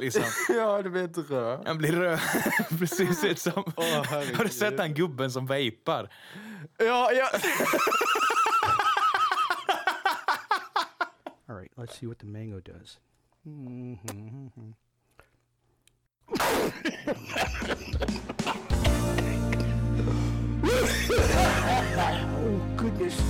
Liksom. Ja, det blir ett rö. Han blir röd. Precis ut som... herregud. har du sett den gubben som vejpar? Ja, ja. All right, let's see what the mango does. oh, goodness.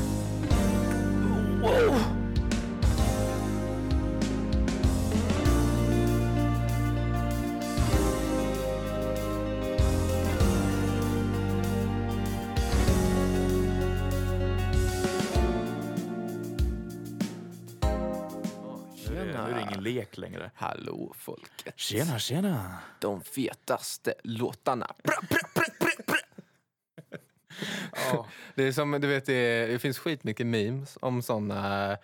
Nu är det- Eh, nu är det ingen lek längre. Hallå folket. Tjena, tjena! De fetaste låtarna. Bra, bra, bra, bra, bra. Ja, det är som, du vet, det, är, det finns skitmycket memes om sådana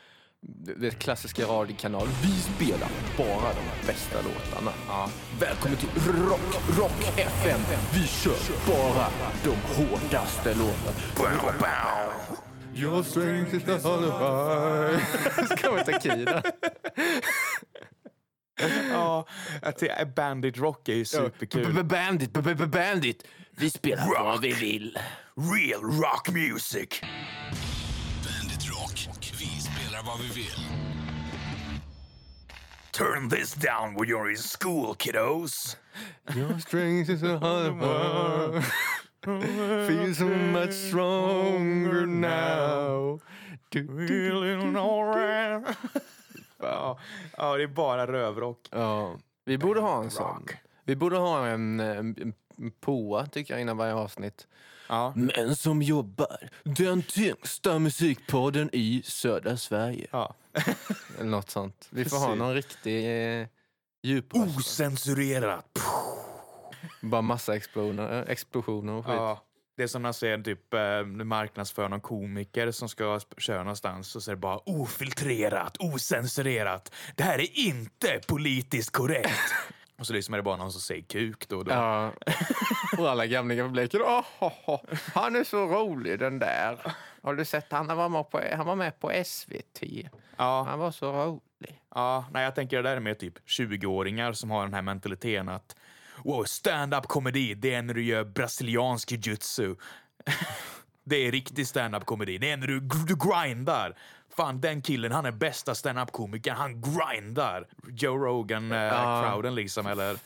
vet, klassiska radiokanaler. Vi spelar bara de här bästa låtarna. Välkommen till Rock, Rock FM. Vi kör bara de hårdaste låtarna. Bow, bow. Your strength is the Ska man ta Kida? Ja, att det är Bandit Rock är ju superkul. Bandit, b- b- bandit. Vi spelar vad vi vill. Real rock music. Bandit Rock. Vi spelar vad vi vill. Turn this down when you're in school, kiddos. Your strength is a hollow Feel so much stronger now Du- du- Ja, ja, det är bara rövrock. Ja, vi borde ha en sån. Vi borde ha en, en, en poa, tycker jag, innan varje avsnitt. Ja. Män som jobbar, den tyngsta musikpodden i södra Sverige. Ja. Eller något sånt. Vi får ha Precis. Oh! någon riktig eh, djupröst. Osensurerat. Bara massa explosioner, explosioner och skit. Ja. Det är som när ser typ eh, marknadsför någon komiker som ska sp- köra någonstans och så är det bara ofiltrerat, osensurerat. Det här är inte politiskt korrekt. och så liksom är det bara någon som säger kuk då och då. Ja. Och alla gamlingar på Blekinge. Oh, ho, ho. Han är så rolig den där. Har du sett? Han var med på, han var med på SVT. Ja, Han var så rolig. ja. Nej, jag tänker det där är mer typ 20-åringar som har den här mentaliteten att wow, stand-up komedi, det är när du gör brasiliansk jujutsu. det är riktig stand-up komedi. Det är när du, du grindar. Fan, den killen, han är bästa stand-up komikern. Han grindar. Joe Rogan-crowden liksom, eller?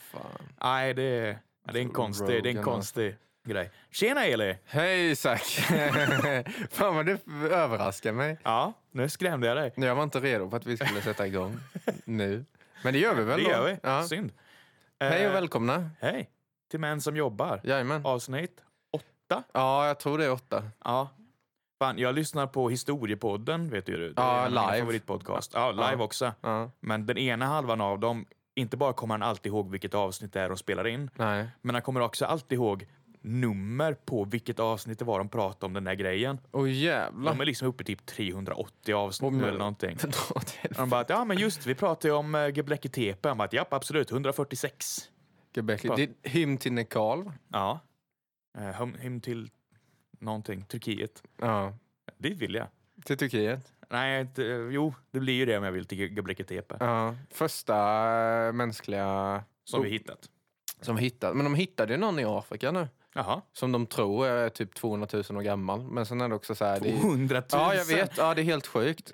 Nej, det är, det är en konstig, det är en Rogan, konstig grej. Tjena Eli! Hej Isak! Fan vad du överraskar mig. Ja, nu skrämde jag dig. Nej, Jag var inte redo för att vi skulle sätta igång nu. Men det gör vi väl Det då? gör vi. Ja. Synd. Hej Eh, och välkomna. Hej! Till män som jobbar. Jajamän. Avsnitt åtta. Ja, jag tror det är åtta. Ja. Fan, jag lyssnar på Historiepodden, vet ju du. Det är Ja, en av mina live. Favoritpodcast. Ja, live Ja. också. Ja. Men den ena halvan av dem, inte bara kommer han alltid ihåg vilket avsnitt det är de spelar in, Nej. men han kommer också alltid ihåg nummer på vilket avsnitt det var de pratade om den där grejen. Åh jävlar. De är liksom uppe i typ 380 avsnitt nu eller någonting. Dra åt Och de helvete. bara att, ja men just vi pratade ju om äh, Geblecke Tepe. Han bara, japp absolut, 146. Det är Hymn till Nekalv. Ja. Eh, hem, hem till någonting, Turkiet. Ja. Dit vill jag. Till Turkiet. Nej, inte- jo, det blir ju det om jag vill till Göbleke Tepe. Ja, första eh, mänskliga Som vi hittat. som hittat. Men de hittade ju någon i Afrika nu. Jaha. Som de tror är typ 200 000 år gammal. Men sen är det också så här... Det är, 100 000! ja, jag vet. Ja, det är helt sjukt.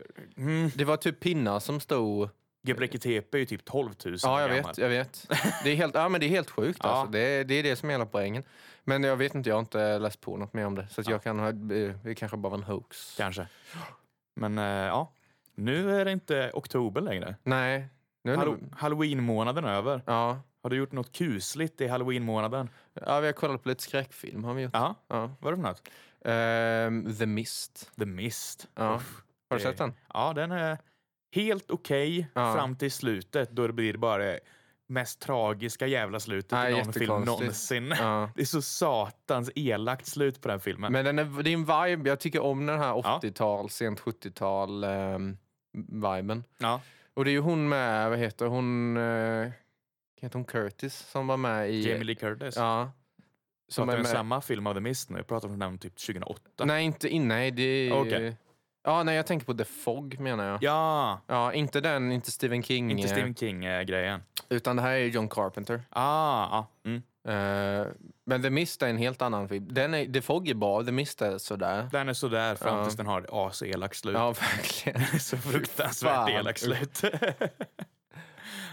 Det var typ pinnar som stod... Göbleke Tepe är ju typ 12 000 Ja, jag år vet. gammal. Jag vet. Det är helt, ja, men det är helt sjukt Ja. alltså. Det är, det är det som är hela poängen. Men jag vet inte, jag har inte läst på något mer om det. Så att jag kan ha... eh, Det kanske bara var en hoax. Kanske. Men eh, ja, nu är det inte oktober längre. Nej. Nu är det, Hallo- Halloween-månaden är över. ja. Har du gjort något kusligt i halloween-månaden? ja, vi har kollat på lite skräckfilm har vi gjort. Ja. Ja. Vad är det för något? Ehm, The Mist. The Mist. Ja. Har du Det- sett den? Ja, den är helt okej Ja. fram till slutet då det blir bara det mest tragiska jävla slutet Nej, i någon film jättekonstigt. någonsin. Ja. Det är så satans elakt slut på den filmen. Men den är, det är en vibe. Jag tycker om den här Ja. 80-tal, sent 70-tal ehm, viben. ja. Och det är ju hon med, vad heter hon? Eh, heter hon Curtis som var med i... Jamie Lee Curtis. Som Ja. Som pratar är om med, samma film av The Mist nu? Pratar om den typ 2008? nej, inte in, nej, det är... Okej. Ja, nej, jag tänker på The Fog menar jag. Ja, Ja, inte den, inte Stephen King. inte eh, Stephen King-grejen. Utan det här är John Carpenter. Ah, ah, mm. Eh, men The Mist är en helt annan film. Den är, The Fog är bra, The Mist är sådär. Den är sådär fram Ja. tills den har ett aselakt slut. Ja, verkligen. Så fruktansvärt Fy fan. elakt slut.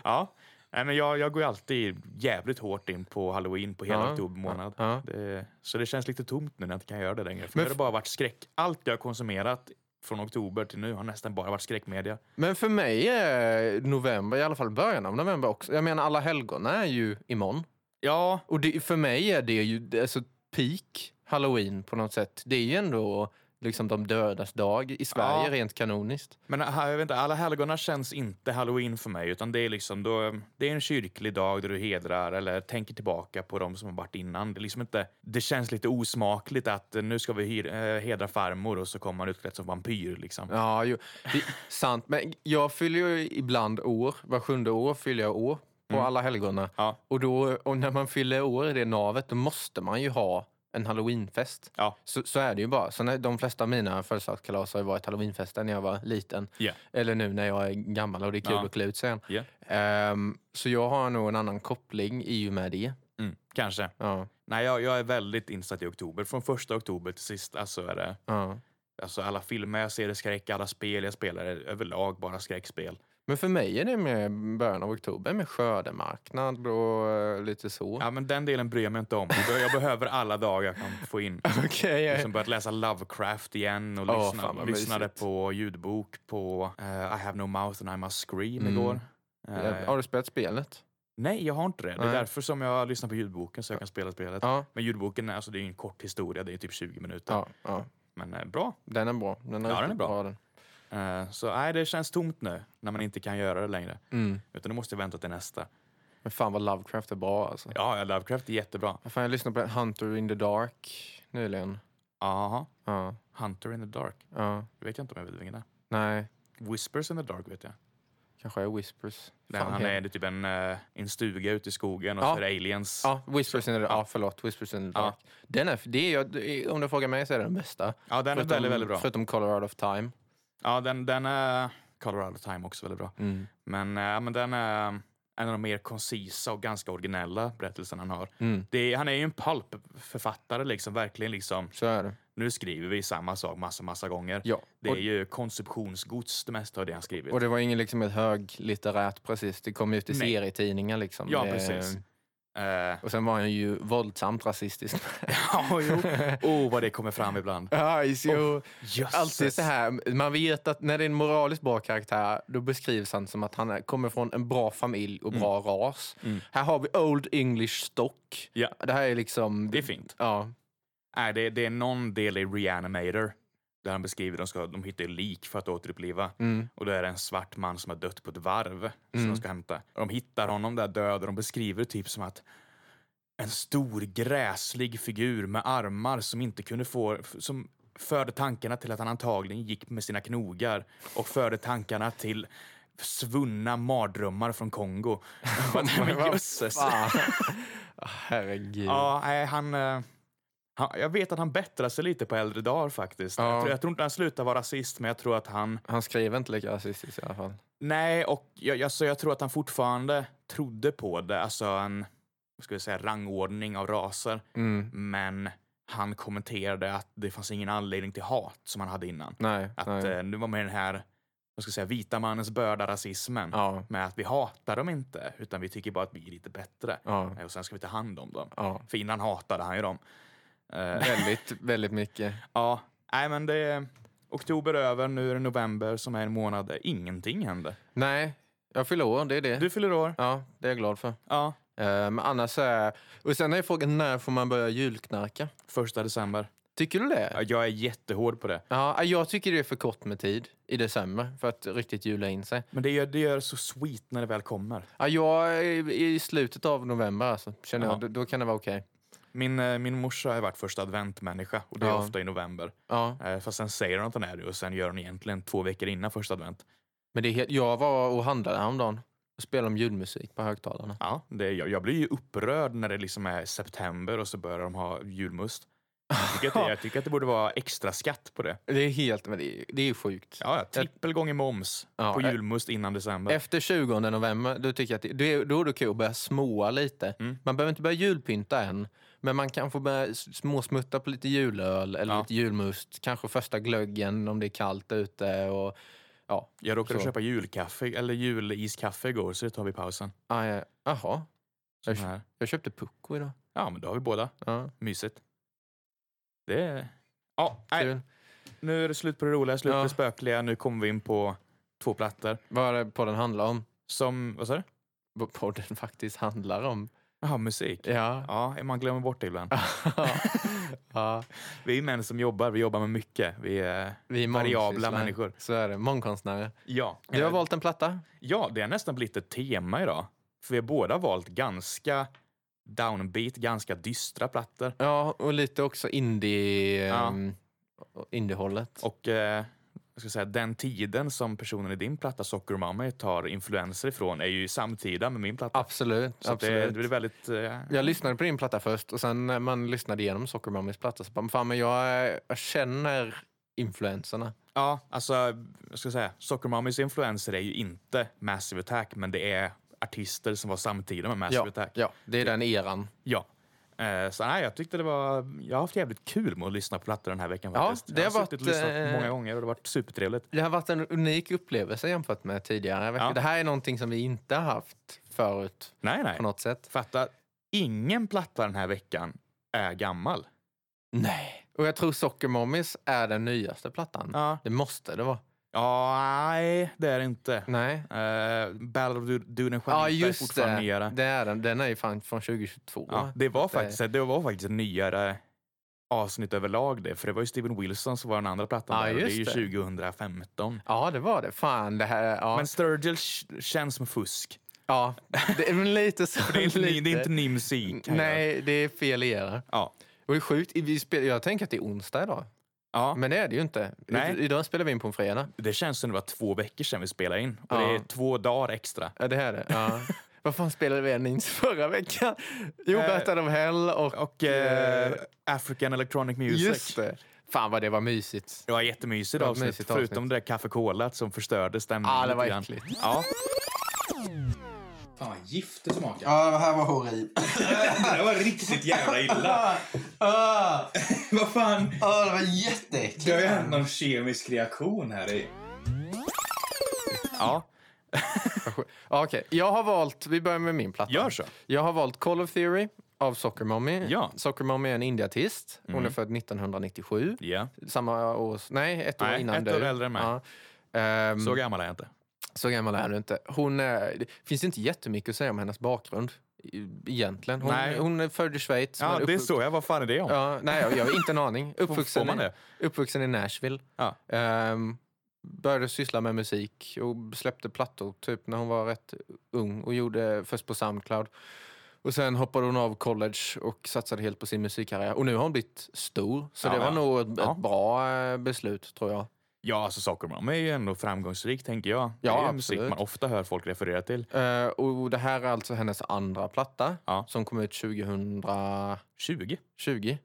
ja. Nej, men jag, jag går ju alltid jävligt hårt in på halloween på hela Ja. oktober månad. Ja. Det, så det känns lite tomt nu när jag inte kan göra det längre. För nu Men har f- det bara varit skräck. Allt jag har konsumerat från oktober till nu har nästan bara varit skräckmedia. Men för mig är november, i alla fall början av november också. Jag menar alla helgon är ju imorgon. Ja, Och det, för mig är det ju det är så peak halloween på något sätt. Det är ju ändå liksom de dödas dag i Sverige Ja. rent kanoniskt. men eh, här, jag vet inte, alla helgona känns inte halloween för mig. Utan det är liksom då, det är en kyrklig dag där du hedrar eller tänker tillbaka på de som har varit innan. Det, är liksom inte, det känns lite osmakligt att eh, nu ska vi hyr, eh, hedra farmor och så kommer man utklädd som vampyr. Liksom. Ja, ju, det, sant. Men jag fyller ju ibland år. Var sjunde år fyller jag år på alla helgona. Mm. Ja. Och, då, och när man fyller år i det navet, då måste man ju ha en halloweenfest. Ja. Så, så är det ju bara. Så när, de flesta av mina födelsedagskalas har ju varit halloweenfester när jag var liten. Ja. Eller nu när jag är gammal och det är kul Ja. att klä ut sig. igen. Ja. Ehm, så jag har nog en annan koppling i och med det. Mm, kanske. Ja, Nej, jag, jag är väldigt insatt i oktober. Från första oktober till sista så är det ja. alltså alla filmer jag ser är skräck, alla spel jag spelar är överlag bara skräckspel. Men för mig är det med början av oktober med skördemarknad och eh, lite så. Ja, men den delen bryr jag mig inte om. Jag jag behöver alla dagar jag kan få in. Okej, eh, jag- Liksom börjat läsa Lovecraft igen och Åh, lyssna, fan vad lyssnade mysigt. på ljudbok på eh, I have no mouth and I must scream Mm. igår. Eh, Har du spelat spelet? nej, jag har inte det. Det är Nej. därför som jag lyssnar på ljudboken så jag kan spela spelet. Ja. Men ljudboken är, alltså, det är ju en kort historia, det är typ 20 minuter. Ja, ja. Men eh, bra. Den är bra. Den är, Ja, den är riktigt bra. den. Eh, Så nej, det känns tomt nu när man inte kan göra det längre. Mm. Utan då måste jag vänta till nästa. Men fan vad Lovecraft är bra alltså. Ja, ja, Lovecraft är jättebra. Fan, jag lyssnade på Hunter in the Dark nyligen. Aha. Ja, Hunter in the Dark. ja. Det vet jag inte om jag vet vilken det är. Nej, Whispers in the Dark vet jag. kanske är Whispers. Där Fan, han hel- är det typ en, eh, en stuga ute i skogen och Ja. så är det aliens. Ja, Ja, Whispers in the Dark. Ja, förlåt. Whispers in the Ja. Dark. Den är, det är, jag- om du frågar mig så är den bästa. den är Förutom- väldigt, väldigt bra. Förutom Color Out of Time. Ja, den, den är Colorado Time också väldigt bra. Mm. Men, eh, ja, men den är en av de mer koncisa och ganska originella berättelserna han har. Mm. Det är, han är ju en pulp-författare liksom, verkligen liksom. Så är det. Nu skriver vi samma sak massa, massa gånger. Ja. Det är Och- ju konsumtionsgods det mesta av det han skrivit. Och det var ingen liksom ett höglitterärt precis. Det kom ut i Nej. serietidningar liksom. ja, det, precis. Eh, Och sen var han ju våldsamt rasistisk. ja, jo. Oh, vad det kommer fram ibland. ja, jo. Jösses. Alltid så här, man vet att när det är en moraliskt bra karaktär då beskrivs han som att han är- kommer från en bra familj och bra Mm. ras. Här har vi Old English Stock. Ja. Det här är liksom... Det är fint. Ja, Nej, det, det är någon del i Reanimator där han beskriver att de, ska- de hittar ju lik för att återuppliva. mm. Och då är det en svart man som har dött på ett varv som de ska hämta. Och de hittar honom där död och de beskriver det typ som att en stor gräslig figur med armar som inte kunde få... Som förde tankarna till att han antagligen gick med sina knogar och förde tankarna till svunna mardrömmar från Kongo. Jag bara, "Nej, Men jösses. fan. Herregud. Ja, nej, han, eh, han... Jag vet att han bättrar sig lite på äldre dagar faktiskt. Ja. Jag, tror, jag tror inte han slutar vara rasist, men jag tror att han... Han skriver inte lika rasistiskt i alla fall. Nej, och jag, jag, så jag tror att han fortfarande trodde på det. Alltså en, vad ska vi säga, rangordning av raser. Mm. Men han kommenterade att det fanns ingen anledning till hat som han hade innan. Nej. Att nej. eh, nu var med den här, vad ska jag säga, vita mannens börda, rasismen. Ja. Med att vi hatar dem inte, utan vi tycker bara att vi är lite bättre. Eh, Ja. Och sen ska vi ta hand om dem. ja. För innan hatade han ju dem. Eh, Väldigt, väldigt mycket. ja, nej men det är oktober över, nu är det november som är en månad där ingenting händer. Nej, jag fyller år. Det är det. Du fyller år. Ja, det är jag glad för. Ja, Eh, Men annars är... Och sen är frågan när får man börja julknarka? första december. Tycker du det? Ja, Jag är jättehård på det. Ja, jag tycker det är för kort med tid i december för att riktigt jula in sig. Men det gör det gör så sweet när det väl kommer. Ja, jag är i slutet av november alltså, känner Ja. jag, då, då kan det vara okej. Min, eh, min morsa har varit första adventmänniska och det är Ja. ofta i november. Ja, Eh, Fast sen säger hon att hon är det och sen gör hon egentligen två veckor innan första advent. men det är helt, jag var och handlade häromdagen och spelade om julmusik på högtalarna. Ja, det, jag, jag blir ju upprörd när det liksom är september och så börjar de ha julmust. Vilket är, jag tycker att det borde vara extra skatt på det. Det är helt, men det är, det är sjukt. Ja, ja, trippel gånger moms Ja, på eh, julmust innan december. Efter 20 november, då tycker jag att det, då är- då är det okej att börja småa lite. Man behöver inte börja julpynta än, men man kan få börja s- småsmutta på lite julöl eller Ja. lite julmust. Kanske första glöggen om det är kallt ute. Och, ja. jag råkade så. köpa julkaffe, eller juliskaffe igår, så det tar vi i pausen. Ah, ja. Aha. Sån Usch. här. jag köpte pucko idag. Ja, men då har vi båda. Ja, Mysigt. Det är... Ja, nej, kul. nu är det slut på det roliga, slut på Ja. det spökliga. Nu kommer vi in på två plattor. Vad är det podden handlar om? Som, vad sa du? Vad podden faktiskt handlar om? Jaha, musik. Ja. Ja, man glömmer bort det ibland. ja. Vi är män som jobbar, vi jobbar med mycket. Vi är... Vi är Variabla mångsysslare. människor. Så är det. Mångkonstnärer. Ja. Du har valt en platta. Ja, det har nästan blivit ett tema idag. För vi har båda valt ganska downbeat, ganska dystra plattor. Ja, och lite också indie... Ja. ehm, Indiehållet. Och eh, jag ska säga, den tiden som personen i din platta Soccer Mommy tar influenser ifrån är ju samtida med min platta. Absolut. Så att det, det absolut. blir väldigt... Eh, Jag lyssnade på din platta först och sen när man lyssnade igenom Soccer Mummies platta så bara, fan men jag, eh, jag känner influenserna. ja, alltså, jag ska säga, Soccer Mommys influenser är ju inte Massive Attack, men det är artister som var samtida med Massive Ja, Attack. ja, det är den eran. Ja. Eh, Så nej, jag tyckte det var... Jag har haft jävligt kul med att lyssna på plattor den här veckan Ja, faktiskt. det jag har har suttit och varit, lyssnat eh, många gånger och det har varit supertrevligt. Det har varit en unik upplevelse jämfört med tidigare. veckor. Ja. Det här är någonting som vi inte har haft förut Nej, på nej. något sätt. Fatta, ingen platta den här veckan är gammal. Mm. Nej. Och jag tror Soccer Mummies är den nyaste plattan. Ja, Det måste det vara. ja nej, det är det inte. Nej. Uh, Battle of Du- Dune Ja, är just fortfarande det. nyare. det är den. den är ju fan från 2022. Ja, det, var eh, faktiskt, det var faktiskt en nyare avsnitt överlag det, för det var ju Steven Wilson som var den andra plattan Ja, där, och det är ju just 2015. Ja, det var det. Fan, det här... Ja, Men Sturgill sh- känns som fusk. ja. Det är väl lite så. Det är inte, lite. det är inte ny musik. här. alltså. Nej, det är fel era. Ja. Och det är sjukt, vi spel, jag tänker att det är onsdag idag. Ja, Men det är det ju inte. Nej. I- Idag spelar vi in på en fredag. det känns som det var två veckor sedan vi spelade in. Och Ja. det är två dagar extra. Ja, det här är det. Ja. Vad fan spelade vi än in förra veckan? Jo, Eh, Battle of Hell och... Och eh, African Electronic Music. just det. Fan vad det var mysigt. Det var jättemysigt Det var ett avsnitt, mysigt förutom avsnitt. det där kaffekolat som förstörde stämningen. Ja, det var lite grann. äckligt. Ja. Ja, det här var horribelt. Det var riktigt jävla illa. Vad fan, Ja, det var jätteäckligt. någon kemisk reaktion här i. Ja, Ja, Okej, jag har valt... Vi börjar med min platta. gör så. Jag har valt Call of Theory av Soccer Mommy. Ja. Mm. Soccer Mommy är en indiartist. Hon är född 1997. Ja. Samma år... Nej, ett år Nej, innan ett du. år äldre än mig. Ja. Ehm, Så gammal är jag inte. Så gammal är du inte. Hon är, det finns inte jättemycket att säga om hennes bakgrund e- egentligen. Hon, Nej. hon är född i Schweiz. Ja, men det uppvux- såg jag. Vad fan är det om? Ja, nej, jag jag har inte en aning. Uppvuxen, man det? I, uppvuxen i Nashville. Ja. Ehm, började syssla med musik och släppte plattor typ när hon var rätt ung och gjorde först på Soundcloud. Och sen hoppade hon av college och satsade helt på sin musikkarriär. Och nu har hon blivit stor. Så Ja, det var ja. nog ett, Ja. ett bra eh, beslut tror jag. Ja, alltså Soccer Mom är ju ändå framgångsrik, tänker jag. det Ja, är ju musik absolut. man ofta hör folk referera till. Eh, och det här är alltså hennes andra platta Ja. som kom ut 2020. 20? Jag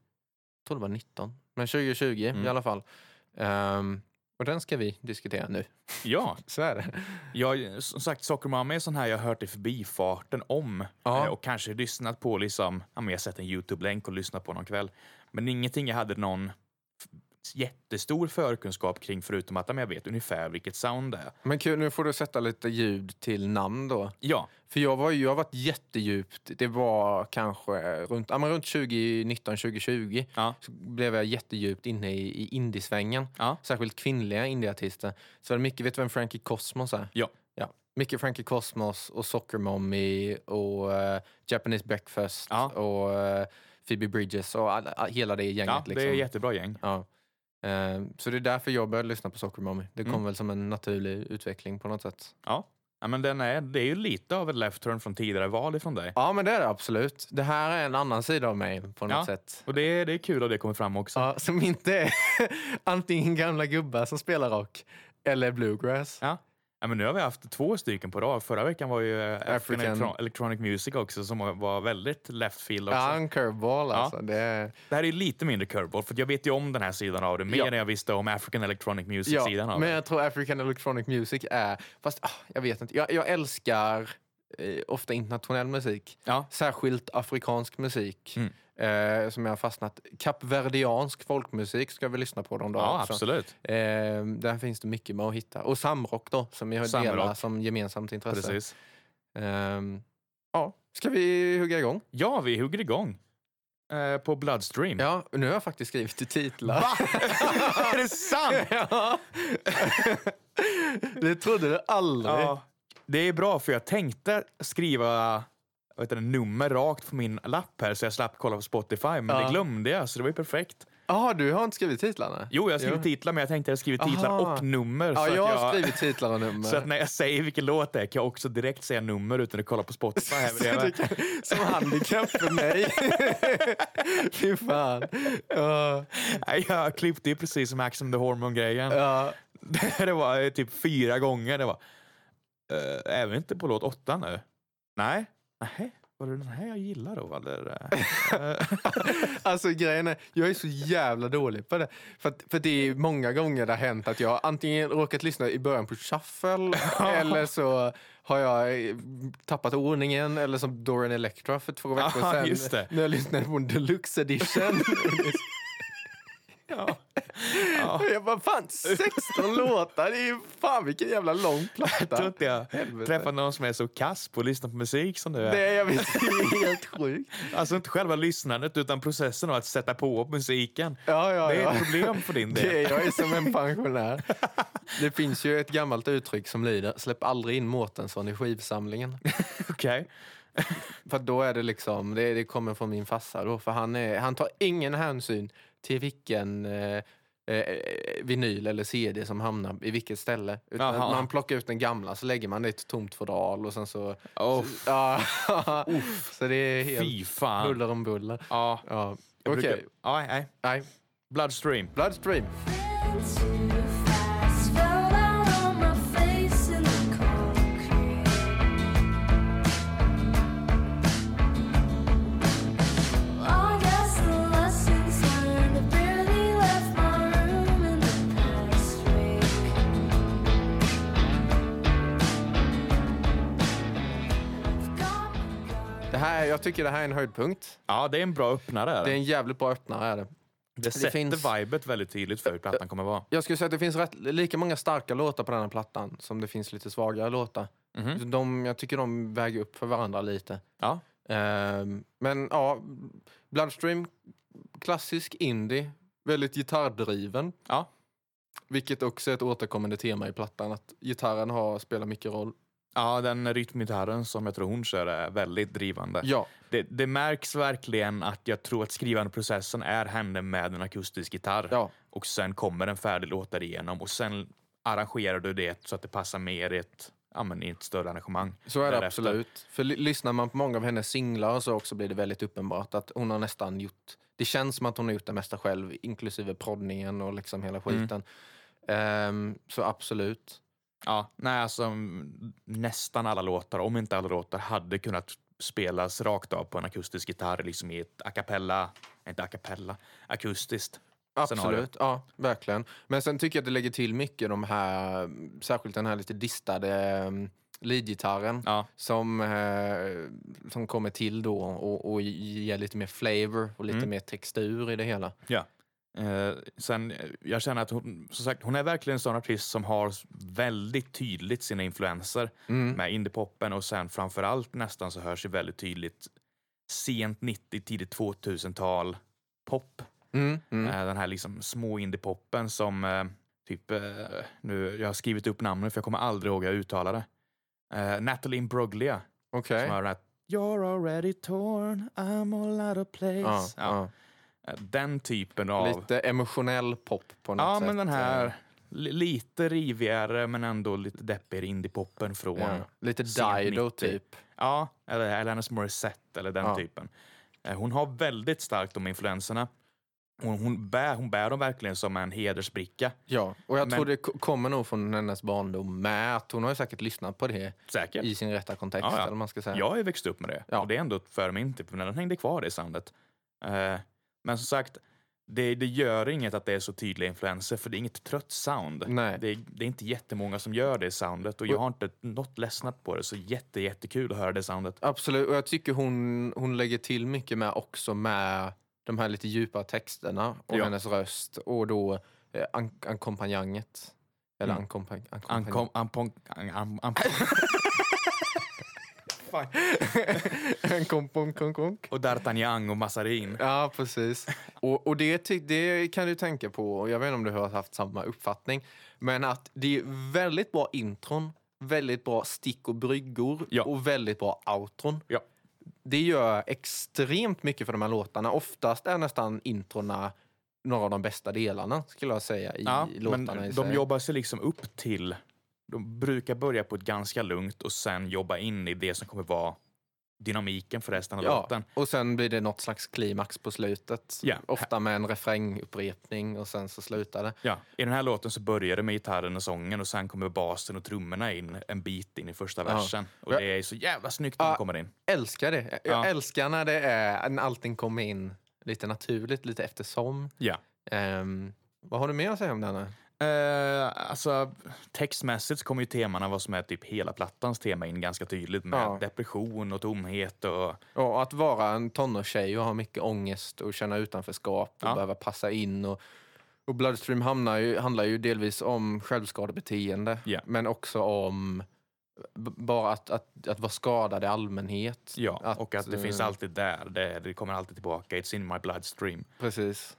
tror det var 19. Men 2020 i alla fall. Ehm, och den ska vi diskutera nu. Ja, Så är det. Jag, som sagt, Soccer Mama är sån här jag har hört i förbifarten om Ja. Eh, och kanske lyssnat på liksom, ja men jag har sett en Youtube-länk och lyssnat på någon kväll. Men ingenting jag hade någon f- jättestor förkunskap kring förutom att ja, men jag vet ungefär vilket sound det är. Men kul, nu får du sätta lite ljud till namn då. Ja, För jag, var, ju- jag har varit jättedjupt, det var kanske runt, ja, men runt 2019, 2020. Ja. Så blev jag jättedjupt inne i, i indiesvängen. Ja. Särskilt kvinnliga indieartister. Så var det mycket, vet du vem Frankie Cosmos är? ja, Ja, mycket Frankie Cosmos och Soccer Mommy och eh, Japanese Breakfast Ja. och eh, Phoebe Bridges och all, all, hela det gänget. ja det liksom. är jättebra gäng. ja. Eh, så det är därför jag började lyssna på Soccer Mommy. Det Mm. kom väl som en naturlig utveckling på något sätt. Ja. Ja, men den är, det är ju lite av ett left turn från tidigare val ifrån dig. Ja, men det är det absolut. Det här är en annan sida av mig på något Ja. sätt. Och det är, det är kul att det kommer fram också. Ja, som inte är antingen gamla gubbar som spelar rock eller bluegrass. Ja. Ja, men nu har vi haft två stycken på rad. Förra veckan var ju eh, African, African. Electro- Electronic Music också som var väldigt left field också. Ja, en curveball alltså. Det är... Det här är lite mindre curveball för jag vet ju om den här sidan av det mer Ja. än jag visste om African Electronic Ja, Music-sidan av men det. jag tror African Electronic Music är... Fast ah, jag vet inte. Jag, jag älskar eh, ofta internationell musik. Ja. Mm. Särskilt afrikansk musik eh, som jag har fastnat. Kapverdiansk folkmusik ska vi lyssna på de dagarna Ja, också. absolut. Eh, där finns det mycket med att hitta. Och samrock då, som vi har Samrock. delar som gemensamt intresse. Precis. Ehm, ja, ska vi hugga igång? Ja, vi hugger igång. Eh, på Bloodstream. Ja, nu har jag faktiskt skrivit i titlar. är det sant? Ja. det trodde du aldrig. Ja. Det är bra för jag tänkte skriva vad heter det, nummer rakt på min lapp här så jag slapp kolla på Spotify, men Ja. det glömde jag så det var ju perfekt. Jaha, du har inte skrivit titlarna? Jo, jag har skrivit titlar men jag tänkte jag skrivit titlar Aha. och nummer. Ja, så jag att har skrivit titlar och nummer. Så att när jag säger vilken låt det är kan jag också direkt säga nummer utan att kolla på Spotify. Här Så det bredvid. kan, som handikapp för mig. Fy fan. Ja, Nej, jag klippte ju precis som Ax on the Hormone-grejen. ja. det var eh, typ fyra gånger. Det var, eh, är vi inte på låt åtta nu? Nej. Nej. Var det den här jag gillar då? Eller? Eh, Alltså grejen är, jag är så jävla dålig på det. För, att, för det är många gånger det har hänt att jag antingen råkat lyssna i början på shuffle eller så har jag eh, tappat ordningen eller som Dorian Electra för två veckor Ja, sedan. just det. När jag lyssnade på en deluxe edition. ja. Och jag bara, fan 16 låtar, det är ju fan vilken jävla lång Jag tror platta. inte jag Helvete. träffar någon som är så kass på att lyssna på musik som du är. Det är, jag vet, det är helt sjukt. Alltså inte själva lyssnandet utan processen av att sätta på musiken. Ja, ja, det är ja. ett problem för din del. Det är, jag är som en pensionär. Det finns ju ett gammalt uttryck som lyder släpp aldrig in Mårtensson i skivsamlingen. Okej. För då är det liksom, det, det kommer från min farsa då, för han, är, han tar ingen hänsyn till vilken eh, eh, vinyl eller CD som hamnar i vilket ställe. Utan Jaha. man plockar ut den gamla så lägger man det i ett tomt fodral och sen så... Åh, Ja, så det är helt Oh. fy fan. huller om buller. Ja, Ja, jag okej. brukar- ja, nej. Nej, Bloodstream. Bloodstream. Det här, jag tycker det här är en höjdpunkt. Ja, det är en bra öppnare. Det är en jävligt bra öppnare. Är det. Det sätter finns- vibet väldigt tydligt för hur plattan kommer vara. Jag skulle säga att det finns rätt, lika många starka låtar på den här plattan som det finns lite svagare låtar. Mhm. De, jag tycker de väger upp för varandra lite. Ja. Ehm, men ja, Bloodstream, klassisk indie, väldigt gitarrdriven. Ja. Vilket också är ett återkommande tema i plattan, att gitarren har, spelar mycket roll. Ja, den rytmgitarren som jag tror hon kör är väldigt drivande. Ja, Det, det märks verkligen att jag tror att skrivandeprocessen är henne med en akustisk gitarr ja. och sen kommer en färdig låt därigenom och sen arrangerar du det så att det passar mer i ett, ja, men i ett större arrangemang. Så är det därefter. absolut. För ly- lyssnar man på många av hennes singlar så också blir det väldigt uppenbart att hon har nästan gjort... Det känns som att hon har gjort det mesta själv, inklusive proddningen och liksom hela Mm. skiten. Ehm, så absolut. Ja, nej, alltså, mm, nästan alla låtar, om inte alla låtar, hade kunnat spelas rakt av på en akustisk gitarr, liksom i ett a cappella, inte a cappella, akustiskt. scenario. Absolut, ja verkligen. Men sen tycker jag att det lägger till mycket de här, särskilt den här lite distade ehm, leadgitarren Ja. som, eh, som kommer till då och, och ger lite mer flavor och lite Mm. mer textur i det hela. Ja. Eh, sen, eh, jag känner att hon, som sagt, hon är verkligen en sån artist som har s- väldigt tydligt sina influenser Mm. med indiepoppen och sen framförallt nästan så hörs det väldigt tydligt sent 90, tidigt 2000-tal pop. Mm, mm. Eh, den här liksom små indiepoppen som eh, typ, eh, nu, jag har skrivit upp namnen för jag kommer aldrig ihåg hur jag uttalade det. Eh, Natalie Imbruglia Okej. som har den här You're already torn, I'm all out of place. Ja, Ja. ja. Eh, Den typen av... Lite emotionell pop på något Ja, sätt. eh. men den här li- lite rivigare men ändå lite deppigare indiepoppen från... Ja. Ja, Lite Sent Dido 90. typ. eller Alanis Morissette eller den Ja. typen. Eh, Hon har väldigt starkt de influenserna. Hon, hon, bär, hon bär dem verkligen som en hedersbricka. Ja, och jag Men- tror det ko- kommer nog från hennes barndom med. Att hon har ju säkert lyssnat på det Säkert. i sin rätta kontext. Ja, ja. Eller vad man ska säga. Jag har ju växt upp med det. Ja. Och det är ändå för min typ. Men den hängde kvar i sandet. Eh, men som sagt, det, det gör inget att det är så tydliga influenser för det är inget trött sound. Nej. Det, är, det är inte jättemånga som gör det soundet och jag har inte något ledsnat på det så jätte, jättekul att höra det soundet. Absolut, och jag tycker hon, hon lägger till mycket med också med de här lite djupa texterna och Ja. hennes röst och då eh, an- ackompanjanget. Eller Mm. ackompan- ackompanj- Ankom, ampon, an, an, an, Ankompon- konk- konk. och D'Artagnan och Massarin. Ja, precis. Och, och det, ty- det kan du tänka på, och jag vet inte om du har haft samma uppfattning, men att det är väldigt bra intron, väldigt bra stick och bryggor Ja. och väldigt bra outron. Ja. Det gör extremt mycket för de här låtarna. Oftast är nästan introna några av de bästa delarna skulle jag säga i Ja, låtarna i men de sig. jobbar sig liksom upp till... De brukar börja på ett ganska lugnt och sen jobba in i det som kommer vara dynamiken för resten av ja. låten. Och sen blir det något slags klimax på slutet. Ja. Ofta med en refrängupprepning och sen så slutar det. Ja, I den här låten så börjar det med gitarren och sången och sen kommer basen och trummorna in en bit in i första Ja. versen. Och Ja. det är så jävla snyggt när de Ja. kommer in. älskar det. Jag Ja. älskar när det är när allting kommer in lite naturligt, lite eftersom. Ja. Ehm, vad har du mer att säga om denna? Eh, alltså, textmässigt så kommer ju temana, vad som är typ hela plattans tema in ganska tydligt med Ja. depression och tomhet och Ja, att vara en tonårstjej och ha mycket ångest och känna utanförskap och Ja. behöva passa in. Och, och Bloodstream hamnar ju, handlar ju delvis om självskadebeteende Ja. men också om b- bara att, att, att vara skadad i allmänhet. Ja, och att det finns eh, alltid där. Det, det kommer alltid tillbaka. It's in my bloodstream. Eh, Precis.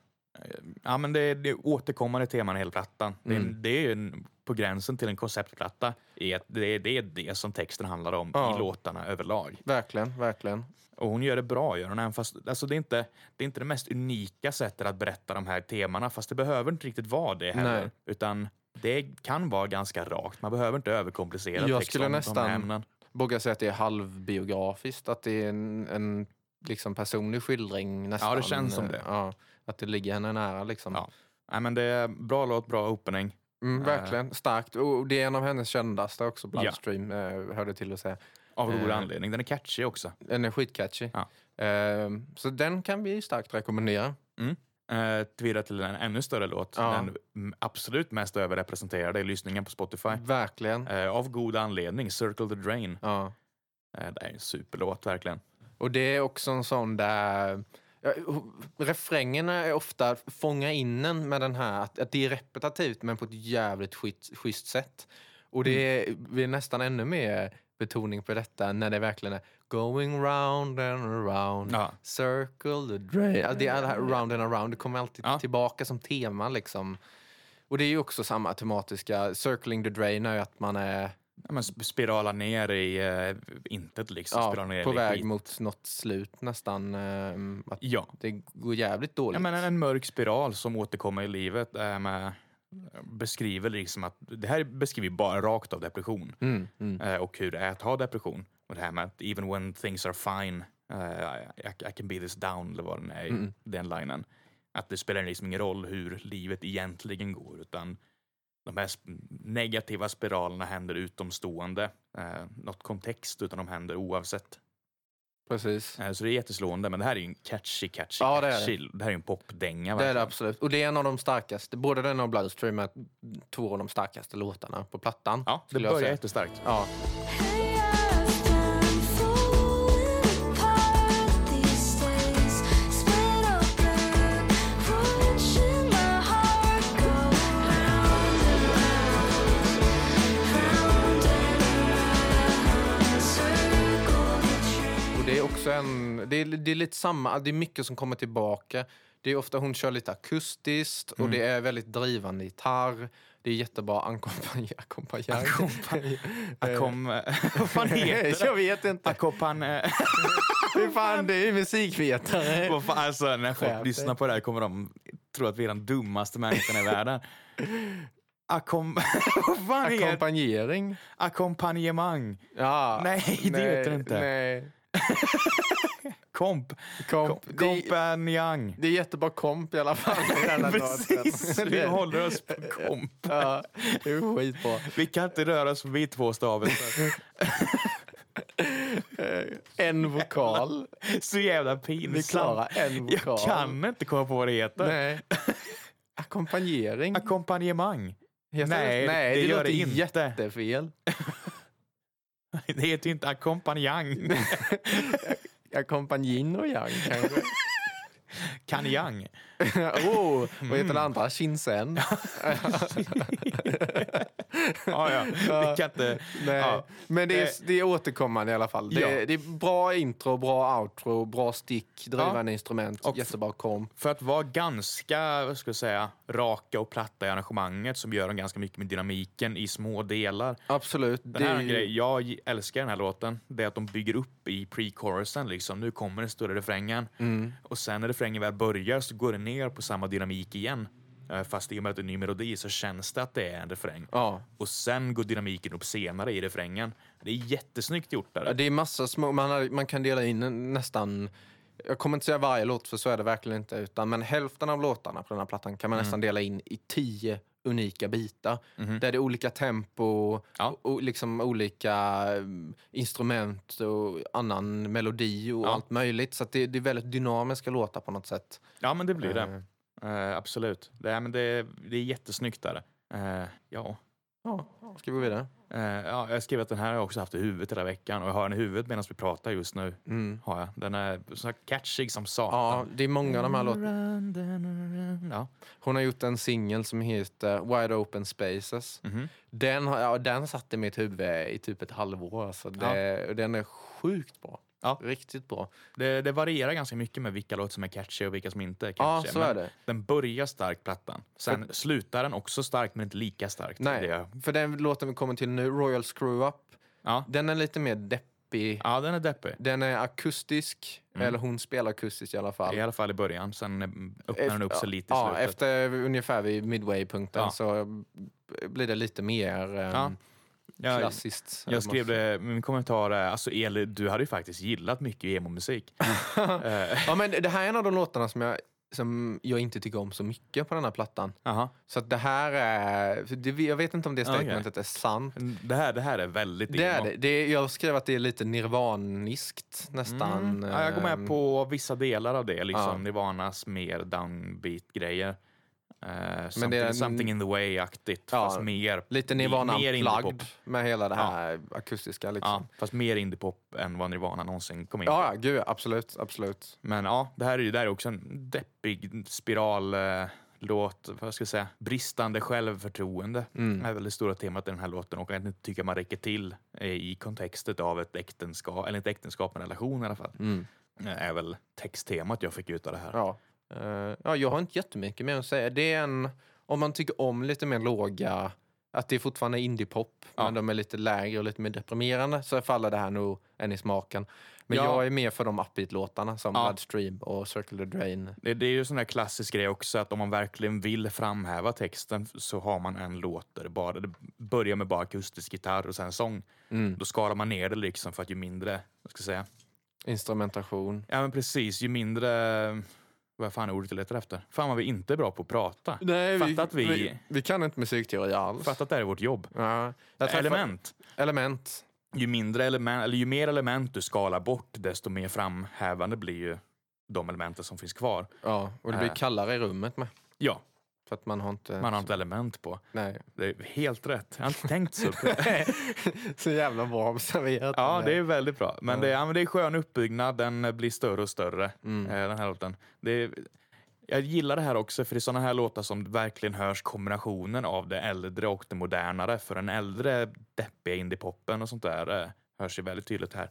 Ja, men det, det är återkommande teman i hela plattan. Det, är en- Mm. det är ju en, på gränsen till en konceptplatta. i att Det, är- det är det som texten handlar om Ja. i låtarna överlag. Verkligen, verkligen. Och hon gör det bra, gör hon. Även fast, alltså det, är inte, det är inte det mest unika sättet att berätta de här temana. Fast det behöver inte riktigt vara det heller. Nej. Utan det kan vara ganska rakt. Man behöver inte överkomplicera Jag text skulle om de nästan- här ämnen. vågar säga att det är halvbiografiskt. Att det är en, en liksom personlig skildring nästan. eh, Ja, det känns som det. Ja, att det ligger henne nära liksom. Ja. Eh. Nej, men det är bra låt, bra opening. Mm, verkligen, starkt. Och och det är en av hennes kändaste också, Bloodstream, eh, hörde till att säga. Av god Eh. anledning. Den är catchy också. Den är skitcatchy. Ja. Eh, så den kan vi starkt rekommendera. eh, vidare till en ännu större låt. Ja. Den m- absolut mest överrepresenterade i lyssningen på Spotify. Mm. Verkligen. Eh, av god anledning, Circle the Drain. Ja. Eh, det är en superlåt verkligen. Och det är också en sån där... Ja, refrängerna är ofta fånga in en med den här att, att det är repetitivt men på ett jävligt schysst, schysst sätt. Och det är, Mm. blir nästan ännu mer betoning på detta när det verkligen är going round and around, Ja. circle the drain. Alltså det är det här round and around, det kommer alltid Ja. tillbaka som tema liksom. Och det är ju också samma tematiska, circling the drain är ju att man är Ja, men sp- spirala ner i eh, intet liksom. spirala ner ja, på i väg skit. mot något slut nästan. ehm, Att Ja. det går jävligt dåligt. ja men en, en mörk spiral som återkommer i livet. Eh, med, beskriver liksom att det här beskriver bara rakt av depression Mm, mm. eh, och hur det är att ha depression. Och det här med att even when things are fine eh, I, I can be this down eller vad den är, Mm. den linen. Att det spelar liksom ingen roll hur livet egentligen går utan de här sp- negativa spiralerna händer utomstående. Eh, något kontext utan de händer oavsett. Precis. Eh, så det är jätteslående men det här är ju en catchy, catchy, Mm. Ja, det är det. catchy. Det, här är ju en popdänga. Det är verkligen. det absolut. Och det är en av de starkaste, både den och Bloodstream är två av de starkaste låtarna på plattan. Ja, det skulle jag börjar säga. jättestarkt. Ja, Hey, I stand falling apart these days. Split up and wrenching my heart, going round and round, round and round. Circle the drain. och det är också en, det är, det är lite samma, det är mycket som kommer tillbaka. Det är ofta hon kör lite akustiskt och det Mm. är väldigt drivande gitarr. Det är jättebra ackompanj- ackompanjang. Akom... eh, Vad fan heter Jag det? vet inte. Akopan... eh, Hur fan, det är ju musikvetare. Vad fan, alltså, när folk Skärp dig. lyssnar på det här kommer de tro att vi är den dummaste människan i världen. Akom... Vad fan heter det? Ackompanjering. Ackompanjemang. Ja. Nej, det heter det inte. Nej. Komp. Komp. Komp- Det- Kompanjang. Det är jättebra komp i alla fall. Denna Precis, låten. vi håller oss på komp. Ja, det är skitbra. Vi kan inte röra oss förbi två stavelser. Eh, En vokal. Så jävla Vi klarar pinsamt. en vokal. Jag kan inte komma på vad det heter. Nej. Ackompanjering. Ackompanjemang. Heter Nej, det? det Nej, det, gör låter det inte. jättefel. Det heter ju inte ackompanjang. Ackompanjin och yang kanske. Kanjang. oh, vad Mm. heter den andra? Shinsen? Ja, ja. Vi kan inte... Nej. Ja. Men det Eh. är, det är återkommande i alla fall. Det, är, Ja. det är bra intro, bra outro, bra stick, drivande instrument, Och- jättebra kom. För att vara ganska vad ska jag säga, raka och platta i arrangemanget som gör de ganska mycket med dynamiken i små delar. Absolut. Den här är en grej, jag g- älskar den här låten. Det är att de bygger upp i pre-chorusen. Liksom. Nu kommer den större refrängen. Mm. Och sen när refrängen väl börjar så går den ner på samma dynamik igen. Eh, Fast i och med att det är en ny melodi så känns det att det är en refräng. Ja. Och sen går dynamiken upp senare i refrängen. Det är jättesnyggt gjort. Där. Ja, Det är massa små, man, har, man kan dela in en- nästan, jag kommer inte säga varje låt för så är det verkligen inte, utan men hälften av låtarna på den här plattan kan man Mm. nästan dela in i tio unika bitar. Mhm. Där det är olika tempo, Ja. och liksom olika mm, instrument och annan melodi och Ja. allt möjligt. Så att det, det är väldigt dynamiska låtar på något sätt. Ja, men det blir det. Eh, absolut. Det, är- men det, det är jättesnyggt. Där. Eh, ja. Ja, ska vi gå vidare? Eh, ja, jag skrev att den här har jag också haft i huvudet hela veckan och jag har den i huvudet medan vi pratar just nu. Har jag. Den är så här catchig som Mm. Ja, satan. det är många av de här låtarna. Ja. Hon har gjort en singel som heter Wide Open Spaces. Mhm. Den, har, ja, den satt i mitt huvud i typ ett halvår. Alltså. Det, och Den är sjukt bra. Ja. Riktigt bra. Det, det varierar ganska mycket med vilka låtar som är catchy och vilka som inte är Ja, catchy. så Men är det. Den börjar starkt, plattan. Sen slutar den också starkt, men inte lika starkt. Det Nej, är- för den låten vi kommer till nu, Royal Screw Up, Ja. den är lite mer deppig. ja, Mm. den är deppig. Den är akustisk, eller hon spelar akustiskt i alla fall. I alla fall i början. Sen eh, öppnar den upp sig lite i ja, slutet. efter ungefär vid midway-punkten Ja. så blir det lite mer eh, Ja. Jag- klassiskt. Jag skrev det, min kommentar är, alltså Eli, du hade ju faktiskt gillat mycket emo-musik. Ja, men det här är en av de låtarna som jag, som jag inte tycker om så mycket på den här plattan. Aha. Så att det här är... för Det, jag vet inte om det okej. statementet är sant. Mm, Det här, det här är väldigt Det är emo. det. det är, jag skrev att det är lite nirvaniskt nästan. Mm. Ja, jag går med Ehm, på vissa delar av det, liksom Ja. Nirvanas mer downbeat-grejer. Eh, something, det är- something in the way-aktigt, Ja, fast mer... Lite Nirvana mer indie-pop. unplugged med hela det här akustiska. Ja, Liksom. fast mer indiepop än vad Nirvana någonsin kom in på. Ja. ja, gud absolut. absolut. Men ja, det här är ju det här är också en deppig spiral. Eh, låt, vad ska jag säga, bristande självförtroende Mm. är väl det stora temat i den här låten och att inte tycka man räcker till eh, i kontextet av ett äktenskap, eller inte äktenskap, men relation i alla fall. Eh, är väl texttemat jag fick ut av det här. Mm. Ja. Eh, ja, jag har inte jättemycket mer att säga. Det är en, om man tycker om lite mer låga, att det är fortfarande indiepop, men de är lite lägre och lite mer deprimerande, så faller det här nog en i smaken. Men Ja. jag är mer för de upbeat-låtarna som Ja. Bloodstream och Circle the Drain. Det, det är ju en sån där klassisk grej också att om man verkligen vill framhäva texten så har man en låt där det bara det börjar med bara akustisk gitarr och sen sång. Mm. Då skalar man ner det liksom för att ju mindre, vad ska jag säga, Instrumentation. Ja men precis, ju mindre... Vad fan är ordet jag letar efter? Fan vad vi inte är bra på att prata. Mm. Fatta att vi... vi... kan inte musikteori alls. Fatta att det här är vårt jobb. Ja. Jag träffar- Element. Element. Ju, mindre element, eller ju mer element du skalar bort, desto mer framhävande blir ju de elementen som finns kvar. Ja, och det blir Äh. kallare i rummet med. Ja, För att man har inte... man har inte element på. Nej. Det är helt rätt. Jag har inte tänkt så. På det. Så jävla bra observerat. Ja, det är väldigt bra. Men, det, ja, men det är skön uppbyggnad. Den blir större och större, Mm. eh, den här låten. Det är, jag gillar det här också, för det är såna här låtar som verkligen hörs kombinationen av det äldre och det modernare. För den äldre deppiga indiepoppen och sånt där eh, hörs ju väldigt tydligt här.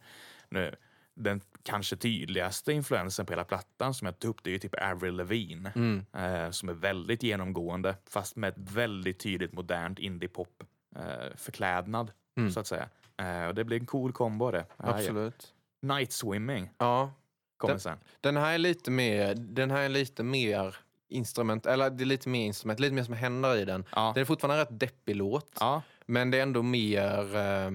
Nu, den kanske tydligaste influensen på hela plattan som jag tog upp, det är ju typ Avril Lavigne. Mm, Eh, som är väldigt genomgående, fast med ett väldigt tydligt modernt indiepop eh, förklädnad, så att säga. Eh, och det blir en cool kombo det. Ah, ja. Mm. Absolut. Night Swimming Ja, kommer Det- sen. Den här är lite mer, den här är lite mer instrument, eller det är lite mer instrument, lite mer som händer i den. Ja. Den är fortfarande en rätt deppig låt, Ja, men det är ändå mer, eh,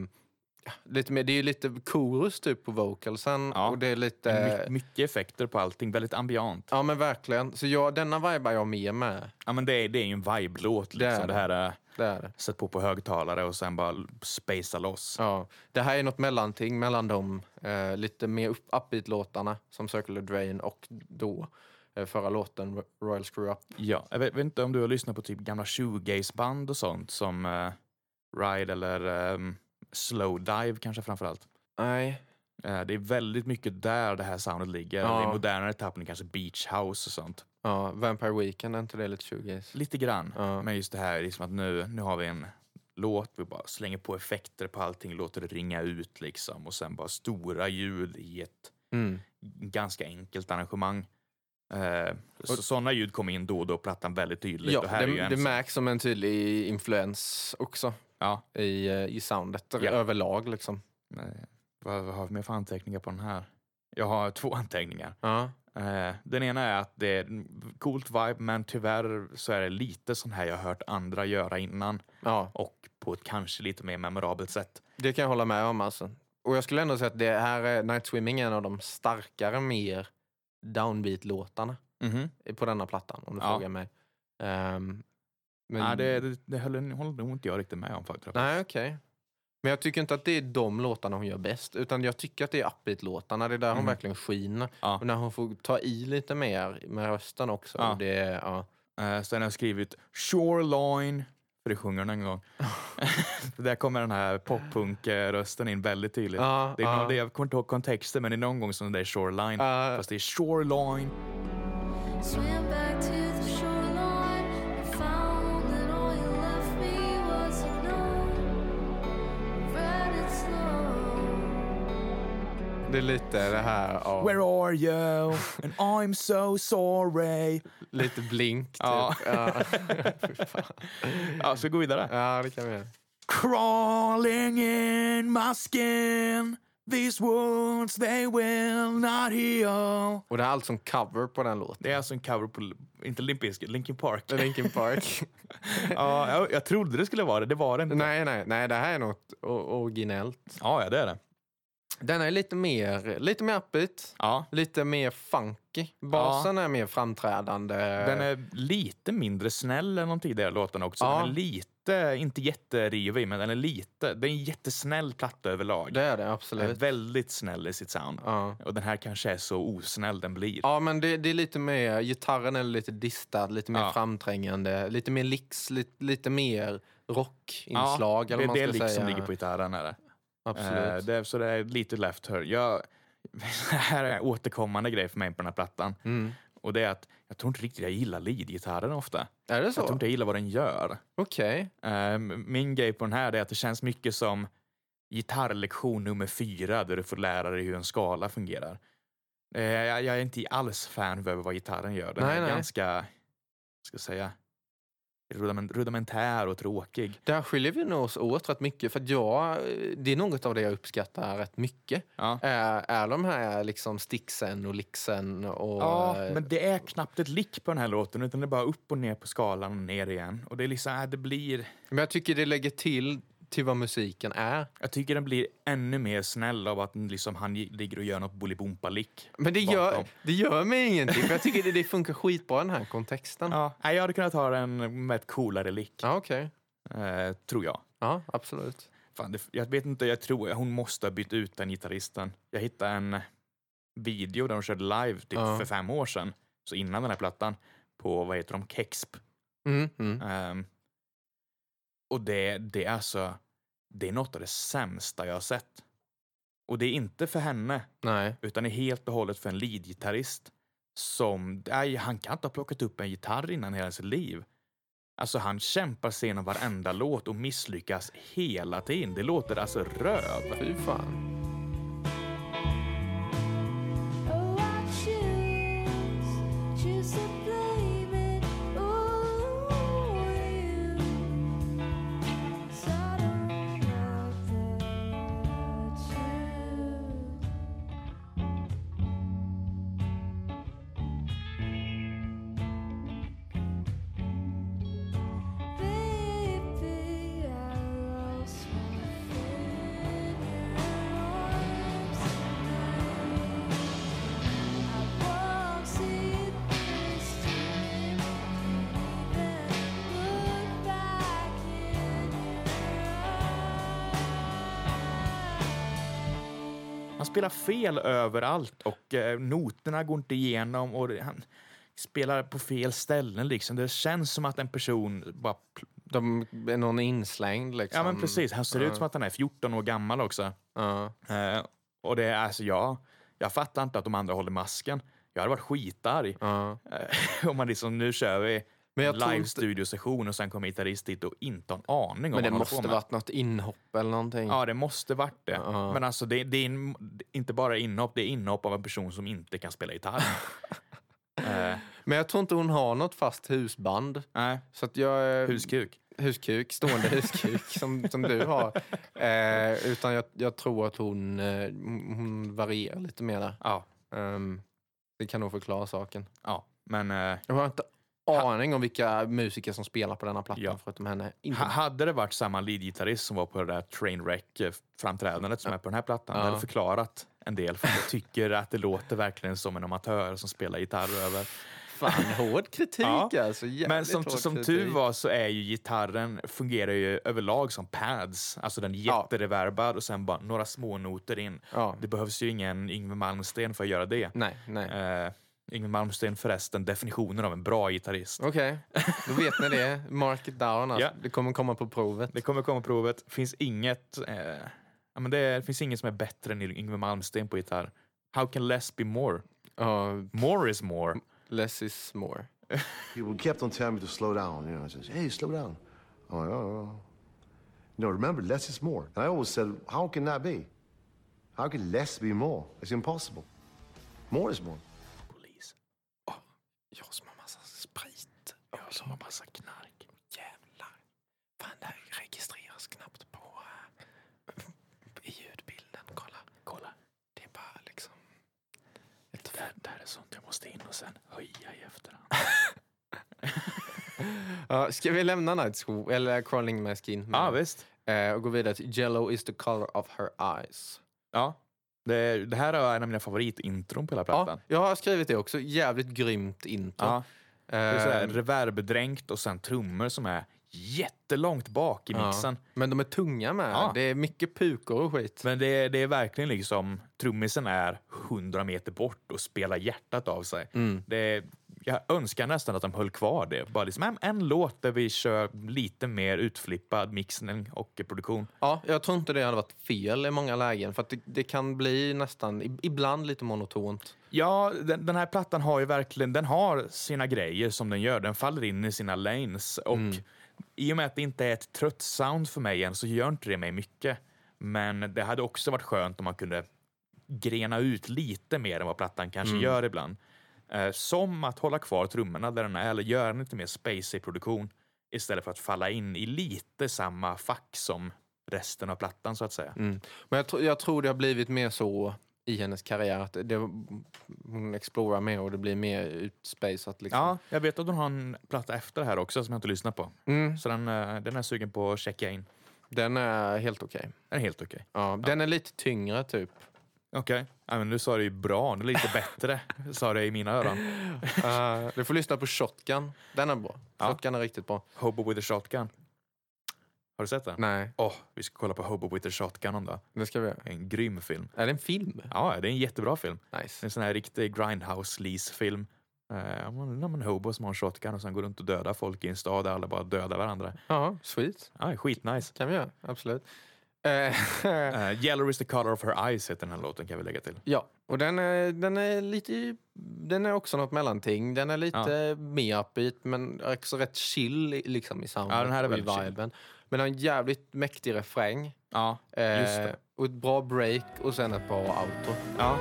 lite mer, det är ju lite korus typ på vocalsen Ja. och det är lite... My, mycket effekter på allting, väldigt ambient. Ja men verkligen. Så jag, denna vibar jag mer med. Ja, men det, är, det är ju en vibe-låt. Det är Liksom. Det, här är Det är det. sätt på på högtalare och sen bara spacea loss. Ja. Det här är något mellanting mellan de eh, lite mer upp- upbeat-låtarna som Circular Drain och då eh, förra låten Ro- Royal Screw Up. Ja, jag vet, vet inte om du har lyssnat på typ gamla shoegaze-band och sånt som eh, Ride eller ehm, Slow Dive kanske framförallt. Nej. Eh, det är väldigt mycket där det här soundet ligger. Ja. Det är modernare tappning, kanske beach house och sånt. Ja, Vampire Weekend, är inte det lite shoegaze? Lite grann. Ja. Men just det här liksom att nu, nu har vi en låt, vi bara slänger på effekter på allting, låter det ringa ut liksom och sen bara stora ljud i ett Mm. ganska enkelt arrangemang. Eh, så sådana ljud kom in då och då på plattan väldigt tydligt. Ja, och här är ju det, en det sån- märks som en tydlig influens också ja, i, eh, i soundet Ja. överlag liksom. nej. vad, vad har vi mer för anteckningar på den här? Jag har två anteckningar. Ja. Eh, den ena är att det är en coolt vibe men tyvärr så är det lite sån här jag har hört andra göra innan ja, och på ett kanske lite mer memorabelt sätt. det kan jag hålla med om alltså. Och jag skulle ändå säga att det här är, Night Swimming är en av de starkare, mer downbeat-låtarna Mhm. på denna plattan om du Ja. frågar mig. Ehm, men... Nej, det, det, det höll, håller nog inte jag riktigt med om faktiskt. Nej, okej. Men jag tycker inte att det är de låtarna hon gör bäst, utan jag tycker att det är upbeat-låtarna. Det är där hon Mm. verkligen skiner. Ja. Och när hon får ta i lite mer med rösten också. Ja. Det, är- ja. Eh, sen har jag skrivit Shoreline, för det sjunger hon en gång. Där kommer den här poppunk-rösten in väldigt tydligt. Ja, det är någon, ja. det, jag kommer inte ihåg kontexten, men det är någon gång som det är Shoreline. Ja. Fast det är Shoreline. Swam back to the shoreline and found that all you left me was a note. Read it slow. det är lite det här, ja, Where are you? And I'm so sorry. lite blink typ. Ja. Ja. Ja, så gå vidare. ja, det kan vi göra. Crawling in my skin These wounds they will not heal Och det här är allt som cover på den låten. Det är alltså en cover på, inte Limp Bizkit, Linkin Park. Linkin Park. ja, jag, jag trodde det skulle vara det, det var det inte. nej, nej, nej, det här är något o- originellt. Ja, ja, det är det. Den är lite mer, lite mer upbeat. Ja. Lite mer funky. Basen är mer framträdande. Den är lite mindre snäll än de tidigare låtarna också. Eh. Ja. Den är lite, inte jätterivig, men den är lite, det är en jättesnäll platta överlag. Det är det, Den är absolut. väldigt snäll i sitt sound. Ja. Och den här kanske är så osnäll den blir. Ja, men det, det är lite mer... Gitarren är lite distad, lite mer Ja. framträngande, lite mer licks, lite, lite mer Ja, rockinslag. eller det, vad man det är ska liksom säga. ligger på gitarren. Är det. Eh, Absolut. det, är- så det är lite left hör. Jag, det här är en återkommande grej för mig på den här plattan. Mm. Och det är att jag tror inte riktigt jag gillar leadgitarren ofta. Är det Jag tror så? inte jag gillar vad den gör. Okej. Eh, min grej på den här är att det känns mycket som gitarrlektion nummer fyra där du får lära dig hur en skala fungerar. Eh, jag, jag är inte alls fan över vad gitarren gör. Den Nej, är nej. ganska, vad ska jag säga, rudiment- rudimentär och tråkig. Där skiljer vi nog oss åt rätt mycket. För att jag, det är något av det jag uppskattar rätt mycket. Ja. Är, är de här liksom sticksen och lixen och... eh, Ja, men det är knappt ett lick på den här låten utan det är bara upp och ner på skalan och ner igen. Och det är liksom, äh, det blir, men jag tycker det lägger till till vad musiken är. jag tycker den blir ännu mer snäll av att den liksom, han gi- ligger och gör något bolibompa-lick. Men det bakom. gör, det gör mig ingenting. För jag tycker det, det funkar skitbra i den här kontexten. Ja, Ja, nej, jag hade kunnat ha den med ett coolare lick, okej. eh, tror jag. Ja, absolut. Fan, det, jag vet inte, jag tror hon måste ha bytt ut den gitarristen. Jag hittade en video där hon körde live typ Ja. för fem år sedan, så innan den här plattan, på vad heter de, Kexp. Mm, mm. Ehm, och det, det är alltså, det är något av det sämsta jag har sett. Och det är inte för henne, Nej. utan är helt och hållet för en leadgitarrist som, nej, han kan inte ha plockat upp en gitarr innan hela sitt liv. Alltså han kämpar sig igenom varenda låt och misslyckas hela tiden. Det låter alltså röv. Fy fan. Oh, I choose, choose to blame it all on you. 'Cause I don't know the truth. Baby, I lost my fingers. spelar fel överallt och eh, noterna går inte igenom. Och det, han spelar på fel ställen. Liksom. Det känns som att en person bara... pl- De är någon inslängd liksom. Ja, men precis. Han ser ut som att han är 14 år gammal också. Ja. Eh, och det är alltså, jag, jag fattar inte att de andra håller masken. Jag hade varit skitarg. Ja. Eh, om man liksom, nu kör vi Men jag en tror live inte- studiosession och sen kommer gitarrist dit och inte har en aning om Men vad han det håller på måste med. varit något inhopp eller någonting. Ja, det måste varit det. Ja. Men alltså, det, det är en, inte bara inhopp, det är inhopp av en person som inte kan spela gitarr. eh, Men jag tror inte hon har något fast husband. nej, Så att jag är huskuk. huskuk, stående huskuk som, som du har. Eh, utan jag, jag tror att hon, eh, hon varierar lite mer där. Ja, Ehm, det kan nog förklara saken. ja. Men eh, Jag har inte aning om vilka musiker som spelar på denna plattan Ja. förutom henne. Inte ha- hade det varit samma leadgitarrist som var på det där Trainwreck-framträdandet som är på den här plattan, det hade förklarat en del. För jag tycker att det låter verkligen som en amatör som spelar gitarr över. fan hård kritik Ja. alltså. jävligt Men som, hård som kritik. tur var så är ju gitarren fungerar ju överlag som pads. Alltså den är Ja. jättereverbad och sen bara några små noter in. Ja. Det behövs ju ingen Yngwie Malmsteen för att göra det. Nej, nej. Eh, Yngwie Malmsteen förresten definitionen av en bra gitarrist. Okej, då vet ni det. Mark it down alltså. Ja. Det kommer komma på provet. Det kommer komma provet. Finns inget, eh, ja, men det, är- finns inget som är bättre än Yngwie Malmsteen på gitarr. How can less be more? Ja, More is more. less is more. People kept on telling me to slow down. You know, I says, "Hey, slow down." I'm like, "Oh, "Oh." oh." You know, remember, less is more. And I always said, "How can that be? How can less be more? It's impossible. More is more." Polis. Jag som har massa sprit. Jag som har massa knark. Jävlar. Fan, det här registreras knappt på eh, i ljudbilden. Kolla. Kolla. Det är bara liksom... Ett det, här är sånt jag måste in och sen höja i efterhand. ja, ska vi lämna Night School, eller Crawling Maskin Ja visst. eh, och gå vidare till Yellow is the color of her eyes. Ja. Det, det här är en av mina favoritintron på hela plattan. Ja, jag har skrivit det också. Jävligt grymt intro. Ja. Det är så här Eh, reverbdränkt och sen trummor som är jättelångt bak i mixen. Ja. Men de är tunga med. Ja. Det är mycket pukor och skit. Men det är, det är verkligen liksom, trummisen är 100 meter bort och spelar hjärtat av sig. Det är, jag önskar nästan att de höll kvar det. Bara liksom, en, en låt där vi kör lite mer utflippad mixning och produktion. Ja, jag tror inte det hade varit fel i många lägen. För att det, det kan bli nästan, i- ibland lite monotont. Ja, den, den här plattan har ju verkligen den har sina grejer som den gör. Den faller in i sina lanes. Och I och med att det inte är ett trött sound för mig än så gör inte det mig mycket. Men det hade också varit skönt om man kunde grena ut lite mer än vad plattan kanske gör ibland. Eh, som att hålla kvar trummorna där den är eller göra en lite mer spacey produktion istället för att falla in i lite samma fack som resten av plattan så att säga. Mm. Men jag, tro, jag tror det har blivit mer så i hennes karriär. Att det, hon explorar mer och det blir mer utspejsat. Liksom. Ja, jag vet att hon har en platta efter det här också som jag inte lyssnat på. Så den, eh, den är jag sugen på att checka in. Mm. Den är helt okej. Den är helt okej. Ja, Den är lite tyngre typ. Okej. Ja, men du sa det ju bra, det är lite bättre, sa det i mina öron. Eh, du får lyssna på Shotgun. Den är bra. Shotgun är riktigt bra. Hobo with a shotgun. Har du sett den? Nej, Åh, vi ska kolla på Hobo with a shotgun om det. det ska vi göra. En grym film. Är det en film? Ja, det är en jättebra film. Det är Nice. en sån här riktig grindhouse-lease-film. Eh, om man- om en hobo som har en shotgun och sen går runt och dödar folk i en stad där alla bara dödar varandra. Ja, sweet. Ja, skitnice. kan vi göra. Absolut. Eh, Uh, Yellow is the color of her eyes heter den här låten kan vi lägga till. Ja, och den är, den är lite... Den är också något mellanting. Den är lite mer upbeat, men också rätt chill i- liksom i soundet Ja, den här är och i väldigt chill. viben. Men den har en jävligt mäktig refräng. Ja, eh, just det. Och ett bra break och sen ett bra outro. Ja.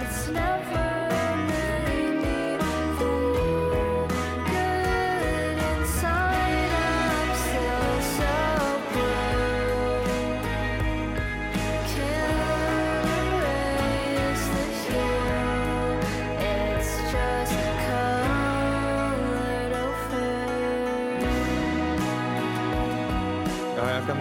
It's never ending. Good inside, I'm still so blue. Can't erase the hue. It's just colored over. Ja, jag kan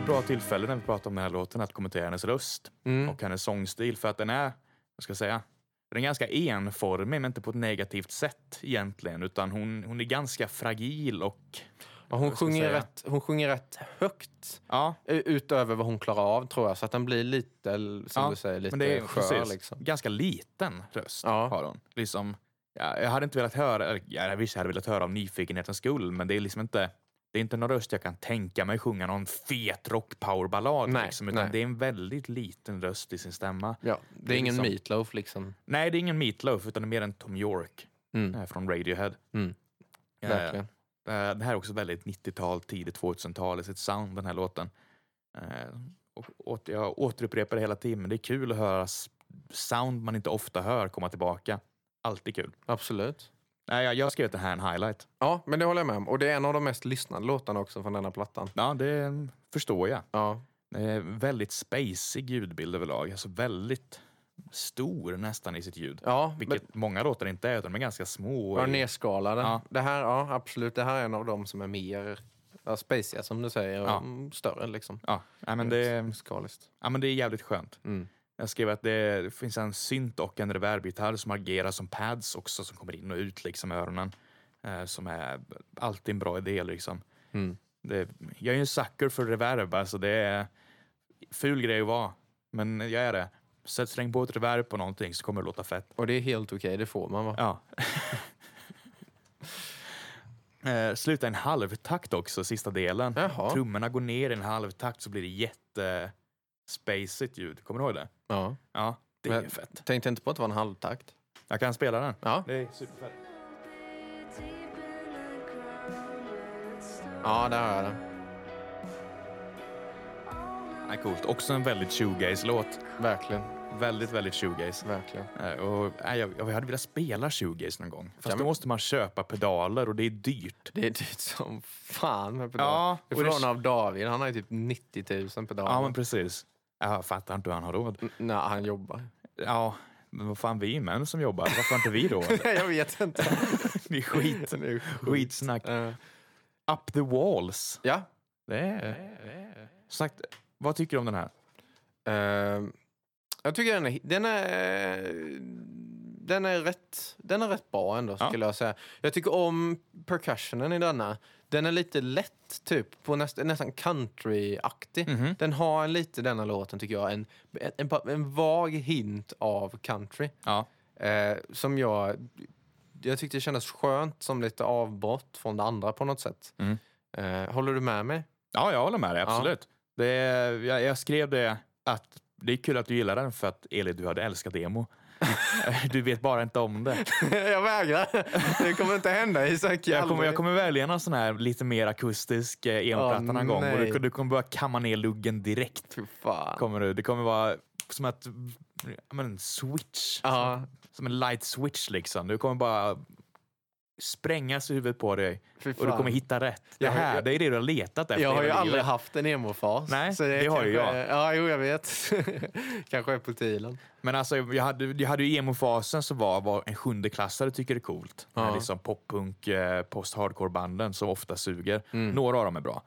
ett bra tillfälle när vi pratar om den här låten att kommentera hennes röst Mm. och hennes sångstil för att den är, vad ska jag säga, den är ganska enformig men inte på ett negativt sätt egentligen utan hon, hon är ganska fragil och Ja, Hon Vad ska jag sjunger, säga? rätt, hon sjunger rätt högt Ja, eh, utöver vad hon klarar av tror jag. Så att den blir lite, l- som ja. du säger, lite men det är skör. precis, Liksom. ganska liten röst Ja. har hon. Liksom, ja, jag hade inte velat höra, eller, ja, visst jag hade velat höra av nyfikenhetens skull, men det är liksom inte det är inte någon röst jag kan tänka mig sjunga någon fet rockpowerballad. Nej, Liksom, utan nej. det är en väldigt liten röst i sin stämma. Ja, det är ingen liksom- meatloaf liksom. Nej, det är ingen Meatloaf utan det är mer en Tom York Mm. eh, från Radiohead. Mm. Eh, Verkligen. eh, det här är också väldigt 90-tal, tidigt 2000-tal i sitt sound, den här låten. Eh, och, åt- jag återupprepar det hela tiden, men det är kul att höra s- sound man inte ofta hör komma tillbaka. Alltid kul. Absolut. Nej, jag, jag har skrivit den här en highlight. Ja, men det håller jag med om. Och det är en av de mest lyssnade låtarna också från denna plattan. Ja, det eh, förstår jag. Ja, Eh, väldigt spacig ljudbild överlag. Alltså väldigt stor nästan i sitt ljud. ja Vilket många låtar inte är, utan de är ganska små. men, ja i- nedskalade. Ja. Det här, ja absolut. Det här är en av de som är mer ja, spaciga som du säger. Ja. Och mm, större liksom. ja, nej, men det, Skaliskt. Ja, men det är jävligt skönt. Mm. Jag skrev att det finns en synt och en reverbgitarr som agerar som pads också som kommer in och ut liksom i öronen. Eh, som är alltid en bra idé liksom. Mm. Det, jag är ju en sucker för reverb, alltså det är ful grej att vara. Men jag är det. Sätt släng på ett reverb på någonting så kommer det låta fett. Och det är helt okej, det får man va? Ja. eh, sluta i en halvtakt också, sista delen. Jaha. Trummorna går ner i en halvtakt så blir det jätte spacigt ljud. Kommer du ihåg det? Ja. Ja, det är Men- fett. Tänkte inte på att det var en halvtakt. Jag kan spela den. Ja. Det är superfett. Ja, där har jag det. Ja, coolt. Också en väldigt shoegaze-låt. Verkligen, Väldigt, väldigt shoegaze. verkligen. Eh, Och, nej, jag, jag hade velat spela shoegaze någon gång. Fast men- då måste man köpa pedaler och det är dyrt. Det är dyrt som fan med pedaler. Ja, det och får det- lån av David. Han har ju typ 90 000 pedaler. Ja, men precis. Jag fattar inte hur han har råd. Nej, han jobbar. Ja, men vad fan, vi är män som jobbar. Varför har inte vi råd? jag vet inte. Det är skit. Det är sjukt. Skitsnack. Eh, Up the walls. ja. Det är... Sagt, vad tycker du om den här? Eh, jag tycker den är, den är... Den är rätt, den är rätt bra ändå, Ja. skulle jag säga. Jag tycker om percussionen i denna. Den är lite lätt, typ. På näst, nästan country-aktig. Mhm. Den har en lite, denna låten, tycker jag, en, en, en, en vag hint av country. Ja. Eh, som jag... Jag tyckte det kändes skönt som lite avbrott från det andra på något sätt. Mm. Eh, håller du med mig? Ja, jag håller med dig. Absolut. Det är, jag, jag skrev det att det är kul att du gillar den för att Eli, du hade älskat emo. du vet bara inte om det. jag vägrar. Det kommer inte hända Isak. Jag kommer, jag kommer välja någon sån här lite mer akustisk eh, emoplatta Åh, någon gång och nej. du, du kommer börja kamma ner luggen direkt. Fy fan. Kommer du. Det kommer vara som att ja, men, en switch. Ja, Som en light switch liksom. Du kommer bara sprängas i huvudet på dig Fy och du fan. kommer hitta rätt. Det Jag har ju- här, det är det du har letat efter. jag har ju hela aldrig livet. haft en emo-fas. Nej, så det har ju kanske- Ja, jo, jag vet. kanske är på tiden. Men alltså, jag hade, jag hade ju emo-fasen som var vad en sjundeklassare tycker är coolt. Ja. Med liksom poppunk, eh, post-hardcore-banden som ofta suger. Mm. Några av dem är bra,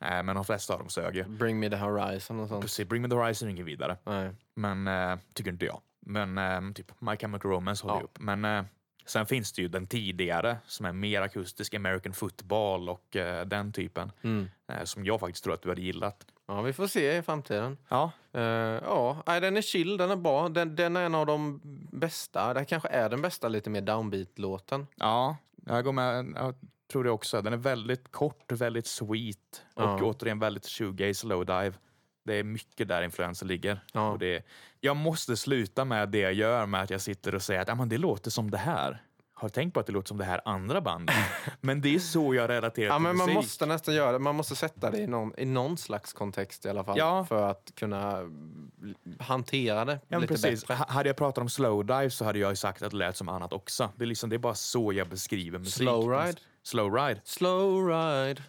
eh, men de flesta av dem sög ju. Bring me the horizon och sånt. Precis, Bring Me The Horizon är inget vidare, Nej. men eh, tycker inte jag. Men eh, typ My Chemical Romance håller Ja. ju upp. Men eh, sen finns det ju den tidigare som är mer akustisk, American Football och eh, den typen. Mm. Eh, som jag faktiskt tror att du hade gillat. Ja, vi får se i framtiden. Ja, Eh, ja, nej, den är chill, den är bra. Den, den är en av de bästa. Det här kanske är den bästa lite mer downbeat-låten. Ja, jag går med. Jag tror det också. Den är väldigt kort, väldigt sweet och Ja. återigen väldigt shoegaze lowdive. Det är mycket där influensen ligger. Ja. Och det, jag måste sluta med det jag gör med att jag sitter och säger att "Ja, men det låter som det här. Har du tänkt på att det låter som det här andra bandet? men det är så jag relaterar Ja, till men man musik. måste nästan göra det. Man måste sätta det i någon, i någon slags kontext i alla fall. Ja. För att kunna l- hantera det Ja, men lite precis. bättre. H- Hade jag pratat om slowdive så hade jag ju sagt att det lät som annat också. Det är, liksom, det är bara så jag beskriver musik. Slowride? Slowride. Slow ride.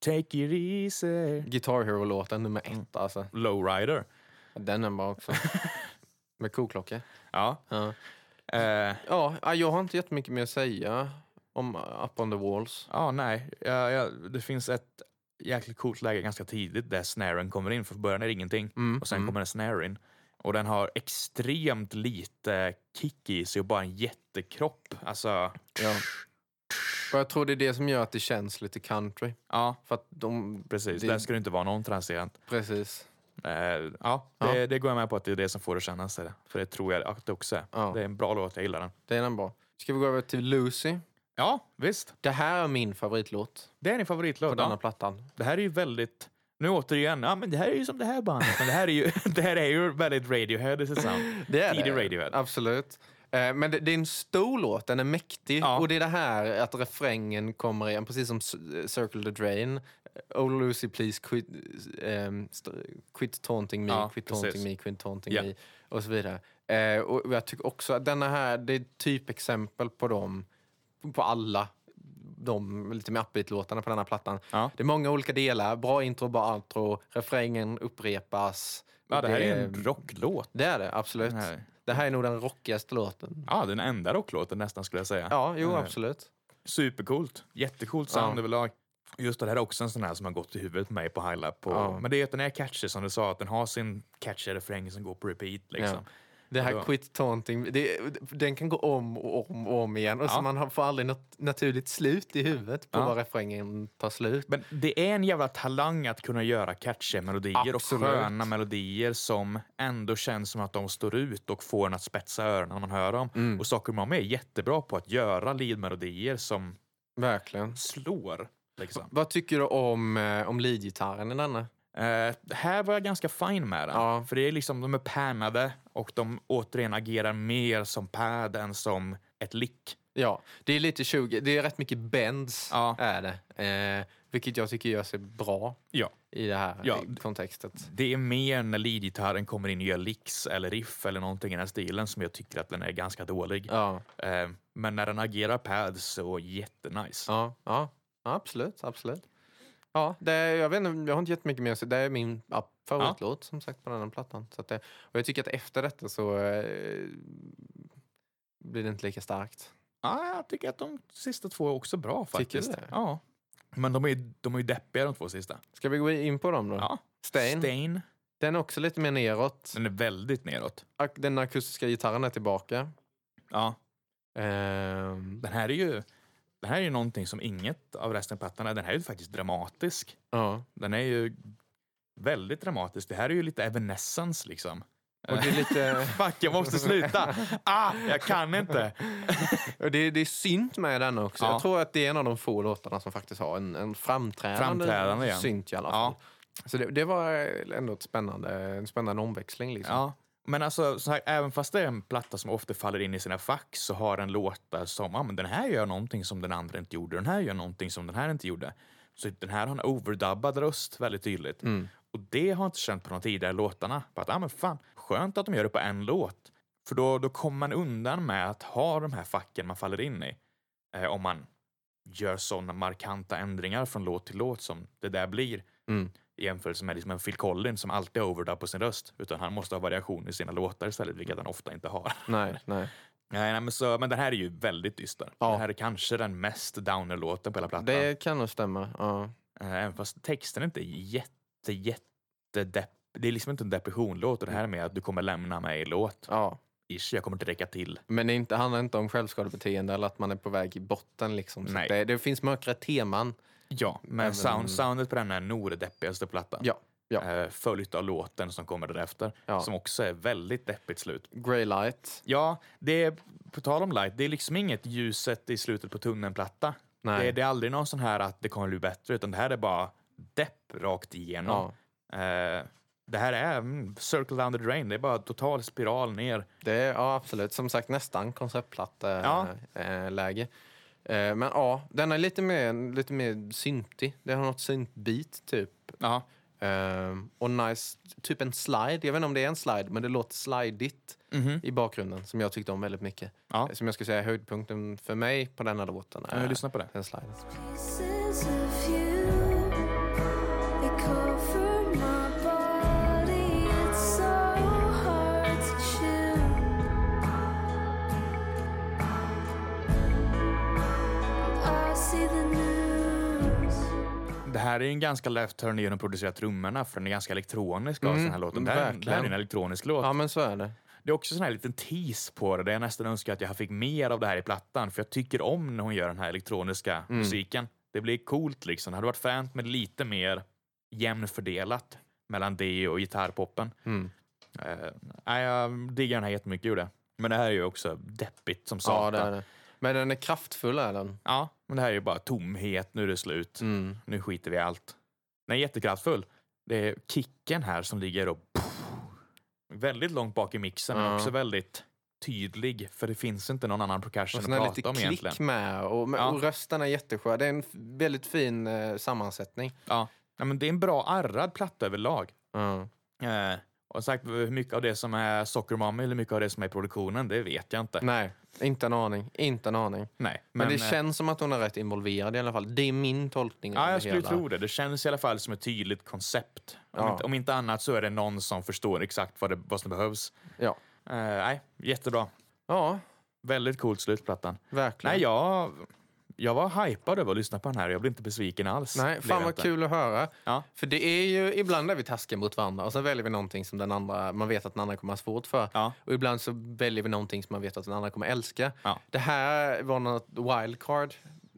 Take it easy. Guitar Hero-låten nummer ett alltså. Lowrider. Den är bra också. Med koklocka. Ja. Ja. Eh, Ja, ja, jag har inte jättemycket mer att säga om uh, Up on the Walls. Ja, nej. Ja, ja, det finns ett jäkligt coolt läge ganska tidigt där snaren kommer in. För från början är det ingenting Mm, och sen kommer en snare in. Och den har extremt lite kick i sig och bara en jättekropp. Alltså, Ja. Och jag tror det är det som gör att det känns lite country. Ja, För att de... precis. det- Där ska det inte vara någon transient. Precis. Eh, ja, det, det går jag med på att det är det som får det att kännas. så är det. För det tror jag att det också är. Ja. Det är en bra låt, jag gillar den. Det är den bra. Ska vi gå över till Lucy? Ja, visst. Det här är min favoritlåt Det är din på favoritlåt. denna Ja. plattan. Det här är ju väldigt... Nu återigen, ja, men det här är ju som det här bandet. Men det här är ju, det här är ju väldigt Radiohead i sitt sound. Tidig Radiohead. Absolut. Eh, Men det, det är en stor låt, den är mäktig. Ja. Och det är det här att refrängen kommer igen, precis som S- eh, Circle the Drain. Oh Lucy please quit, ehm, st- quit taunting me, Ja, quit precis. taunting me, quit taunting Ja. me. Och så vidare. Eh, Och jag tycker också att denna här, det är ett typexempel på dem, på alla de lite mer upbeat-låtarna på den här plattan. Ja. Det är många olika delar, bra intro, bra outro, refrängen upprepas. Eh, Ja, det här är ju en rocklåt. Det är det, absolut. Nej. Det här är nog den rockigaste låten. Eh, Ja, den enda rocklåten nästan skulle jag säga. Ja, jo, Nej. absolut. Supercoolt. Jättecoolt sound Ja. överlag. Just det här är också en sån här som har gått i huvudet på mig på High Lap. Och, Ja. Men det är att den är catchy som du sa, att den har sin catchy refräng som går på repeat. Liksom. Det här Ja. Quit Taunting, det, den kan gå om och om och om igen. Och så Ja. man har- får aldrig något naturligt slut i huvudet på Ja. var refrängen tar slut. Men det är en jävla talang att kunna göra catchy melodier Absolut. och sköna melodier som ändå känns som att de står ut och får en att spetsa öronen när man hör dem. Mm. Och Soccer Mom är jättebra på att göra leadmelodier som Verkligen. slår. Liksom. Vad tycker du om, eh, om leadgitarren i denna? Eh, här var jag ganska fin med den. Ja. För det är liksom, de är pannade och de återigen agerar mer som pad än som ett lick. Ja, det är lite 20, det är rätt mycket bends Ja. är det. Eh, vilket jag tycker gör sig bra Ja. i det här Ja. i kontextet. Det är mer när leadgitarren kommer in och gör licks eller riff eller någonting i den här stilen som jag tycker att den är ganska dålig. Ja, Eh, men när den agerar pad så jättenice. ja, ja. ja absolut, absolut. Ja, det är, jag, vet inte, jag har inte jättemycket mer att säga. Det är min ja, favoritlåt som sagt på den här plattan. Så att det, och jag tycker att efter detta så eh, blir det inte lika starkt. Ja, jag tycker att de sista två är också bra Tycker faktiskt. du det? Ja. Men de är ju de är ju deppiga de två sista. Ska vi gå in på dem då? Ja. Mm. Stain, Stain. den är också lite mer neråt. Den är väldigt neråt. Ak- Den akustiska gitarren är tillbaka. Ja. Ehm, Den här är ju, den här är ju någonting som inget av resten av plattan är. Den här är ju faktiskt dramatisk. ja. Den är ju väldigt dramatisk. Det här är ju lite Evanescence liksom. Och det är lite... Fuck, jag måste sluta! Ah, jag kan inte! Och det, det är synt med den också. Ja. Jag tror att det är en av de få låtarna som faktiskt har en, en framträdande, Framträdande, ja. synt i alla fall. Så det, det var ändå ett spännande, en spännande omväxling. Liksom. Ja. Men alltså, så här, även fast det är en platta som ofta faller in i sina fack så har den låtar som, ah, men den här gör någonting som den andra inte gjorde, den här gör någonting som den här inte gjorde. Så den här har en overdubbad röst väldigt Mm. tydligt. Och det har jag inte känt på de tidigare låtarna. På att, ah, men fan, skönt att de gör det på en låt. För då, då kommer man undan med att ha de här facken man faller in i. Eh, om man gör sådana markanta ändringar från låt till låt som det där blir Mm. i jämförelse med liksom en Phil Collins som alltid har overdub på sin röst. Utan han måste ha variation i sina låtar istället, vilket han ofta inte har. Nej, nej. nej, nej, men, så, men den här är ju väldigt dyster. Ja. Den här är kanske den mest downer-låten på hela plattan. Det kan nog stämma. Ja. Eh, Även fast texten inte är jätte, jätte depp. Det är liksom inte en depressionlåt och det här är mer att du kommer lämna mig i låt. Ja. Ish, jag kommer inte räcka till. Men det är inte, handlar inte om självskadebeteende eller att man är på väg i botten. Liksom. Så Nej. Det, det finns mörkare teman. Ja, men Även- sound, soundet på den här är nog det deppigaste plattan. Ja. ja. Eh, Följt av låten som kommer därefter, Ja. som också är väldigt deppigt slut. Grey Light. Ja, det är, på tal om light, det är liksom inget ljuset i slutet på tunneln-platta. Nej. Det, är- det är aldrig någon sån här att det kommer bli bättre, utan det här är bara depp rakt igenom. Ja. Eh, det här är mm, circle down the drain, det är bara total spiral ner. Det är, ja, absolut. Som sagt, nästan Ja. konceptplatt-läge. Eh, läge. eh, men ja, den är lite mer, lite mer syntig. Den har något syntbeat, typ. Ja, Ehm, och nice, typ en slide. Jag vet inte om det är en slide, men det låter slidigt i bakgrunden som jag tyckte om väldigt mycket. Mhm. Eh, Ja. Som jag skulle säga höjdpunkten för mig på denna låten. jag lyssnar på det. Den sliden. Pieces of you, they cover my body. It's so hard to chew. I see the news. Det här är ju en ganska left turn i hur de producerar trummorna, för alltså, den är ganska elektronisk av mm, den här låten. Det här, det här är verkligen. en elektronisk låt. Ja, men så är det. Det är också sån här liten tease på det där jag nästan önskar att jag fick mer av det här i plattan. För jag tycker om när hon gör den här elektroniska Mm. musiken. Det blir coolt liksom. Det hade varit fränt med lite mer jämnfördelat mellan det och gitarrpoppen. Mm. Eh, nej, jag diggar den här jättemycket gjorde. Men det här är ju också deppigt som satan. Ja, det är det. Men den är kraftfull, är den. Mm. Ja, men det här är ju bara tomhet. Nu är det slut. Nu skiter vi i allt. Den är jättekraftfull. Det är kicken här som ligger och väldigt långt bak i mixen, men Ja. också väldigt tydlig. För det finns inte någon annan percussion Och att sen är det prata lite om klick egentligen. med och, men- Ja. och rösten är jätteskön. Det är en f- väldigt fin eh, sammansättning. Ja. Ja, men det är en bra arrad platta överlag. Eh, och sagt, hur mycket av det som är Soccer Mommy eller hur mycket av det som är i produktionen, det vet jag inte. Nej, inte en aning. Inte en aning. Nej, Men, det eh, känns som att hon är rätt involverad i alla fall. Det är min tolkning av Ja, det jag skulle hela. tro det. Det känns i alla fall som ett tydligt koncept. Om, Ja. inte, om inte annat så är det någon som förstår exakt vad, det, vad som behövs. Ja. Eh, nej, jättebra. ja, Väldigt coolt slutplattan. verkligen. Nej, jag, jag var hypad över att lyssna på den här. Jag blev inte besviken alls. Nej, Blev fan jag vad inte. kul att höra. Ja. För det är ju, ibland är vi taskiga mot varandra och sen väljer vi någonting som den andra, man vet att den andra kommer ha svårt för. Ja. Och ibland så väljer vi någonting som man vet att den andra kommer älska. Ja. Det här var något wildcard.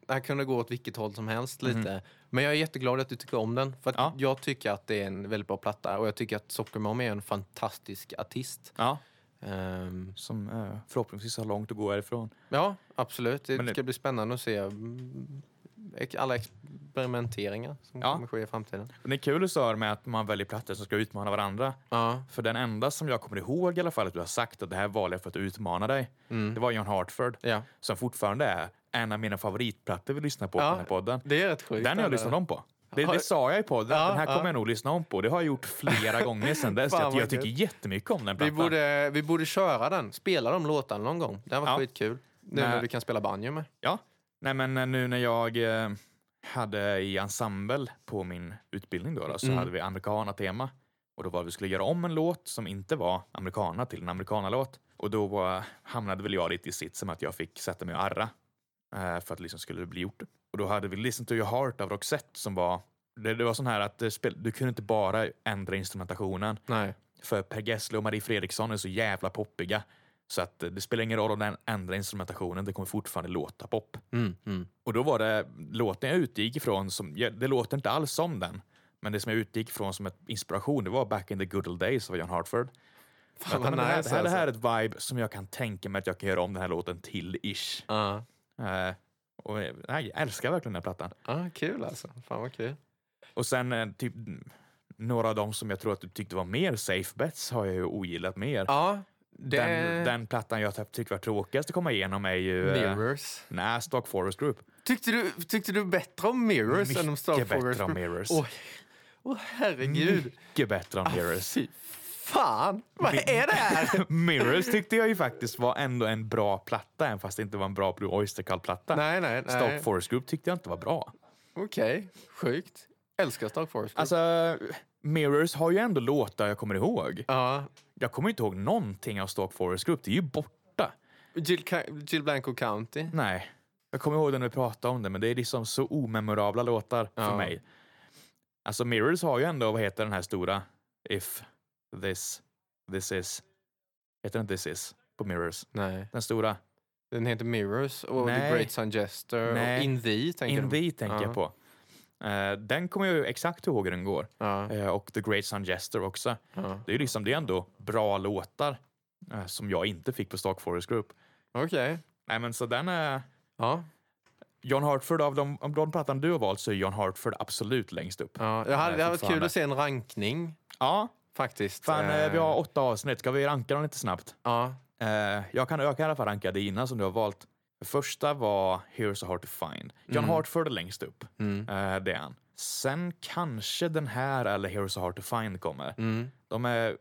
Det här kunde gå åt vilket håll som helst lite. Men jag är jätteglad att du tycker om den. För att Mhm. Ja. jag tycker att det är en väldigt bra platta och jag tycker att Soccer Mom är en fantastisk artist. Ja, Ehm, som eh, förhoppningsvis har långt att gå härifrån. ja, absolut. Det, Men det- ska bli spännande att se mm, ex- alla experimenteringar som Ja. kommer ske i framtiden. Men det är kul du sa det med att man väljer plattor som ska utmana varandra. Ja. För den enda som jag kommer ihåg i alla fall att du har sagt att det här valde jag för att utmana dig, Mm. det var John Hartford. Ja. Som fortfarande är en av mina favoritplattor vi lyssnar på på Ja, den här podden. Det är rätt sjukt. Den har jag eller? lyssnat om på. Det, det sa jag i podden. den här kommer jag nog lyssna om på. Det har jag gjort flera gånger sedan dess. Fan, Jag, vad jag tycker gött. jättemycket om den Vi plattan. borde, vi borde köra den. Spela de låtarna någon gång. Den var Ja. skitkul. Nu Nej. när vi kan spela banjo med. Ja. Nej, men eh, nu när jag eh, hade i ensemble på min utbildning då, då så hade vi americana-tema. Och då var vi skulle göra om en låt som inte var americana till en americana-låt. Och då var, hamnade väl jag lite i sitsen med att jag fick sätta mig och arra eh, för att liksom skulle bli gjort. Och då hade vi Listen to your heart av Roxette som var det, det var sån här att eh, spel, du kunde inte bara ändra instrumentationen. Nej. För Per Gessle och Marie Fredriksson är så jävla poppiga. Så att eh, det spelar ingen roll om den ändrar instrumentationen, det kommer fortfarande låta pop. Mm, mm. Och då var det låten jag utgick ifrån, som, ja, det låter inte alls som den, men det som jag utgick ifrån som ett inspiration, det var Back in the good old days av John Hartford. Fan Men vad det, här, nice det, här, det alltså. här är ett vibe som jag kan tänka mig att jag kan göra om den här låten till ish. Ja. Eh, och eh, nej, jag älskar verkligen den här plattan. Ja, kul alltså. Fan vad kul. Och sen eh, typ mm, några av dem som jag tror att du tyckte var mer safe bets har jag ju ogillat mer. Ja, det Den, den plattan jag tyckte var tråkigast att komma igenom är ju... eh, Mirrors. Nej, Stock Forest Group. Tyckte du, tyckte du bättre om Mirrors än om Star Mycket Forest? bättre om Group? Mirrors. Åh, åh, herregud. Mycket bättre Ah, än Mirrors. Fy fan, vad är det här? Mirrors tyckte jag ju faktiskt var ändå en bra platta, även fast det inte var en bra Blue Oyster Cult-platta. Nej, nej, nej. Stock Forest Group tyckte jag inte var bra. Okej, sjukt. Älskar Star Forest. Group. Alltså, Mirrors har ju ändå låtar jag kommer ihåg. ja. Jag kommer inte ihåg någonting av Stock Forest Group. Det är ju borta. Jill, Ca- Jill Blanco County. Nej. Jag kommer ihåg när vi pratade om det, men det är liksom så omemorabla låtar för Ja. mig. Alltså Mirrors har ju ändå, vad heter den här stora? If this, this is. Heter den This is på Mirrors? Nej. Den stora. Den heter Mirrors och Nej. The Great Sun Jester Nej. och In Thee tänker In du Thee tänker jag Ja. på. Eh, den kommer jag ju exakt ihåg hur den går. Ja. Eh, och The Great Sun Jester också. Ja. Det är ju liksom, det är ändå bra låtar eh, som jag inte fick på Stark Forest Group. Okej. Nej men så den är... Ja. John Hartford, av de, om de plattan du har valt så är John Hartford absolut längst upp. ja. Jag hade, det Nej, hade varit kul fortfarande. att se en rankning Ja, faktiskt. fan eh, Eh, vi har åtta avsnitt. Ska vi ranka dem lite snabbt? Ja. Eh, jag kan öka i alla fall ranka dina som du har valt. Det första var Here's a hard to find. John Mm. Hartford är längst upp. Eh, det är han. Sen kanske den här eller Here's a hard to find kommer. Mm. De är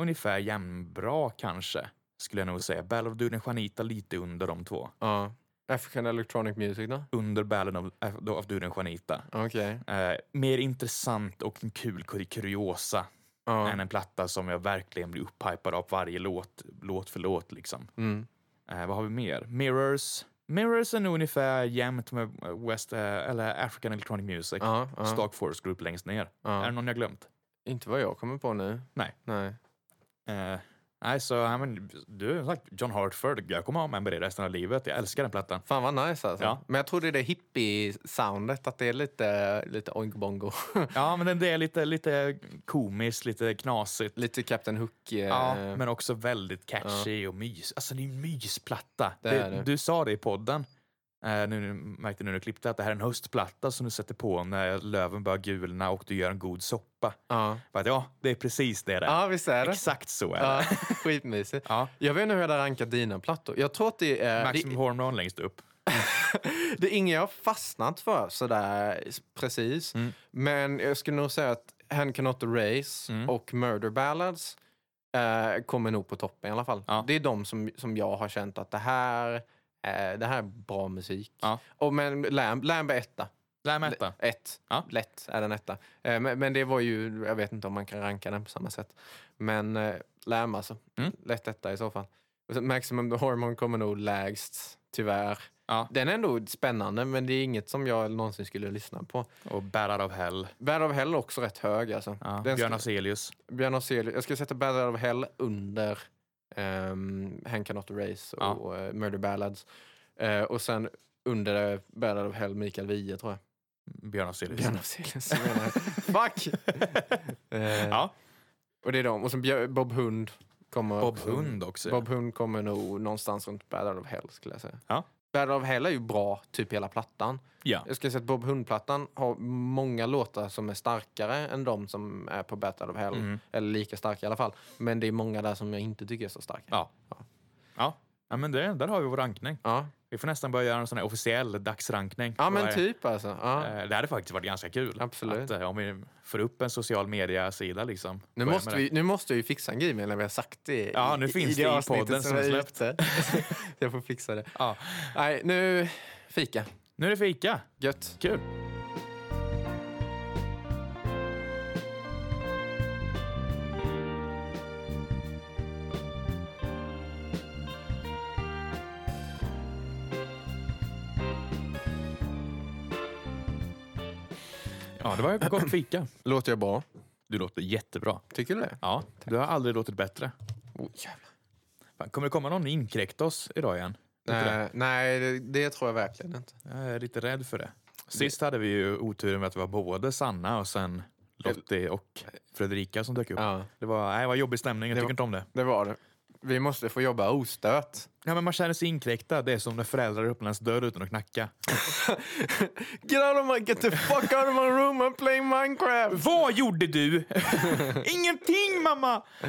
ungefär jämnbra kanske, skulle jag nog säga. Battle of Duden Juanita lite under de två. ja. African Electronic Music då? Under Battle of, eh, of Duden Juanita. Okej. Eh, mer intressant och en kul kur- kuriosa Ja. än en platta som jag verkligen blir upphypad av varje låt, låt för låt. Liksom. Mm. Eh, vad har vi mer? Mirrors. Mirrors är nog ungefär jämnt med West, eh, eller African Electronic Music. Ja, ja. Stark Force Group längst ner. Ja. Är det någon jag glömt? Inte vad jag kommer på nu. Nej. Nej. Eh, Nej, så ja, men, du har sagt John Hartford. Jag kommer ha med mig det resten av livet. Jag älskar den plattan. Fan vad nice alltså. Ja. Men jag tror det är det hippie-soundet, att det är lite, lite oingbongo. Ja, men den det är lite, lite komiskt, lite knasigt. lite Captain Hook. eh, Ja, men också väldigt catchy och mys. Alltså det är en mysplatta. Det Det- är det. Du sa det i podden, eh, nu nu märkte nu när du klippte, att det här är en höstplatta som du sätter på när löven börjar gulna och du gör en god soppa. Ja. För att, ja, det är precis det där. ja, visst är det? Exakt så är Ja, det. skitmysigt. Ja. Jag vet inte hur jag hade rankat dina plattor. Jag tror att det är... Det, Maximum Hormone längst upp. Det är inget jag har fastnat för sådär s- precis. Mm. Men jag skulle nog säga att Hand Cannot Race Mm. och Murder Ballads eh, kommer nog på toppen i alla fall. Ja. Det är de som, som jag har känt att det här, eh, det här är bra musik. Ja. Och men Lamb, Lamb är etta. Lär mig etta. Ett. Ja. Lätt är den etta. Eh, men, men det var ju, jag vet inte om man kan ranka den på samma sätt. Men eh, Lamb alltså. Mm. Lätt etta i så fall. Och så Maximum Hormone kommer nog lägst, tyvärr. Ja. Den är ändå spännande, men det är inget som jag någonsin skulle lyssna på. Och Battle of Hell. Bad of Hell är också rätt hög. Alltså. Ja. Den Björn skulle, Afzelius. Björn Afzelius. Jag skulle sätta Bad of Hell under um, Hank Cannot Race Ja. och eh, Murder Ballads. Eh, och sen under eh, Bad of Hell Mikael Wiehe, tror jag. Björn Afzelius. Björn Afzelius. jag menar. Fuck! Eh, Ja. Och det är de. Och sen Björ- Bob Hund. Kommer Bob också. Hund också. Eh, Bob Hund kommer nog någonstans runt Battle of Hell skulle jag säga. Ja. Battle of Hell är ju bra, typ hela plattan. Ja. Jag skulle säga att Bob Hund-plattan har många låtar som är starkare än de som är på Battle of Mm. Hell. Eller lika starka i alla fall. Men det är många där som jag inte tycker är så starka. Ja. Ja. ja, men det, där har vi vår rankning. Ja, Vi får nästan börja göra en sån här officiell dagsrankning. ja men Vad är- typ alltså. Ja. Eh, Det hade faktiskt varit ganska kul. Absolut. Att, eh, om vi får upp en social media-sida liksom. Nu, Börja med måste vi, nu måste jag ju fixa en grej med när vi har sagt det. Ja, nu finns det i avsnittet podden som är är släppt. ute. jag får fixa det. Ja. Nej, nu fika. Nu är det fika. Gött. Kul. Ja, det var ett gott fika. Låter jag bra? Du låter jättebra. Tycker du det? Ja, du har aldrig låtit bättre. Oh, jävlar. Fan, kommer det komma någon inkräkta oss idag igen? Nej, nej det, det tror jag verkligen inte. Jag är lite rädd för det. Sist hade vi ju oturen med att det var både Sanna och sen Lottie och Fredrika som dök upp. Ja. Det, var, nej, det var jobbig stämning, jag Det tycker var- inte om det. Det var det. Vi måste få jobba ostört. Ja, men man känner sig inkräktad. Det är som när föräldrar öppnar ens dörr utan att knacka. Get out of my, get the fuck out of my room and play Minecraft! Vad gjorde du? Ingenting mamma!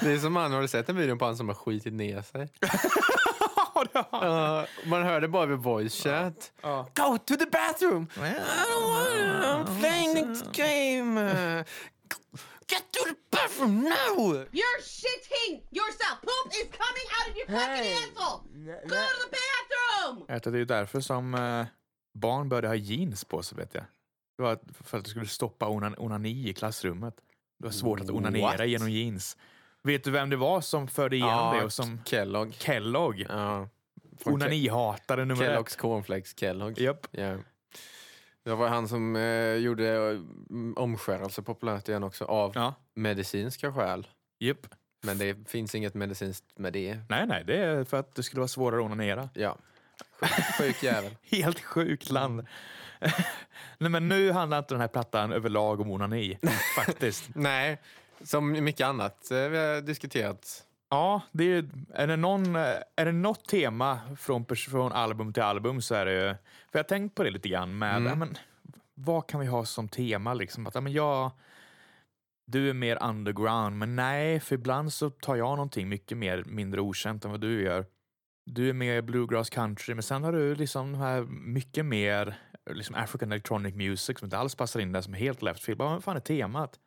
Det är som han, har du sett den videon på han som har skitit ner sig? Ja, det har- Ja, man hörde bara vid voice chat. Go to the bathroom! I don't want to, I'm playing the game! Get to the bathroom now! You're shitting yourself. Poop is coming out of your fucking asshole. Go to the bathroom. Jag tror att det är därför som eh, barn började ha jeans på sig, vet jag. Det var att- för att du skulle stoppa onan, onani i klassrummet. Det var svårt att onanera What? genom jeans. Vet du vem det var som förde igenom det? Och som Kellogg. Kellogg. Ja. Från Onanihatare nummer ett. Kelloggs cornflakes Kellogg. Japp. Ja. Det var han som eh, gjorde eh, omskärelse populärt igen också av Ja. medicinska skäl. Japp. Men det finns inget medicinskt med det. Nej, nej, det är för att det skulle vara svårare att onanera. Ja. Sjuk, sjuk jävel. Helt sjukt land. nej, men nu handlar inte den här plattan överlag om onani, faktiskt. Nej, som mycket annat eh, vi har diskuterat. Ja, det är, är, det någon, är det något tema från, pers- från album till album så är det ju... För jag har tänkt på det lite grann med, ja, men, vad kan vi ha som tema liksom? Att, ja, men jag, du är mer underground, men nej, för ibland så tar jag någonting mycket mer, mindre okänt än vad du gör. Du är mer bluegrass country, men sen har du liksom de här mycket mer liksom African electronic music som inte alls passar in där, som är helt left field. Bara, Vad fan är temat?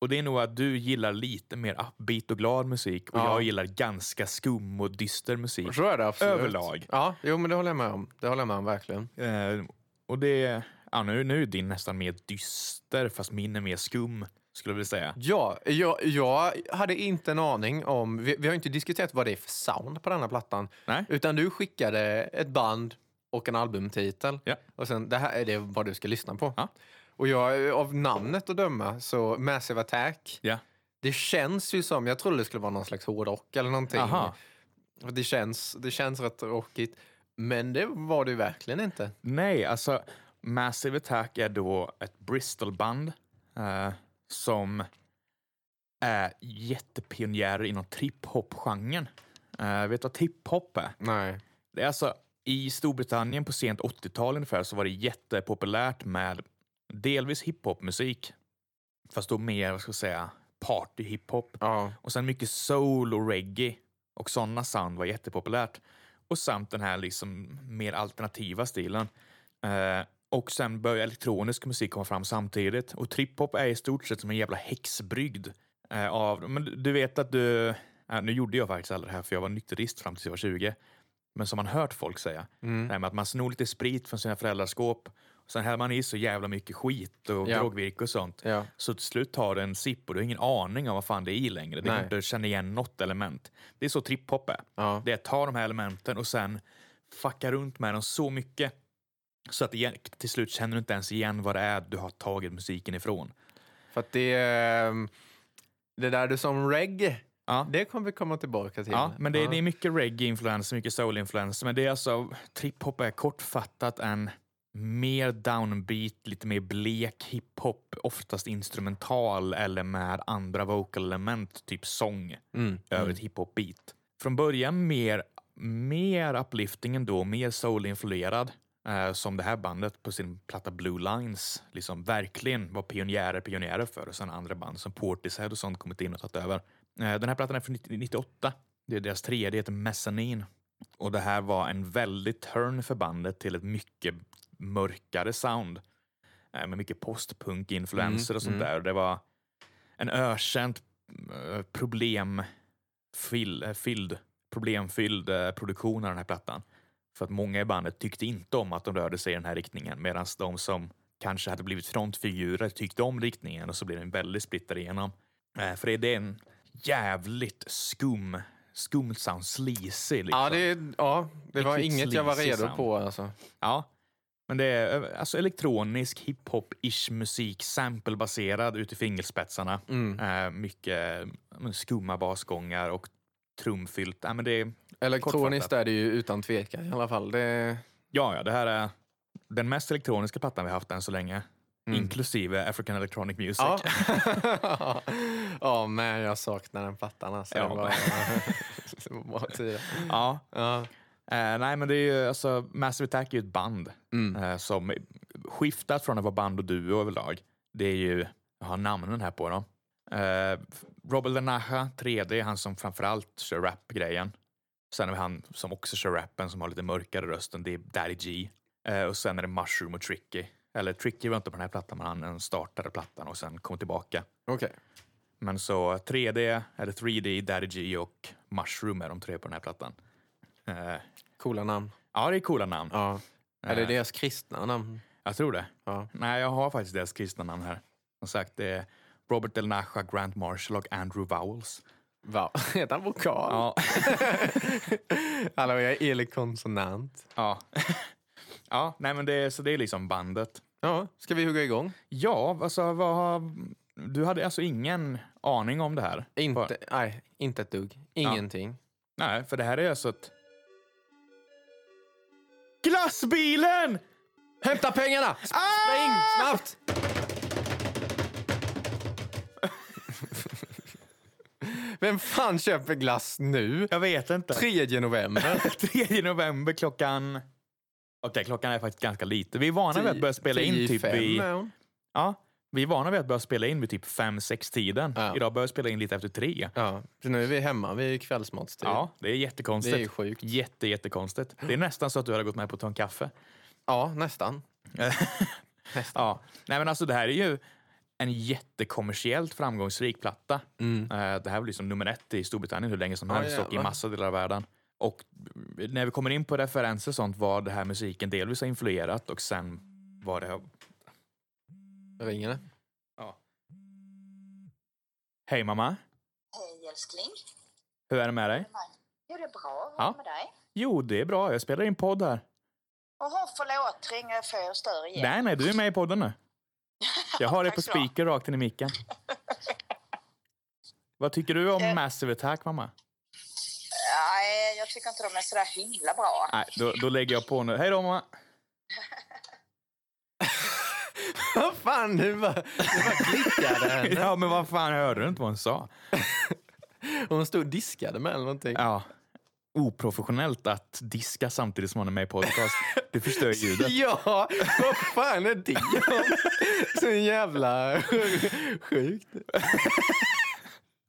Och det är nog att du gillar lite mer upbeat och glad musik och Ja. jag gillar ganska skum och dyster musik. Så är det absolut. Överlag. Ja, jo, men det håller jag med om. Det håller jag med om verkligen. Eh, och det, ja, nu, nu är din nästan mer dyster, fast min är mer skum, skulle jag vilja säga. Ja, jag, jag hade inte en aning om... Vi, vi har inte diskuterat vad det är för sound på den här plattan. Nej. Utan du skickade ett band och en albumtitel. Ja. Och sen, det här är det vad du ska lyssna på. Ja. Och jag, av namnet att döma, så Massive Attack Ja. Det känns ju som, jag trodde det skulle vara någon slags hårdrock eller någonting. Aha. Och Det känns, det känns rätt rockigt. Men det var det ju verkligen inte. Nej, alltså Massive Attack är då ett Bristol-band eh, som är jättepionjärer inom trip-hop-genren. Eh, vet du vad trip-hop är? Nej. Det är alltså, I Storbritannien på sent 80-tal ungefär så var det jättepopulärt med delvis hiphopmusik. Fast då mer, vad ska jag säga, party-hiphop. Ja. Och sen mycket soul och reggae och sådana sound var jättepopulärt. Och samt den här liksom mer alternativa stilen. Eh, och sen började elektronisk musik komma fram samtidigt. Och trip-hop är i stort sett som en jävla häxbrygd. Eh, av, men du- du vet att du... eh, nu gjorde jag faktiskt aldrig det här för jag var nykterist fram tills jag var 20. Men som man hört folk säga. Mm. Det här med att man snor lite sprit från sina föräldrars skåp. Och sen häller man i så jävla mycket skit och Ja. drogvirke och sånt. Ja. Så till slut tar du en sipp och du har ingen aning om vad fan det är i längre. Det går Nej. inte att känna igen något element. Det är så trip-hop är. Ja. Det är att ta de här elementen och sen fucka runt med dem så mycket så att igen, till slut känner du inte ens igen vad det är du har tagit musiken ifrån. För att det... ehm, Det där du som reggae, Ja. det kommer vi komma tillbaka till. Ja, men det, det är mycket reggae-influenser, mycket soul-influenser. Men det är alltså, trip-hop är kortfattat en mer downbeat, lite mer blek hiphop, oftast instrumental eller med andra vocal-element, typ sång, över ett hiphop-beat. Från början mer, mer uplifting ändå, mer soul-influerad. Eh, som det här bandet på sin platta Blue Lines liksom verkligen var pionjärer, pionjärer för och sen andra band som Portishead och sånt kommit in och tagit över. Eh, den här plattan är från 90 98. Det är deras tredje, det heter Mezzanine. Och det här var en väldigt turn för bandet till ett mycket mörkare sound. Eh, med mycket postpunk-influenser och sånt där. Det var en ökänt eh, problem fyll- eh, fylld, problemfylld eh, produktion av den här plattan. För att många i bandet tyckte inte om att de rörde sig i den här riktningen medan de som kanske hade blivit frontfigurer tyckte om riktningen och så blev den väldigt splittad igenom. Eh, För det är en jävligt skum, skumt sound, sleazy. Liksom. Ja, det, ja, det var Riktigt inget jag var sleazy redo sound. på. Alltså. Ja. Men det är eh, alltså elektronisk hiphop-ish musik, samplebaserad ut i fingerspetsarna. Mm. Eh, mycket eh, skumma basgångar och trumfyllt. Ja, men det är, Elektroniskt Kortfattat. är det ju utan tvekan i alla fall. Det, ja, ja, det här är den mest elektroniska plattan vi haft än så länge. mm. Inklusive African Electronic Music. ja. ja, men jag saknar den plattan. Alltså. Ja. Det var, det var bra tider. Ja. Ja. Eh, nej, men det är ju, alltså, Massive Attack är ju ett band Mm. eh, som skiftat från att vara band och duo överlag. Det är ju, jag har namnen här på dem. Eh, Robert Lanaha, 3D, han som framförallt kör rap-grejen. Sen är det han som också kör rappen som har lite mörkare rösten, det är Daddy G. Eh, och sen är det Mushroom och Tricky. Eller Tricky var inte på den här plattan, men han startade plattan och sen kom tillbaka. Okej. Men så 3D, eller 3D, Daddy G och Mushroom är de tre på den här plattan. Eh, Coola namn. Ja, det är coola namn. Ja. Eller deras kristna namn. Jag tror det. Ja. Nej, jag har faktiskt deras kristna namn här. Som sagt, det är Robert Del Nasha, Grant Marshall och Andrew Vowles. Va? Heter han vokal? Ja, Hallå, jag är elak konsonant. ja. ja nej, men det, är- så det är liksom bandet. Ja, ska vi hugga igång? Ja, alltså vad har... Du hade alltså ingen aning om det här? Inte, För, nej, inte ett dugg. Ingenting. nej, för det här är alltså ett... Glassbilen! Hämta pengarna! Sp- Spring snabbt! Vem fan köper glass nu? Jag vet inte. 3 november. 3 november klockan... Okej, klockan är faktiskt ganska lite. Vi är vana vid att börja spela in typ fem, i... ja. Ja, vi är vana vid att börja spela in vid typ 5-6-tiden. Ja. Idag börjar vi spela in lite efter tre. Ja, så nu är vi hemma vid kvällsmatstid. Ja, det är jättekonstigt. Det är sjukt. Jätte, jättekonstigt. Det är nästan så att du hade gått med på att ta en kaffe. ja, nästan. Ja. Nej, men alltså det här är ju en jättekommersiellt framgångsrik platta. Eh, Det här var liksom nummer ett i Storbritannien hur länge som helst och i jävlar. massa delar av världen. Och när vi kommer in på referenser och sånt vad det här musiken delvis har influerat och sen vad det har... Ringer det? Hej mamma, Hej älskling. hur är det med dig? Jo, det är bra. Ja. med dig? Jo, det är bra. Jag spelar in podd här. Jaha, förlåt. Ringer jag för och stör igen? Nej, nej, du är med i podden nu. Jag har dig Tack på ska du ha. speaker rakt in i micken. Vad tycker du Eh. om Massive Attack, mamma? Nej, jag tycker inte de är så där himla bra. Nej, då, då lägger jag på nu. Hej då, mamma. Vad fan, nu bara, nu bara klickade henne. Ja, men vad fan, hörde du inte vad hon sa? Hon stod och diskade med eller någonting. Ja. Oprofessionellt att diska samtidigt som man är med i podcast. Det förstör ljudet. Ja, vad fan är det? Så jävla sjukt.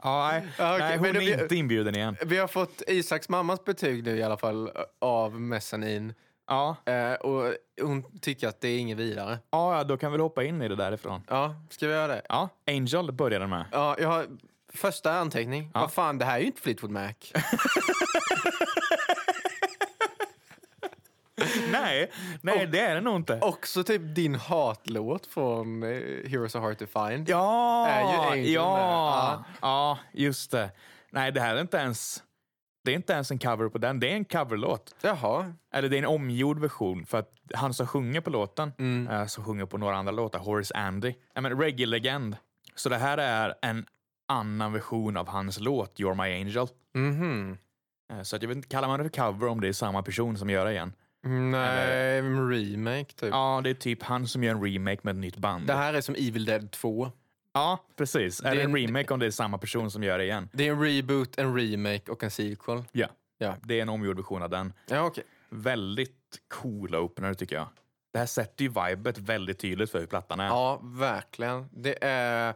Ja, nej, Ja, okej, nej, hon men då är blir- inte inbjuden igen. Vi har fått Isaks mammas betyg nu i alla fall eh, av Messanin. Ja, Eh, och hon tycker att det är inget vidare. ja, ja, då kan vi väl hoppa in i det därifrån. Ja, ska vi göra det? Ja, Angel började med. Ja, jag har första anteckning. Vad fan, det här är ju inte Fleetwood Mac. Nej, nej det är det nog inte. Också typ din hatlåt från eh, Heroes Are Hard To Find. Ja, Är ju Angel med. ja, Ja. ja, just det. Nej, det här är inte ens... Det är inte ens en cover på den. Det är en coverlåt. Jaha. Eller det är en omgjord version för att han som sjunger på låten, Mm. eh, som sjunger på några andra låtar, Horace Andy, ja, men reggae-legend. Så det här är en annan version av hans låt You're My Angel. Mhm. Eh, Så att jag vet inte, kallar man det för cover om det är samma person som gör det igen? Mm, Nej, en remake typ. Ja, det är typ han som gör en remake med ett nytt band. Det här är som Evil Dead 2. Ja, precis. Är det är en en- remake om det är samma person som gör det igen? Det är en reboot, en remake och en sequel. Ja. Ja. Det är en omgjord version av den. Ja, okej. Väldigt coola opener tycker jag. Det här sätter ju vibet väldigt tydligt för hur plattan är. Ja, verkligen. Det är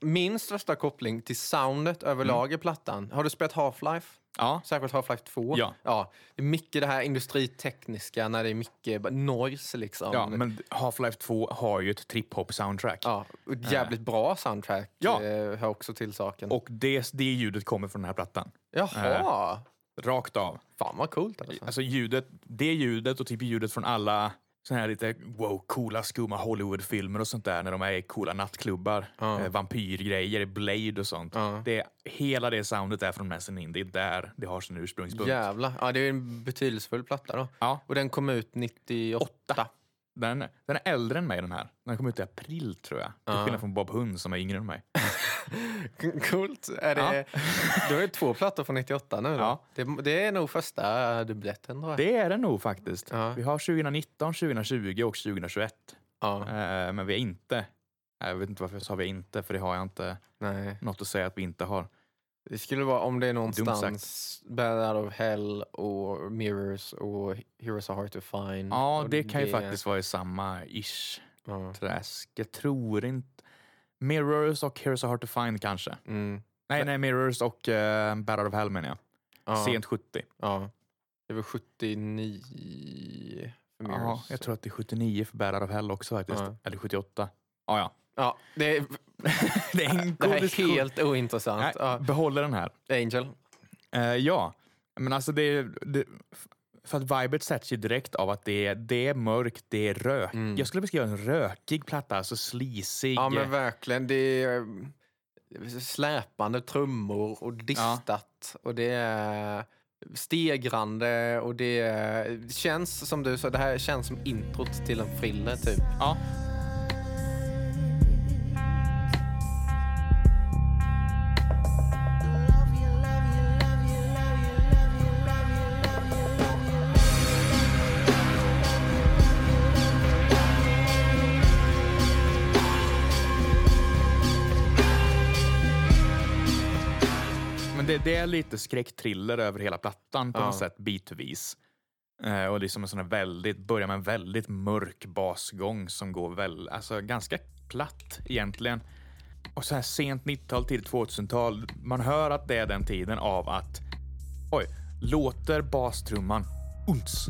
min största koppling till soundet överlag i plattan. Har du spelat Half-Life? Mm. Ja. Särskilt Half-Life 2? Ja. ja. Det är mycket det här industritekniska när det är mycket bara noise liksom. Ja, men Half-Life 2 har ju ett trip-hop-soundtrack. Ja, och ett jävligt bra soundtrack Eh. Ja. eh, hör också till saken. Och eh. det, det ljudet kommer från den här plattan. Jaha! Rakt av. Fan vad coolt alltså. Alltså ljudet, det ljudet och typ ljudet från alla såna här lite wow, coola skumma Hollywoodfilmer och sånt där när de är i coola nattklubbar. Eh, vampyrgrejer, Blade och sånt. Det, hela det soundet är från Messin In. Det är där det har sin ursprungspunkt. Jävlar. Ja, det är en betydelsefull platta då. Ja. Och den kom ut 98. Den, den är äldre än mig den här. Den kom ut i april tror jag. Till skillnad från Bob Hund som är yngre än mig. Coolt. Är det, Du har ju två plattor från 98 nu. Då. Ja. Det, det är nog första eh, dubbletten tror jag. Det är den nog faktiskt. Ja. Vi har 2019, 2020 och 2021. Ja. Eh, men vi är inte... eh, Jag vet inte varför jag sa vi inte, för det har jag inte Nej. något att säga att vi inte har. Mm. Det skulle vara om det är någonstans Bad Out of Hell och Mirrors och Heroes Are Hard To Find. Ja, och det kan ju faktiskt vara i samma ish Ja. träsk. Jag tror inte... Mirrors och Here's a Hard to Find kanske. Mm. Nej, nej, Mirrors och uh, Battle of Hell menar jag. Ja. Sent 70. Ja. Det var 79 för Mirrors. Ja, jag tror att det är 79 för Battle of Hell också faktiskt. Ja. Eller 78. Ja, ja. Ja, det är, Det är en det här godis- är helt ointressant. Nej, Ja. behåller den här. Angel. Eh, ja, men alltså det, det... För att vibet sätts ju direkt av att det är, det är mörkt, det är rök. Jag skulle beskriva en rökig platta, alltså sleazig. Mm. Ja, men verkligen. Det är eh, släpande trummor och distat. Och det är stegrande och det, är, det känns som du sa, det här känns som introt till en thriller typ. ja. Men det, det är lite skräckthriller över hela plattan på något sätt bitvis. Eh, och liksom en sån här väldigt, börjar med en väldigt mörk basgång som går väl, alltså ganska platt egentligen. Och så här sent 90-tal, tidigt 2000-tal, man hör att det är den tiden av att oj, låter bastrumman uns.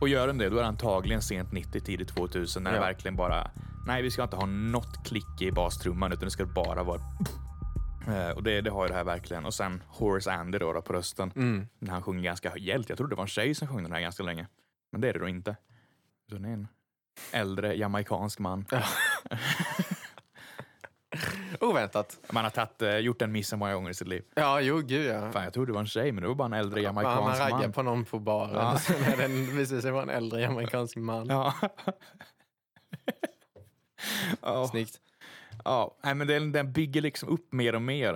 Och gör den det, då är det antagligen sent 90, tidigt 2000 när det Ja. verkligen bara, nej vi ska inte ha något klick i bastrumman utan det ska bara vara Eh, Och det, det har ju det här verkligen. Och sen Horace Andy då, då på rösten. Mm. När han sjunger ganska högt. Jag trodde det var en tjej som sjöng den här ganska länge. Men det är det då inte. Utan det är en äldre jamaikansk man. Oväntat. Man har tatt, eh, gjort den missen många gånger i sitt liv. Ja, jo gud ja. Fan, jag trodde det var en tjej, men det var bara en äldre Man jamaikansk raggar man. på någon på baren och sen är den visar sig vara en äldre amerikansk man. Ja. Ja. Snyggt. Ja, nej, men den, den bygger liksom upp mer och mer.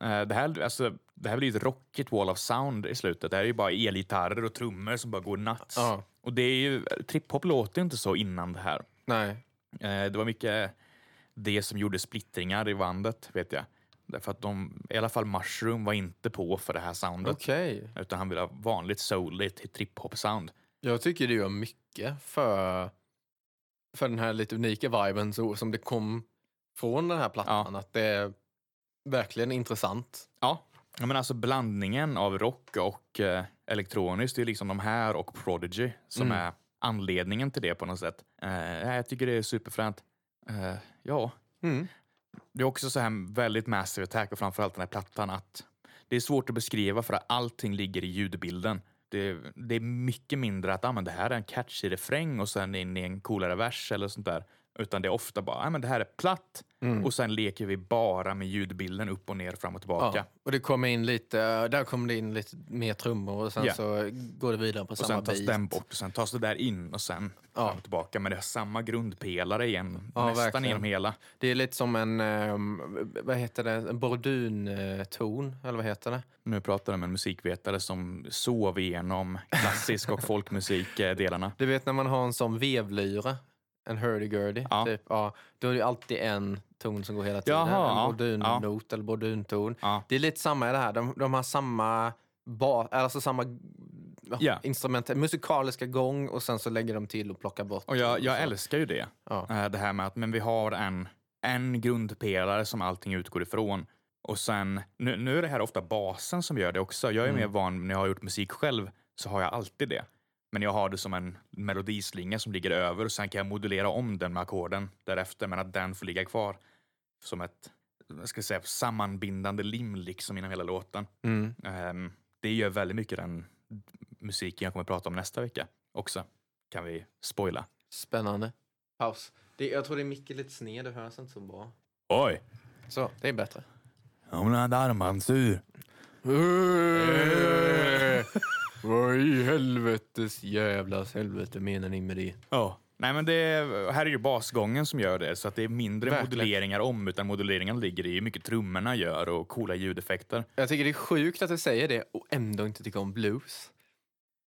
Eh, Det här, alltså, det här blir ju ett rocket wall of sound i slutet. Det här är ju bara elgitarrer och trummor som bara går nuts. Ja. Och det är ju, trip-hop låter ju inte så innan det här. Nej. Eh, Det var mycket det som gjorde splittringar i bandet, vet jag. Därför att de, i alla fall Mushroom, var inte på för det här soundet. Okej. Utan han ville ha vanligt souligt trip-hop-sound. Jag tycker det gör mycket för, för den här lite unika viben så, som det kom från den här plattan. Att det är verkligen intressant. Ja. ja, men alltså blandningen av rock och eh, elektroniskt, det är liksom de här och Prodigy som Mm. är anledningen till det på något sätt. Eh, nej, jag tycker det är superfränt. Eh, ja, Mm. det är också så här väldigt Massive Attack och framförallt den här plattan att det är svårt att beskriva för att allting ligger i ljudbilden. Det, det är mycket mindre att ah, men det här är en catchy refräng och sen in i en coolare vers eller sånt där. Utan det är ofta bara, ah, men det här är platt Mm. och sen leker vi bara med ljudbilden upp och ner, fram och tillbaka. Ja. Och det kommer in lite, där kommer det in lite mer trummor och sen Ja. så går det vidare på Och samma sen tas beat. den bort och sen tas det där in och sen fram och tillbaka. Men det är samma grundpelare igen, Ja, nästan verkligen. genom hela. Det är lite som en, ehm, vad heter det, en bordunton, eller vad heter det? Nu pratar jag med en musikvetare som sov igenom klassisk och folkmusikdelarna. Du vet när man har en sån vevlyra, en hurdy-gurdy, Ja. typ, ja, då är det alltid en ton som går hela tiden. Jaha, en ja, bordunnot eller bordunton. Ja. Det är lite samma i det här, de, de har samma, ba, alltså samma Ja. instrument, musikaliska gång och sen så lägger de till och plockar bort. Och jag, jag älskar ju det. Ja. Eh, Det här med att men vi har en, en grundpelare som allting utgår ifrån. Och sen, nu, nu är det här ofta basen som gör det också. Jag är mer van, när jag har gjort musik själv, så har jag alltid det. Men jag har det som en melodislinga som ligger över och sen kan jag modulera om den med ackorden därefter, men att den får ligga kvar som ett jag ska säga, sammanbindande lim liksom inom hela låten. Mm. Ehm, det gör väldigt mycket den musiken jag kommer prata om nästa vecka också. Kan vi spoila. Spännande. Paus. Det, jag tror det är mycket lite sned, det hörs inte så bra. Oj! Så, det är bättre. Hon hade armbandsur. Eh. Vad i helvetes jävlas helvete menar ni med det? Ja. Nej, men det är, här är ju basgången som gör det, så att det är mindre Verkligen. moduleringar om, utan moduleringen ligger i hur mycket trummorna gör och coola ljudeffekter. Jag tycker det är sjukt att du säger det och ändå inte tycker om blues.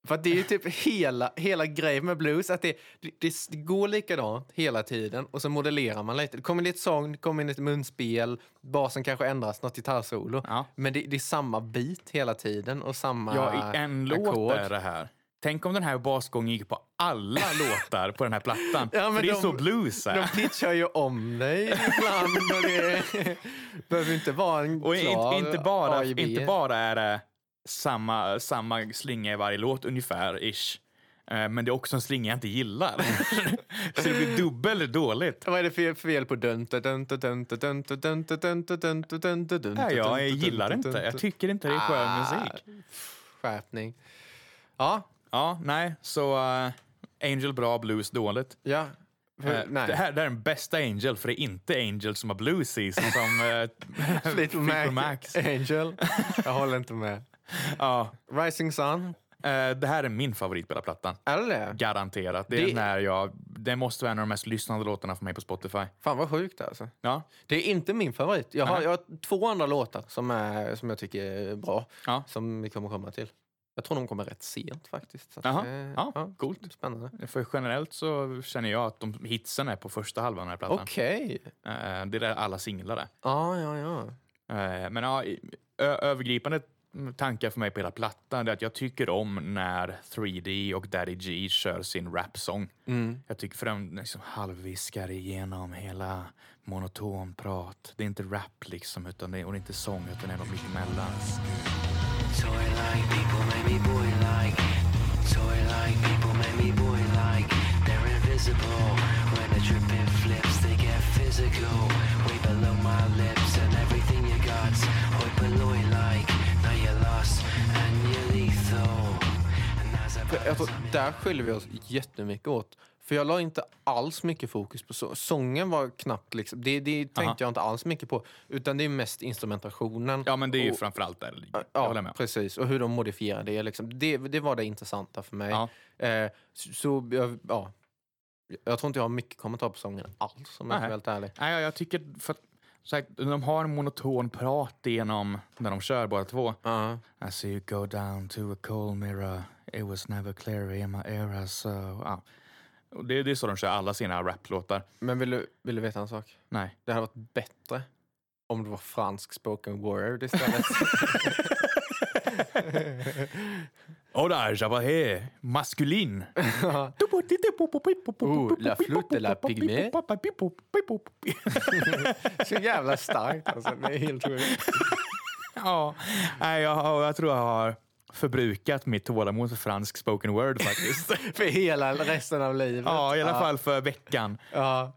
För att det är ju typ hela, hela grejen med blues, att det, det, det går likadant hela tiden och så modellerar man lite. Det kommer in lite sång, det kommer in lite munspel, basen kanske ändras, något gitarrsolo. Ja. Men det, det är samma bit hela tiden och samma Ja, i en ackord. låt är det här. Tänk om den här basgången gick på alla låtar på den här plattan. Ja, men För det är de- så blues. Här. De pitchar ju om dig ibland och det behöver inte vara en Och klar inte, inte, bara, AIB. inte bara är det samma, samma slinga i varje låt, ungefär, ish. Eh, Men det är också en slinga jag inte gillar. så det blir dubbelt dåligt. Vad är det för fel på dönta dönta dönta dönta dönta dönta dönta dönta dönta Nej, jag dönta, gillar dönta, inte. dönta. Jag tycker inte det är skön Ah. musik. Skärpning. Ja, Ja, nej, så eh, Angel bra, blues dåligt. ja. För, Eh, nej. Det här det här är den bästa Angel, för det är inte Angel som har blues i sig som eh, Fleetwood Fleetwood Mac. Macs. Angel. Jag håller inte med. Ja, Rising Sun. eh, det här är min favorit på hela plattan. Är det det? Garanterat. Det är Det- den här jag, det måste vara en av de mest lyssnade låtarna för mig på Spotify. Fan vad sjukt alltså. Ja, Det är inte min favorit. Jag har, Nej. jag har två andra låtar som, är, som jag tycker är bra. Ja. Som vi kommer komma till. Jag tror de kommer rätt sent faktiskt. Så att, Jaha. eh, Ja, coolt. Spännande. för generellt så känner jag att de hitsen är på första halvan av den här plattan. Okej. Eh, det är där alla singlar är. Ja, ja, ja. Eh, Men ja, i- ö- övergripande tankar för mig på hela plattan är att jag tycker om när 3D och Daddy G kör sin rapsång. Mm. Jag tycker för de liksom halvviskar igenom hela monoton prat. Det är inte rap liksom, utan det, och det är inte sång, utan det är något mittemellan. Toy like people make me boy like. Toy like people make me boy like. They're invisible. When the trip it flips, they get physical. Way below my lips and everything you got. Hoy below like. Now you're lost and you're lethal. And as I Jag tror, där skiljer vi oss jättemycket åt. För jag la inte alls mycket fokus på så. sången. var knappt liksom. det, det tänkte Aha. jag inte alls mycket på. Utan det är mest instrumentationen. Ja, men det är ju Och- framförallt där det ligger. Jag håller Ja, med. precis. Och hur de modifierar det. Liksom. Det, det var det intressanta för mig. Ja. Eh, så, så jag, ja. Jag tror inte jag har mycket kommentar på sången alls om jag ska Nej. vara helt ärlig. Nej, jag, jag tycker... För att, så här, de har en monoton prat genom när de kör båda två. I see you go down to a cold mirror It was never clear in my era so... Ja. Och Det, det är så de kör alla sina raplåtar. Men vill du, vill du veta en sak? Nej. Det hade varit bättre om det var fransk spoken word istället. Oh där, jag var här. Maskulin. oh, la flûte la pygmé. Så jävla starkt alltså. Det är helt sjukt. Ja, nej, jag, har- jag tror jag har förbrukat mitt tålamod för fransk spoken word faktiskt. För hela resten av livet. ja, i alla fall för veckan. Ja,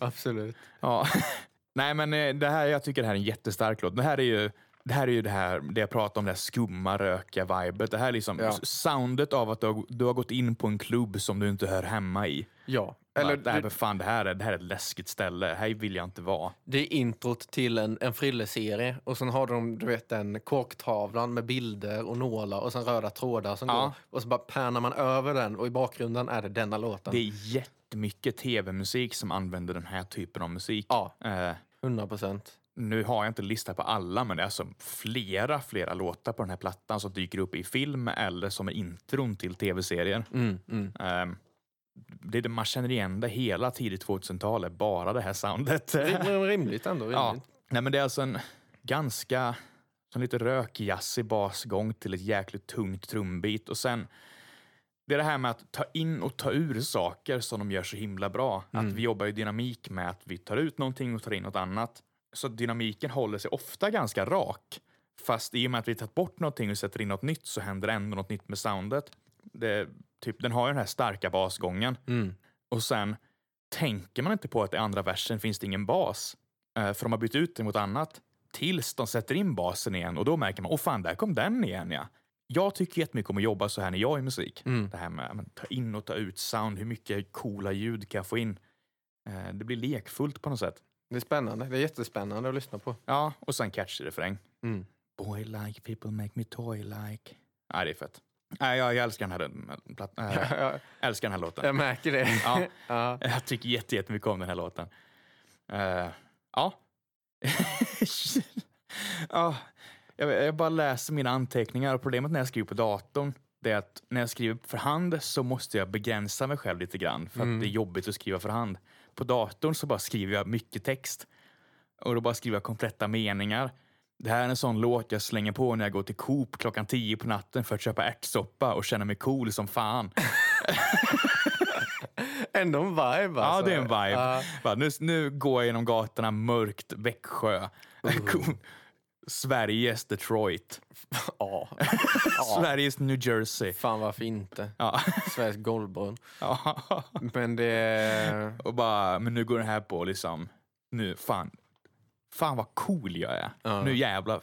absolut. Ja. Nej, men eh, det här, jag tycker det här är en jättestark låt. Det här är ju det, här är ju det, här, det jag pratade om, det här skumma röka vibet. Det här är liksom Ja. soundet av att du har, du har gått in på en klubb som du inte hör hemma i. Ja. Eller, Eller, det, här, du- vad fan, det, här är, det här är ett läskigt ställe. Här vill jag inte vara. det är introt till en, en frilleserie och sen har de du vet, den korktavlan med bilder och nålar och sen röda trådar som Ja. går. Och så bara pärnar man över den och i bakgrunden är det denna låten. Det är jättemycket tv-musik som använder den här typen av musik. Ja, Eh, 100 procent. Nu har jag inte lista på alla, men det är alltså flera, flera låtar på den här plattan som dyker upp i film eller som är intron till tv-serier. Mm, mm. Ehm, det, är det- man känner igen det hela tidigt 2000-talet, bara det här soundet. Det är rimligt ändå. ja. Rimligt. Nej, men det är alltså en ganska som lite rökjazzig basgång till ett jäkligt tungt trumbit och sen det är det här med att ta in och ta ur saker som de gör så himla bra. Att vi jobbar i dynamik med att vi tar ut någonting och tar in något annat. Så dynamiken håller sig ofta ganska rak. Fast i och med att vi tagit bort någonting och sätter in något nytt så händer det ändå något nytt med soundet. Det, typ, den har ju den här starka basgången. Mm. Och sen tänker man inte på att i andra versen finns det ingen bas. Eh, För de har bytt ut det mot annat. Tills de sätter in basen igen och då märker man, åh fan, där kom den igen ja. Jag tycker jättemycket om att jobba så här när jag är i musik. Det här med att ta in och ta ut sound, hur mycket coola ljud kan jag få in? Eh, Det blir lekfullt på något sätt. Det är spännande. Det är jättespännande att lyssna på. Ja, och sen catchy refräng. Mm. Boy like, people make me toy like. Nej, det är fett. Nej, jag, jag älskar den här, eh, platt, äh, Jag, älskar den här låten. jag märker det. Ja. ja. Jag tycker jätte- jättemycket om den här låten. Eh, ja. ja. Jag, jag bara läser mina anteckningar och problemet när jag skriver på datorn det är att när jag skriver för hand så måste jag begränsa mig själv lite grann för att det är jobbigt att skriva för hand. På datorn så bara skriver jag mycket text och då bara skriver jag kompletta meningar. Det här är en sån låt jag slänger på när jag går till Coop klockan 10 på natten för att köpa ärtsoppa och känna mig cool som fan. Ändå en vibe alltså. Ja, det är en vibe. Ja. Va, nu, nu går jag genom gatorna mörkt, Växjö. Uh. Cool. Sveriges Detroit. Ja. Sveriges New Jersey. Fan varför inte? Ja. Sveriges golvbrunn. Ja. Men det... Och bara, men nu går den här på liksom, nu fan. Fan vad cool jag är. Nu jävlar.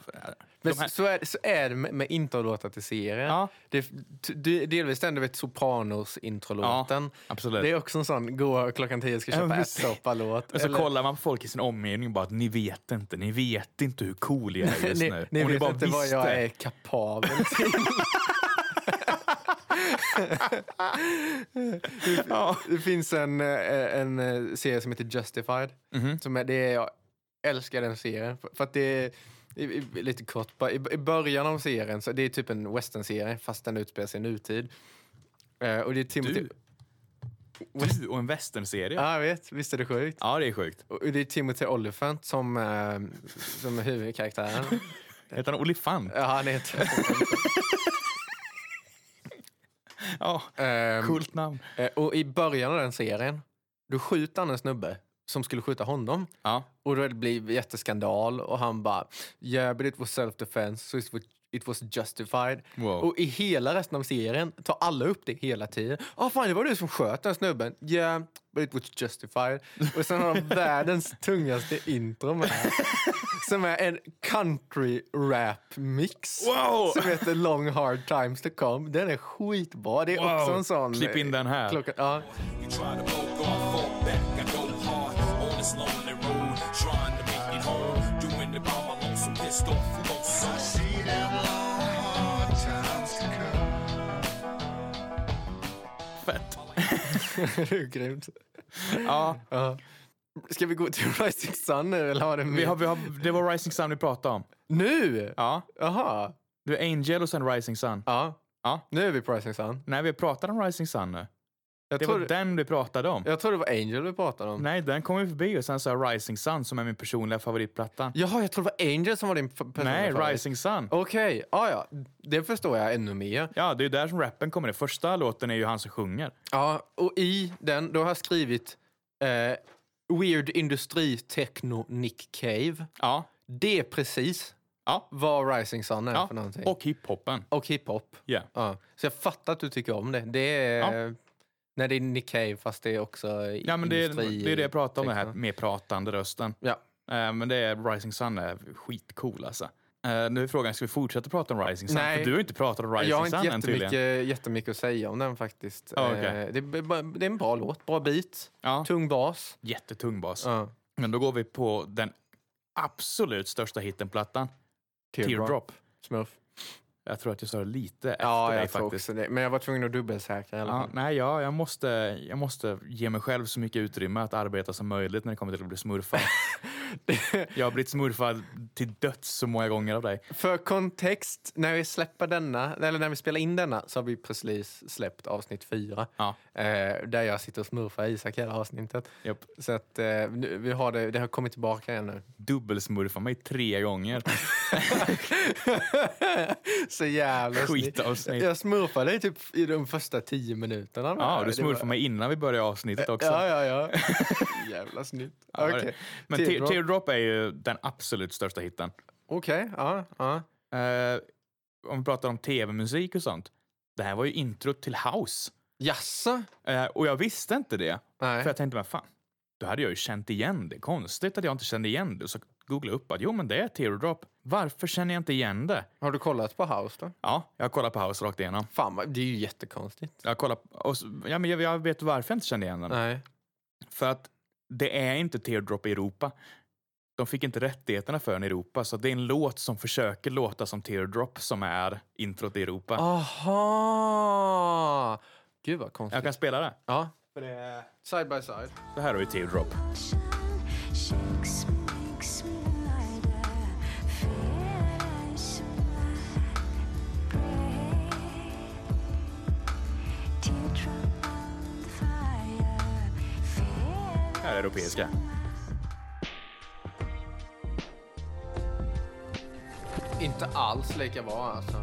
Men De här, så, är, så är det med, med introlåtar till serier. Ja. Det, är t- det, är delvis den du vet Sopranos-introlåten. absolut. Det är också en sån gå klockan tio ska Ja, köpa precis. ärtsoppa-låt. och så Eller- kollar man på folk i sin omgivning och bara att ni vet inte, ni vet inte hur cool jag är just Ni, nu. ni Om vet inte vad jag är kapabel till. Det- Det finns en, eh, en eh, serie som heter Justified. Som är, det är, jag älskar den serien. För, för att det är, i, i, lite kort, bara, i, i början av serien, så det är typ en western-serie fast den utspelar sig i nutid. Eh, och det är Timothy... Du? Du och en westernserie. Ja, jag vet. Visst är det sjukt? Ja, det är sjukt. Och det är Timothy Olyphant som, eh, som är huvudkaraktären. Heter han Olifant? Ja, han heter... Ja, Ehm, coolt namn. Eh, Och i början av den serien, då skjuter han en snubbe som skulle skjuta honom. Ja. Och då blir det jätteskandal och han bara “Yeah, but it was self-defense, so it was, it was justified”. Wow. Och i hela resten av serien tar alla upp det hela tiden. “Ah fan, det var du som sköt den snubben.” “Yeah, but it was justified”. Och sen har de världens tungaste intro med Som är en country-rap-mix. Wow! Som heter “Long hard times to come”. Den är skitbra. Det är Wow. också en sån... eh, Klipp in den här. Klockan, ja. You try to poke off, fall back. I go hard on this lonely road, trying to make it home. Doing it by my lonesome, pissed off, lonesome. Fett. Det är grymt. Ja. Ska vi gå till Rising Sun nu eller har det Vi har, vi har, det var Rising Sun vi pratade om. Nu? Ja. Jaha. Du är Angel och sen Rising Sun. Ja. ja. Nu är vi på Rising Sun. Nej, vi pratade om Rising Sun nu. Jag det tror, var den vi pratade om. jag tror det var Angel vi pratade om. Nej, den kom vi förbi och sen så är Rising Sun som är min personliga favoritplatta. Jaha, jag tror det var Angel som var din f- personliga Nej, favorit. Rising Sun. Okej, ah, ja. Det förstår jag ännu mer. Ja, det är ju där som rappen kommer. Den första låten är ju han som sjunger. Ja, och i den då har jag skrivit eh, Weird Industri Techno Nick Cave. Ja. Det är precis Ja. vad Rising Sun är ja. för någonting. Och hiphopen. och hiphop. Yeah. Ja. Så jag fattar att du tycker om det. Det är, när det är Nick Cave fast det är också Ja, men det, är, industri. det är det jag pratar om, den här techno. mer pratande rösten. Ja. Eh, Men det är Rising Sun är skitcool alltså. Eh, Nu är frågan, ska vi fortsätta prata om Rising Sun? Nej. För du har inte pratat om Rising jag har inte Sun än tydligen. jättemycket, jättemycket att säga om den faktiskt. Ja, okej. Ah. Eh, det, är bara- det är en bra låt, bra beat, Ja. tung bas. Ah, Jättetung bas. Ja. Men då går vi på den absolut största hitten-plattan, Teardrop. Smurf. Jag tror att jag sa det lite efter Ja, dig jag tror faktiskt. Ah. också det. Men jag var tvungen att dubbelsäkra i alla Ja, fall. nej, ja, jag, måste, jag måste ge mig själv så mycket utrymme att arbeta som möjligt när det kommer till att bli smurfad. jag har blivit smurfad till döds så många gånger av dig. För kontext, när vi släpper denna, eller när vi spelar in denna så har vi precis släppt avsnitt fyra. Ja. Eh, där jag sitter och smurfar Isak hela avsnittet. Japp. Så att eh, nu, vi har det, det har kommit tillbaka igen nu. Dubbelsmurfa mig tre gånger. så jävla snyggt. Skitavsnitt. Jag smurfade typ i de första tio minuterna. Ja, du Det smurfade var- Eh, mig innan vi började avsnittet också. Ja, ja, ja. jävla snyggt. Ja, det var Okej, det. okay. Men Teardrop. Teardrop är ju den absolut största hitten. Okej, ja, ja. Eh, om vi pratar om tv-musik och sånt. Det här var ju introt till House. Jaså? Eh, och jag visste inte det. Nej. För jag tänkte, men fan, då hade jag ju känt igen det. Konstigt att jag inte kände igen det. Så googlade jag upp att jo, men det är Teardrop. Varför känner jag inte igen det? Har du kollat på House då? Ja, jag kollar på House rakt igenom. Fan, vad- det är ju jättekonstigt. Jag, kollar, och, så- ja, men jag, jag vet varför jag inte kände igen den. Nej. För att det är inte Teardrop i Europa. De fick inte rättigheterna för den i Europa, så det är en låt som försöker låta som Teardrop som är introt i Europa. Aha! Gud vad konstigt. Jag kan spela det. Ja. Side by side. Så här har vi Teardrop. Här är europeiska. Inte alls lika bra alltså.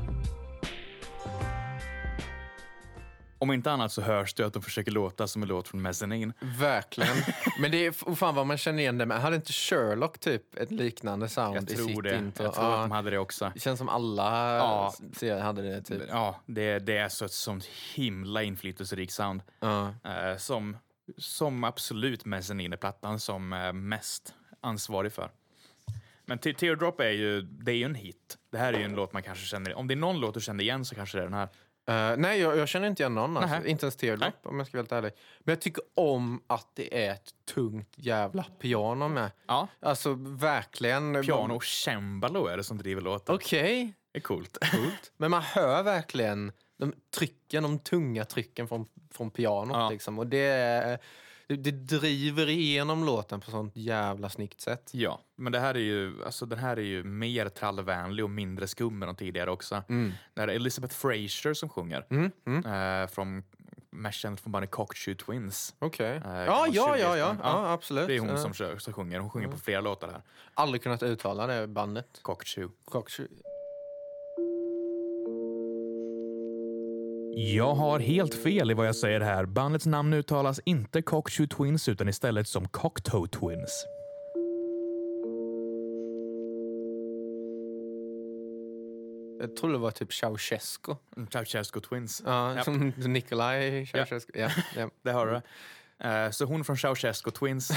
Om inte annat så hörs det att de försöker låta som en låt från Mezzanine. Verkligen. Men det är f- fan vad man känner igen det med. Hade inte Sherlock typ ett liknande sound Jag i tror sitt det. intro? Jag tror Ja. att de hade det också. Det känns som alla Ja. serier hade det typ. Ja, det, det är så ett sånt himla inflytelserikt sound. Ja. Eh, som, som absolut Mezzanine-plattan som är mest ansvarig för. Men Te- Teardrop är ju, det är ju en hit. Det här är ju en låt man kanske känner Om det är någon låt du känner igen så kanske det är den här. Eh, nej, jag, jag känner inte igen någon. Alltså. Nähä. Inte ens Teardrop om jag ska vara helt ärlig. Men jag tycker om att det är ett tungt jävla piano med. Ja. Alltså verkligen. Piano och cembalo är det som driver låten. Okej. Det är coolt. Men man hör verkligen de trycken, de tunga trycken från, från pianot. Ja. Liksom. Och det, är- det, det driver igenom låten på sånt jävla snyggt sätt. Ja, men det här är ju, alltså den här är ju mer trallvänlig och mindre skum än de tidigare också. Mm. Det här är Elizabeth Fraser som sjunger. Eh, från, mest känd från bandet Cockatoo Twins. Okej. Eh, ja, gammal ja, ja, 20-årsband. ja, ja, absolut. Det är hon Ja. som, kör, som sjunger. Hon Mm. sjunger på flera låtar här. Aldrig kunnat uttala det bandet. Cockatoo. Cockatoo. Jag har helt fel i vad jag säger här. Bandets namn uttalas inte Cockatoo Twins utan istället som Cocktoe Twins. Jag tror det var typ Ceausescu. Mm, Ceausescu Twins. Ja, Ja. Som Nikolaj Ceausescu. Ja. Ja, Det har du. Eh, så hon från Ceausescu Twins.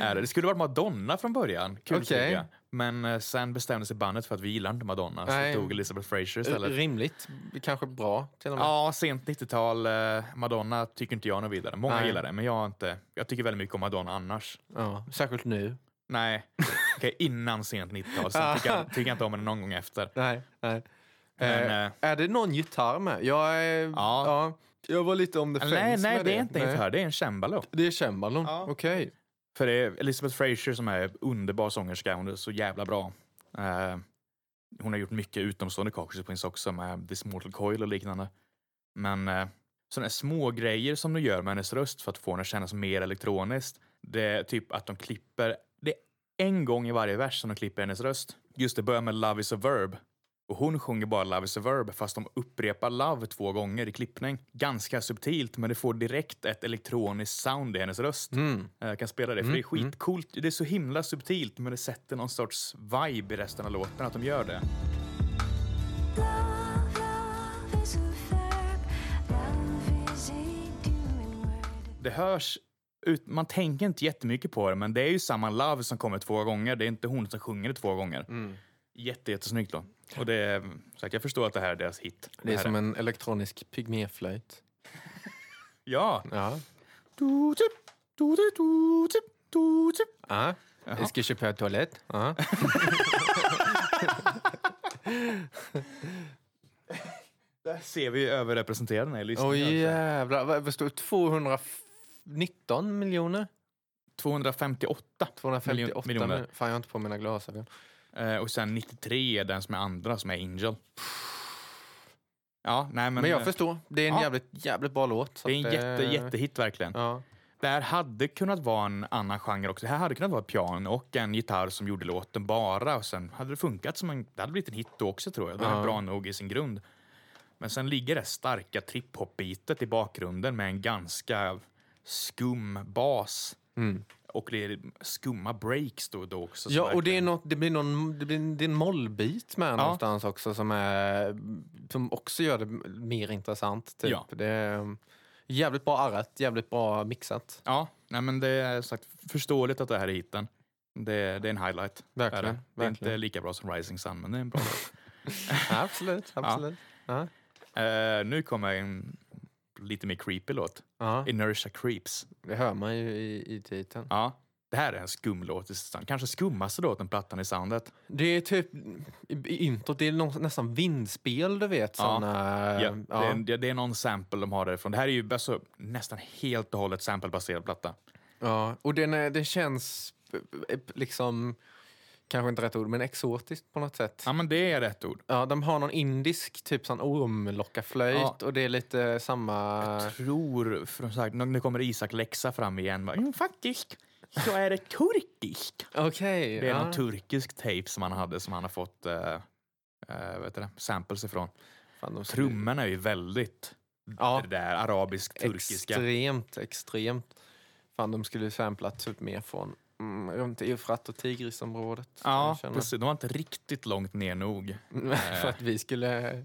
är det. det skulle varit Madonna från början. Kul Okej. okay. Men eh, sen bestämde sig bandet för att vi gillar inte Madonna. Så Nej. vi tog Elizabeth Fraser istället. Rimligt. Kanske bra till och med. Ja, sent 90-tal. eh, Madonna tycker inte jag något vidare. Många Nej. gillar det, men jag har inte. Jag tycker väldigt mycket om Madonna annars. Ja, Särskilt nu. Nej, Okej, innan sent 90-tal. Sen tycker jag, tycker jag inte om henne någon gång efter. Nej, nej. Men, eh, eh, är det någon gitarr med? Jag är, ja. Ja. Jag var lite om the fence Nej, nej med det är inte en Nej. gitarr. Det är en cembalo. Det är cembalon? Okej. För det är Elizabeth Fraser som är underbar sångerska. Hon är så jävla bra. Eh, hon har gjort mycket utomstående coverings också med This Mortal Coil och liknande. Men eh, sådana små grejer som de gör med hennes röst för att få henne att kännas mer elektroniskt. Det är typ att de klipper, det är en gång i varje vers som de klipper hennes röst. Just det börjar med Love is a verb. Och hon sjunger bara Love is a verb fast de upprepar Love två gånger i klippning. Ganska subtilt men det får direkt ett elektroniskt sound i hennes röst. Eh, Jag kan spela det för Mm, det är skitcoolt. Det är så himla subtilt men det sätter någon sorts vibe i resten av låten att de gör det. Det hörs ut, man tänker inte jättemycket på det men det är ju samma Love som kommer två gånger. Det är inte hon som sjunger det två gånger. Mm. Jätte, jättesnyggt då. Och det är, så att jag förstår att det här är deras hit. Det är här som en elektronisk pygméflöjt. Ja. Ja. Ja. Jag ska köpa toalett. Ja. Där ser vi överrepresenterade den här listan. Åh jävlar, vad vad står det? 219 miljoner? 258. miljoner. 258 miljoner. Fan, jag har inte på mina glasögon. Eh, och sen 93 är den som är andra, som är Angel. Ja, nej men... eh, Men jag förstår. Det är en Ja. jävligt, jävligt bra låt. så Det är en att, jätte, eh, jättehit verkligen. Det här hade kunnat vara en annan genre också. Det här hade kunnat vara ett piano och en gitarr som gjorde låten bara. Och sen hade det funkat som en... Det hade blivit en hit då också tror jag. Den Ja. är bra nog i sin grund. Men sen ligger det starka trip-hop-bitet i bakgrunden med en ganska skum bas. Mm. Och det är skumma breaks då och då också. så Ja, och det, verkligen- är något, det, blir någon, det, blir, det är en mollbit med någonstans också som, är, som också gör det mer intressant. Typ. Ja. Det är jävligt bra arrat, jävligt bra mixat. Ja, nej men det är sagt förståeligt att det här är hiten. Det, det är en highlight. Verkligen, Det är, det. det är verkligen. inte lika bra som Rising Sun, men det är en bra låt. absolut, absolut. Ja. Eh, nu kommer en lite mer creepy låt. Ja. Inertia Creeps. Det hör man ju i, i titeln. Ja, det här är en skum låt i sound. Kanske skummaste låten på plattan i soundet. Det är typ i- i introt, det är någon, nästan vindspel du vet. Såna, ja, Det, är, det, det är någon sample de har därifrån. Det här är ju alltså, nästan helt och hållet samplebaserad platta. Ja, och den, är, den känns eh, liksom, kanske inte rätt ord, men exotiskt på något sätt. Ja, men det är rätt ord. Ja, de har någon indisk typ sån ormlockarflöjt Ja. och det är lite samma... Tror, för, så här, nu nu kommer Isak läxa fram igen. Bara, "Jo, faktiskt så är det turkiskt. Okej. Det är ja. någon turkisk tape som han hade som han har fått eh, eh, vet du det, samples ifrån. Fan, de skulle- Trummorna är ju väldigt Ja. det där arabisk-turkiska. Extremt, extremt. Fan, de skulle ju sampla typ mer från mm, runt Eufrat och Tigrisområdet. Ja, jag känner. precis. De var inte riktigt långt ner nog. För att vi skulle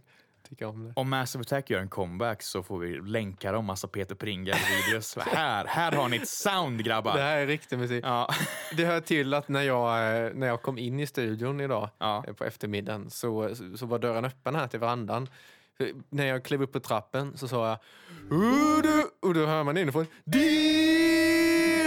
tycka om det. Om Massive Attack gör en comeback så får vi länka dem massa Peter Pringle-videos. här, här har ni ett sound grabbar! Det här är riktig musik. Ja. Det hör till att när jag, eh, när jag kom in i studion idag Ja. eh, på eftermiddagen så, så var dörren öppen här till verandan. Eh, När jag klev upp på trappen så sa jag Udu! och då hör man inifrån "Dien!"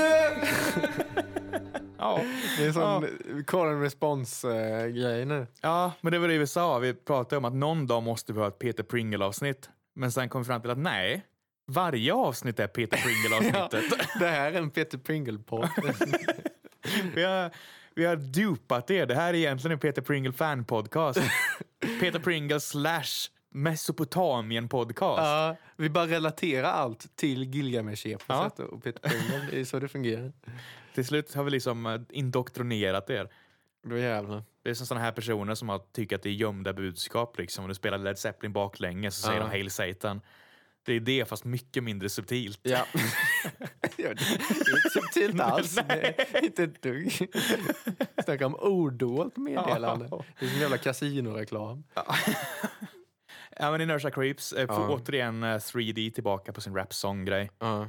Ja. Det är sån call and response-grej nu. ja, men det var det vi sa. Vi pratade om att någon dag måste vi ha ett Peter Pringle-avsnitt. Men sen kom vi fram till att nej, varje avsnitt är Peter Pringle-avsnittet. Det här är en Peter Pringle-podd. Vi har, vi har dupat er. Det här är egentligen en Peter Pringle fan-podcast. Peter Pringle slash Mesopotamien-podcast. Ja, vi bara relaterar allt till Gilgamesh på Ja. sätt och Peter Pringle. Det är så det fungerar. Till slut har vi liksom eh, indoktrinerat er. Då jävlar. Det är som sådana här personer som har tyckt att det är gömda budskap. Liksom. Om du spelar Led Zeppelin baklänges så säger Ja. de Hail Satan. Det är det, fast mycket mindre subtilt. Ja. ja det är inte subtilt alls. Nej. Det är inte ett dugg. Snacka om odolt meddelande. Ja. Det är som jävla kasinoreklam. Ja, men Inertia Creeps eh, får Ja. återigen eh, 3D tillbaka på sin rap-song-grej. Ja.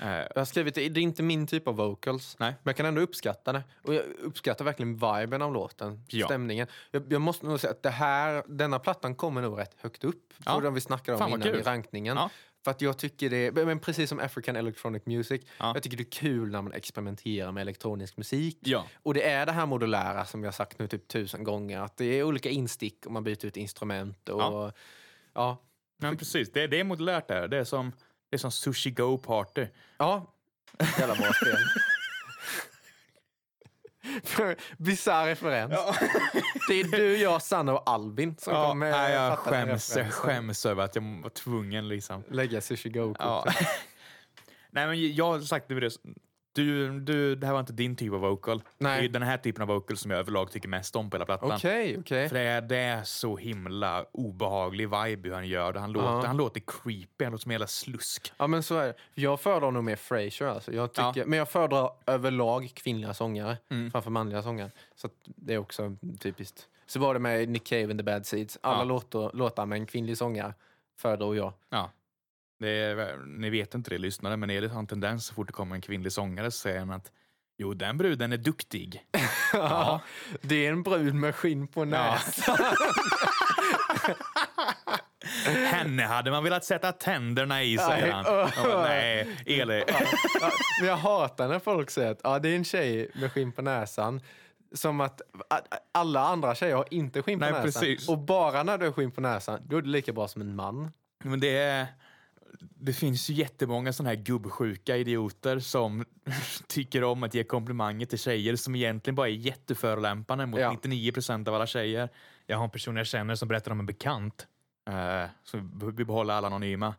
Eh, Jag har skrivit, det är inte min typ av vocals. Nej. Men jag kan ändå uppskatta det. Och jag uppskattar verkligen viben av låten. Ja. Stämningen. Jag, jag måste nog säga att det här, denna plattan kommer nog rätt högt upp. Ja. På den vi snackade om Fan, vad innan i kul. rankningen. Ja. För att jag tycker det, men precis som African Electronic Music, Ja. jag tycker det är kul när man experimenterar med elektronisk musik. Ja. Och det är det här modulära som jag sagt nu typ tusen gånger, att det är olika instick och man byter ut instrument och ja. Men precis, det, det är modulärt där. Det är som, det är som Sushi Go Party. Ja. Jävla bra spel. Bisarr referens. Det är du, jag, Sanna och Albin som Ja, kommer nej, jag fatta eh, den skäms, jag referensen. skäms över att jag var tvungen liksom. Lägga sushi go Ja. Nej men jag har sagt det. Du, du, det här var inte din typ av vocal. Nej. Det är den här typen av vocal som jag överlag tycker mest om på hela plattan. Okej, okej. För det är, det är så himla obehaglig vibe hur han gör det. Han låter, Ja. han låter creepy, han låter som en jävla slusk. Ja, men så är det. Jag föredrar nog mer Frasier. Alltså. Jag tycker, Men jag föredrar överlag kvinnliga sångare framför manliga sångare. Så att det är också typiskt. Så var det med Nick Cave and the Bad Seeds. Alla Ja. låtar, låtar med en kvinnlig sångare föredrog jag. Ja. Det är, ni vet inte det lyssnare, men Edith har en tendens så fort det kommer en kvinnlig sångare så säger han att jo, den bruden är duktig. Ja. Det är en brud med skinn på näsan. Henne hade man velat sätta tänderna i, Nej, säger han. ö- Jag bara, Nej, Eli. Ja, men jag hatar när folk säger att ja, det är en tjej med skinn på näsan. Som att att alla andra tjejer har inte skinn på Nej, näsan. precis. Och bara när du har skinn på näsan, då är du lika bra som en man. Men det är... Det finns ju jättemånga såna här gubbsjuka idioter som tycker om att ge komplimanger till tjejer som egentligen bara är jätteförolämpande mot Ja. 99 procent av alla tjejer. Jag har en person jag känner som berättar om en bekant, eh, så vi- vi behåller alla anonyma.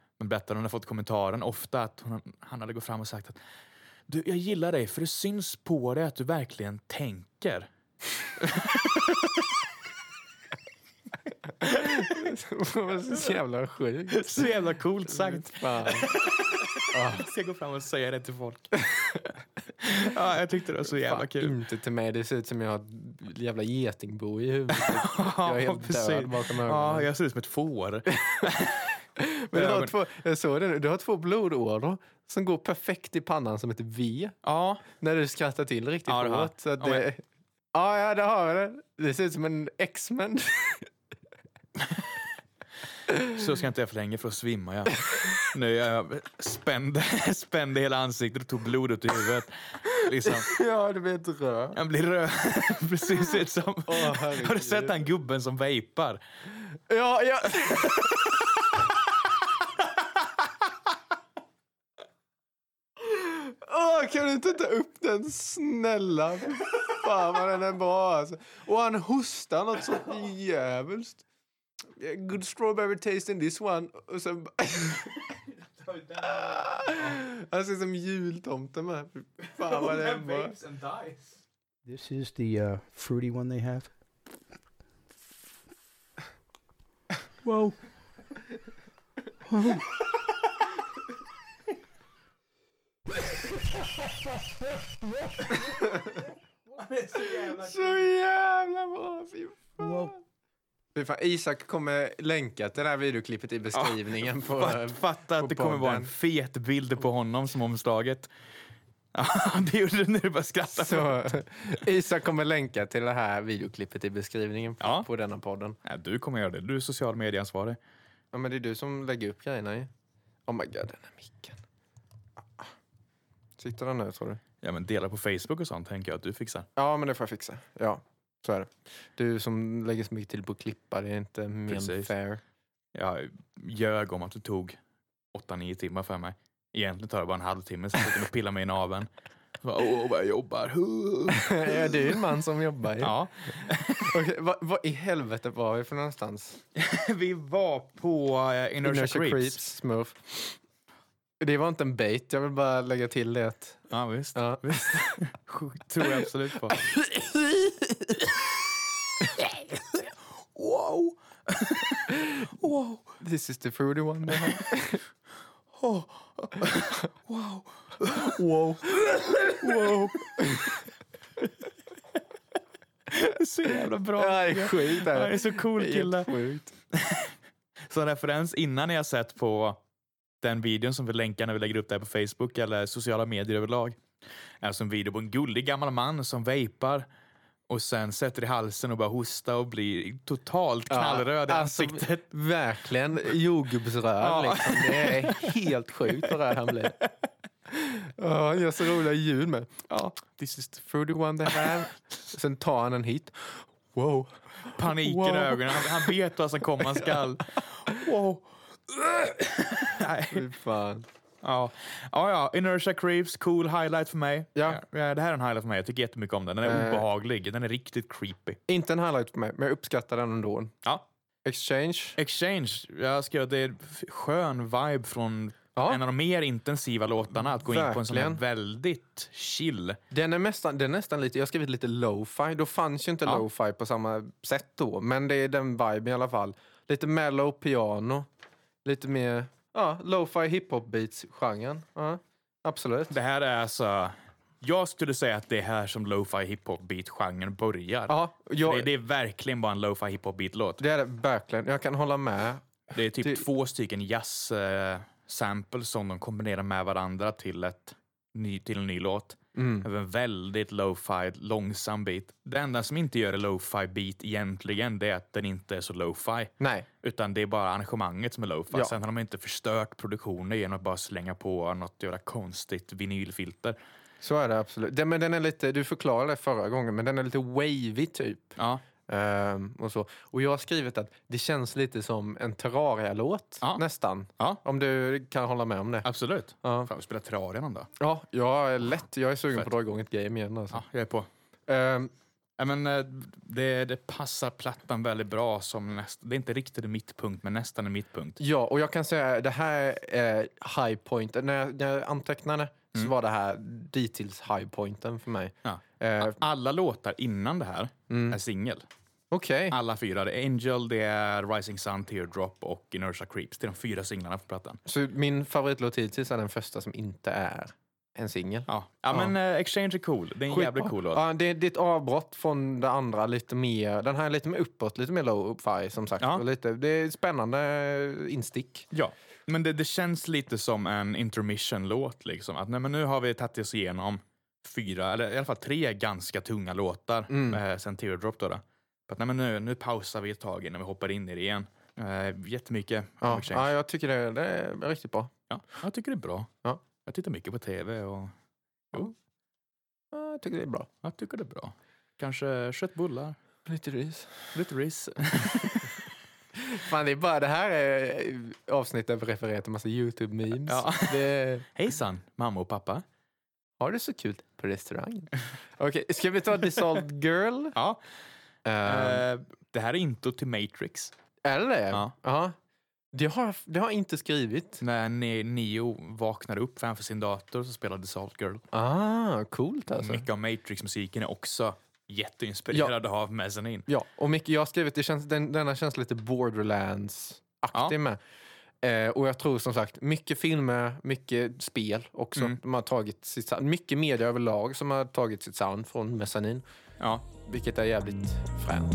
Men berättar hon har fått kommentaren ofta att hon, han hade gått fram och sagt att du, jag gillar dig för det syns på dig att du verkligen tänker. så jävla sjukt. Så jävla coolt sagt. Fan. Jag ska gå fram och säga det till folk. ja, jag tyckte det var så jävla Fan, kul. Inte till mig. Det ser ut som jag har ett jävla getingbo i huvudet. Jag är helt död bakom ögonen. Ja, jag ser ut som ett får. Men du, har ögon. två, jag såg det nu. du har två blodådror som går perfekt i pannan som ett V. Ja. När du skrattar till riktigt Ja, det har jag. hårt. Så att Ja, men- det, ja, ja, det har jag. det. Det ser ut som en X-Men. Så ska inte jag förlänga för att svimmar jag. Nu jag spände, spände hela ansiktet och tog blod ut i huvudet. Liksom. ja, det blir ett rör. Han blir röd. Precis ser ut som... Åh, herregud. Har du sett den gubben som vejpar? Ja, ja. Åh, kan du inte ta upp den snälla? Fy Fan vad den är bra alltså. Och han hostar något så jävligt. Good strawberry taste in this one. Och sen... bara- Han ser ut som jultomten med. Fy Fan vad den är bra. This is the uh, fruity one they have. Whoa. Whoa. Så jävla bra! Fy fan. Fy fan. Isak kommer länka till det här videoklippet i beskrivningen. på, Fatt- Fatta att det kommer vara en podden. fet bild på honom som omslaget. Ja, det gjorde du när du började skratta. Så, Isak kommer länka till det här videoklippet i beskrivningen på, på denna podden. Nej, du kommer göra det. Du är social medieansvarig. Ja, men det är du som lägger upp grejerna ju. Oh my god, den här micken. Ah. Sitter den nu tror du? Ja, men dela på Facebook och sånt tänker jag att du fixar. Ja, men det får jag fixa. Ja, så är det. Du som lägger så mycket tid på att klippa, det är inte mer än Precis. fair. Jag ljög om att det tog 8-9 timmar för mig. Egentligen tar det bara en halvtimme, sen sitter jag och pillar mig i naveln. Så bara, Åh, vad jag jobbar. ja, du är en man som jobbar ju. Ja. Okej, vad, vad i helvete var vi för någonstans? Vi var på eh, Inertia, Creeps. Smurf. Det var inte en bait, jag vill bara lägga till det. att- Ja, visst. Ja. visst. tror jag absolut på. wow! wow! This is the fruity one. they have. Wow! wow. wow. Så jävla bra. Det här är sjukt. det här. Ja, det är så cool Det är kille. helt sjukt. Så en referens innan jag sett på den videon som vi länkar när vi lägger upp det här på Facebook eller sociala medier överlag. Är alltså en video på en gullig gammal man som vejpar och sen sätter i halsen och börjar hosta och blir totalt knallröd i alltså, ansiktet. Verkligen jordgubbsröd. Ja. Liksom. Det är helt sjukt vad röd han blir. Ja, han gör så roliga ljud med. Ja, this is the fruity one they have. Sen tar han en hit. Wow. paniken Wow. i ögonen. Han, han vet vad som komma skall. Wow. Nej. Fan. Ja. ja, ja. Inertia Creeps, cool highlight för mig. Ja. det här är en highlight för mig. Jag tycker jättemycket om den. Den är Eh. obehaglig. Den är riktigt creepy. Inte en highlight för mig, men jag uppskattar den ändå. Ja. Exchange. Exchange. Jag skrev att det är f- skön vibe från en av de mer intensiva låtarna. Att gå in på en sån här Verkligen. väldigt chill. Den är, nästan, den är nästan lite, jag har skrivit lite lo-fi. Då fanns ju inte Ja. lo-fi på samma sätt då. Men det är den viben i alla fall. Lite mellow piano. Lite mer ja, lo-fi hiphop-beats-genren. Ja, absolut. Det här är alltså... Jag skulle säga att det är här som lo-fi hiphop beat-genren börjar. Ja, jag- det, det är verkligen bara en lo-fi hiphop beat-låt. Det är det verkligen. Jag kan hålla med. Det är typ Det- två stycken jazz-samples som de kombinerar med varandra till, ett, ny, till en ny låt. Mm. Över en väldigt lo-fi, långsam beat. Det enda som inte gör det lo-fi beat egentligen, det är att den inte är så lo-fi. Nej. Utan det är bara arrangemanget som är lo-fi. Ja. Sen har de inte förstört produktionen genom att bara slänga på något jävla konstigt vinylfilter. Så är det absolut. Den, men den är lite, du förklarade det förra gången, men den är lite wavy typ. Ja. Ehm, och, så. och jag har skrivit att det känns lite som en Terraria-låt nästan. Om du kan hålla med om det. Absolut. Ja. Fan, vi spelar Terraria någon dag. Ja, jag är lätt. Jag är sugen Fett. på att dra igång ett game igen. Alltså. Ja, jag är på. Ehm, Ja, men, eh, det, det passar plattan väldigt bra. som näst, Det är inte riktigt en mittpunkt, men nästan en mittpunkt. ja, och jag kan säga det här är high point. När jag, när jag antecknade så var det här dittills high pointen för mig. Ja. Eh, Alla låtar innan det här är singel. Okej. Alla fyra. Det är Angel, det är Rising Sun, Teardrop och Inertia Creeps. Det är de fyra singlarna på plattan. Så min favoritlåt hittills är den första som inte är en singel. Ja, ja, men eh, Exchange är cool. Det är en Skitbra. jävligt cool låt. Ja, det, det är ett avbrott från det andra. lite mer, Den här är lite mer uppåt, lite mer low-fi som sagt. Och lite, det är ett spännande eh, instick. Ja, men det, det känns lite som en intermission-låt. Liksom. Att nej, men nu har vi tagit oss igenom fyra, eller i alla fall tre ganska tunga låtar Mm. eh, sen Teardrop. Då, då. Att, nej, men nu, nu pausar vi ett tag innan vi hoppar in i det igen. Eh, jättemycket. Ja, Exchange. ja, jag tycker det, det är riktigt bra. Ja, jag tycker det är bra. Ja. Jag tittar mycket på tv och Ja, jag tycker det är bra. jag tycker det är bra. Kanske köttbullar, Lite ris. lite ris. Fan, det, är bara, det här är avsnittet refererar till massa YouTube-memes. Ja. Det, Hejsan, mamma och pappa. har du så kul på restaurangen? Okej, ska vi ta Dissolved Girl? Ja, Eh, eh, det här är intro till Matrix. eller? Ja. Ja. Det har, det har jag inte skrivit. När Ne- Neo vaknar upp framför sin dator så spelar Dissolved Girl. Ah, coolt alltså. Mycket av Matrix-musiken är också jätteinspirerad av Mezzanine. Ja, och mycket, jag har skrivit, det känns, den, denna känns lite borderlands-aktig med. Eh, och jag tror som sagt, mycket filmer, mycket spel också. Mm. De har tagit sitt, sound- mycket media överlag som har tagit sitt sound från Mezzanin. Ja. Vilket är jävligt Mm. fränt.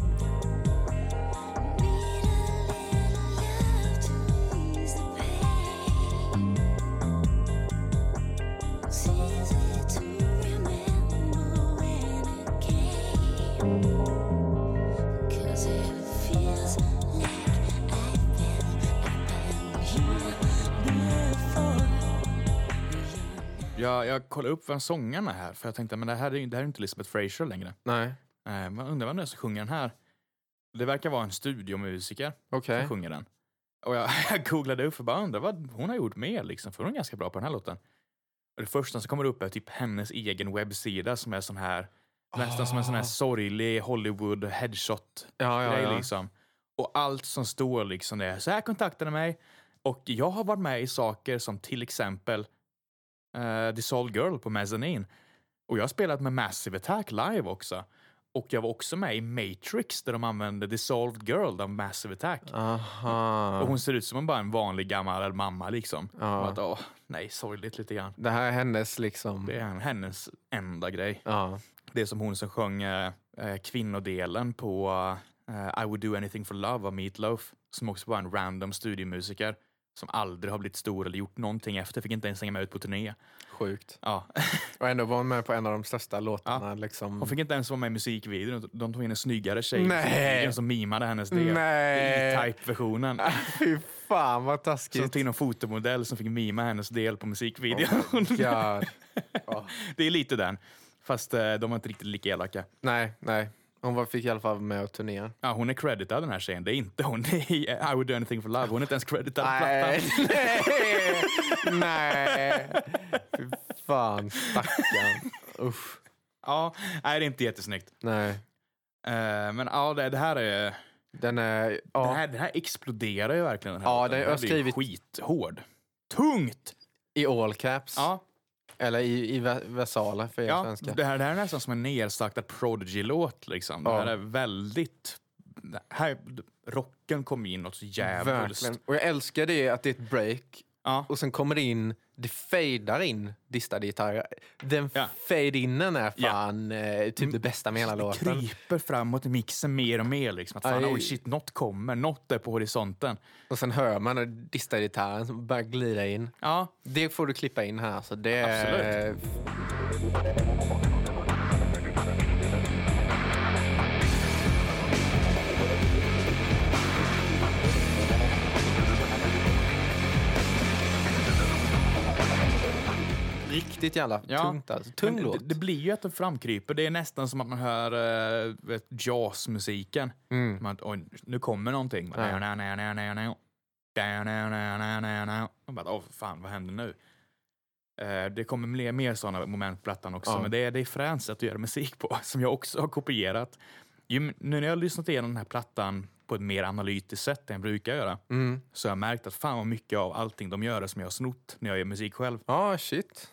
Jag, jag kollade upp vem sångaren är här, för jag tänkte men det här är ju det här är ju inte Elizabeth Fraser längre. Nej, Eh, man undrar vem det är som sjunger den här. Det verkar vara en studiomusiker okej. som sjunger den. Och jag, jag googlade upp och bara undrar vad hon har gjort mer, liksom, för hon är ganska bra på den här låten. Och det första som kommer upp är typ hennes egen webbsida som är sån här, nästan som en sån här sorglig Hollywood headshot Ah. Ja, ja, grej, ja. liksom. Och allt som står liksom det är så här kontaktade mig och jag har varit med i saker som till exempel uh, Dissolved Girl på Mezzanine. Och jag har spelat med Massive Attack live också. Och jag var också med i Matrix där de använde Dissolved Girl av Massive Attack. Aha. Och hon ser ut som en- bara en vanlig gammal mamma liksom. Ja. Och att, åh, nej, sorgligt lite grann. Det här är hennes liksom... Det är hennes enda grej. Ja. Det är som hon som sjöng eh, eh, kvinnodelen på eh, I would do anything for love av Meat Loaf. Som också var en random studiomusiker som aldrig har blivit stor eller gjort någonting efter. Fick inte ens hänga med ut på turné. Sjukt. Ja. Och ändå var hon med på en av de största låtarna. Liksom. Hon fick inte ens vara med i musikvideon. De tog in en snyggare tjej Nej. som- som mimade hennes del. Nej. I type-versionen. Fy fan vad Så de taskigt. tog in en fotomodell som fick mima hennes del på musikvideon. God. det är lite den. Fast eh, de var inte riktigt lika elaka. Nej, nej. Hon var, fick i alla fall vara med och turnera. Ja, hon är creditad den här tjejen. Det är inte hon i I would do anything for love. Hon är inte ens creditad på plattan. nej, nej. Fy fan, stackarn. Usch. Ja, nej, det är inte jättesnyggt. Nej. Eh, men ja, det, det här är... Den, är, ja. den, här, den här exploderar ju verkligen. Den här Ja, låten. den den har här blir ju skrivit- skithård. Tungt! I all caps. Ja, Eller i, i ve- versaler för er ja svenskar. det, här, det här är nästan som en nerstartad Prodigy-låt. Liksom. Det Ja. här är väldigt... Här, rocken kom in något så djävulskt. Verkligen. Och jag älskar det att det är ett break Ja. och sen kommer det in, det fejdar in distade gitarrer. Den Ja. fade-innen är fan eh, typ det bästa med hela Det låten. kryper framåt i mixen mer och mer. Liksom. Att fan, Aj. oj shit, något kommer. Något är på horisonten. Och sen hör man den distade gitarren som börjar glida in. Ja, Det får du klippa in här. Så det Absolut. Riktigt jävla Ja. tungt alltså. Tung Men låt. Det, det blir ju att den framkryper. Det är nästan som att man hör eh, vet, jazzmusiken. Mm. Man, oj, nu kommer någonting. Man, Ja. na, na, na, na, na. Da, na, na, na, na, na. Man bara, åh fan, vad händer nu? Eh, Det kommer mer, mer sådana moment på plattan också, Ja. men det är, det är fränt att göra musik på, som jag också har kopierat. Ju, m- nu när jag har lyssnat igenom den här plattan på ett mer analytiskt sätt än jag brukar göra, Mm. så har jag märkt att fan vad mycket av allting de gör är som jag har snott när jag gör musik själv. Ja, shit.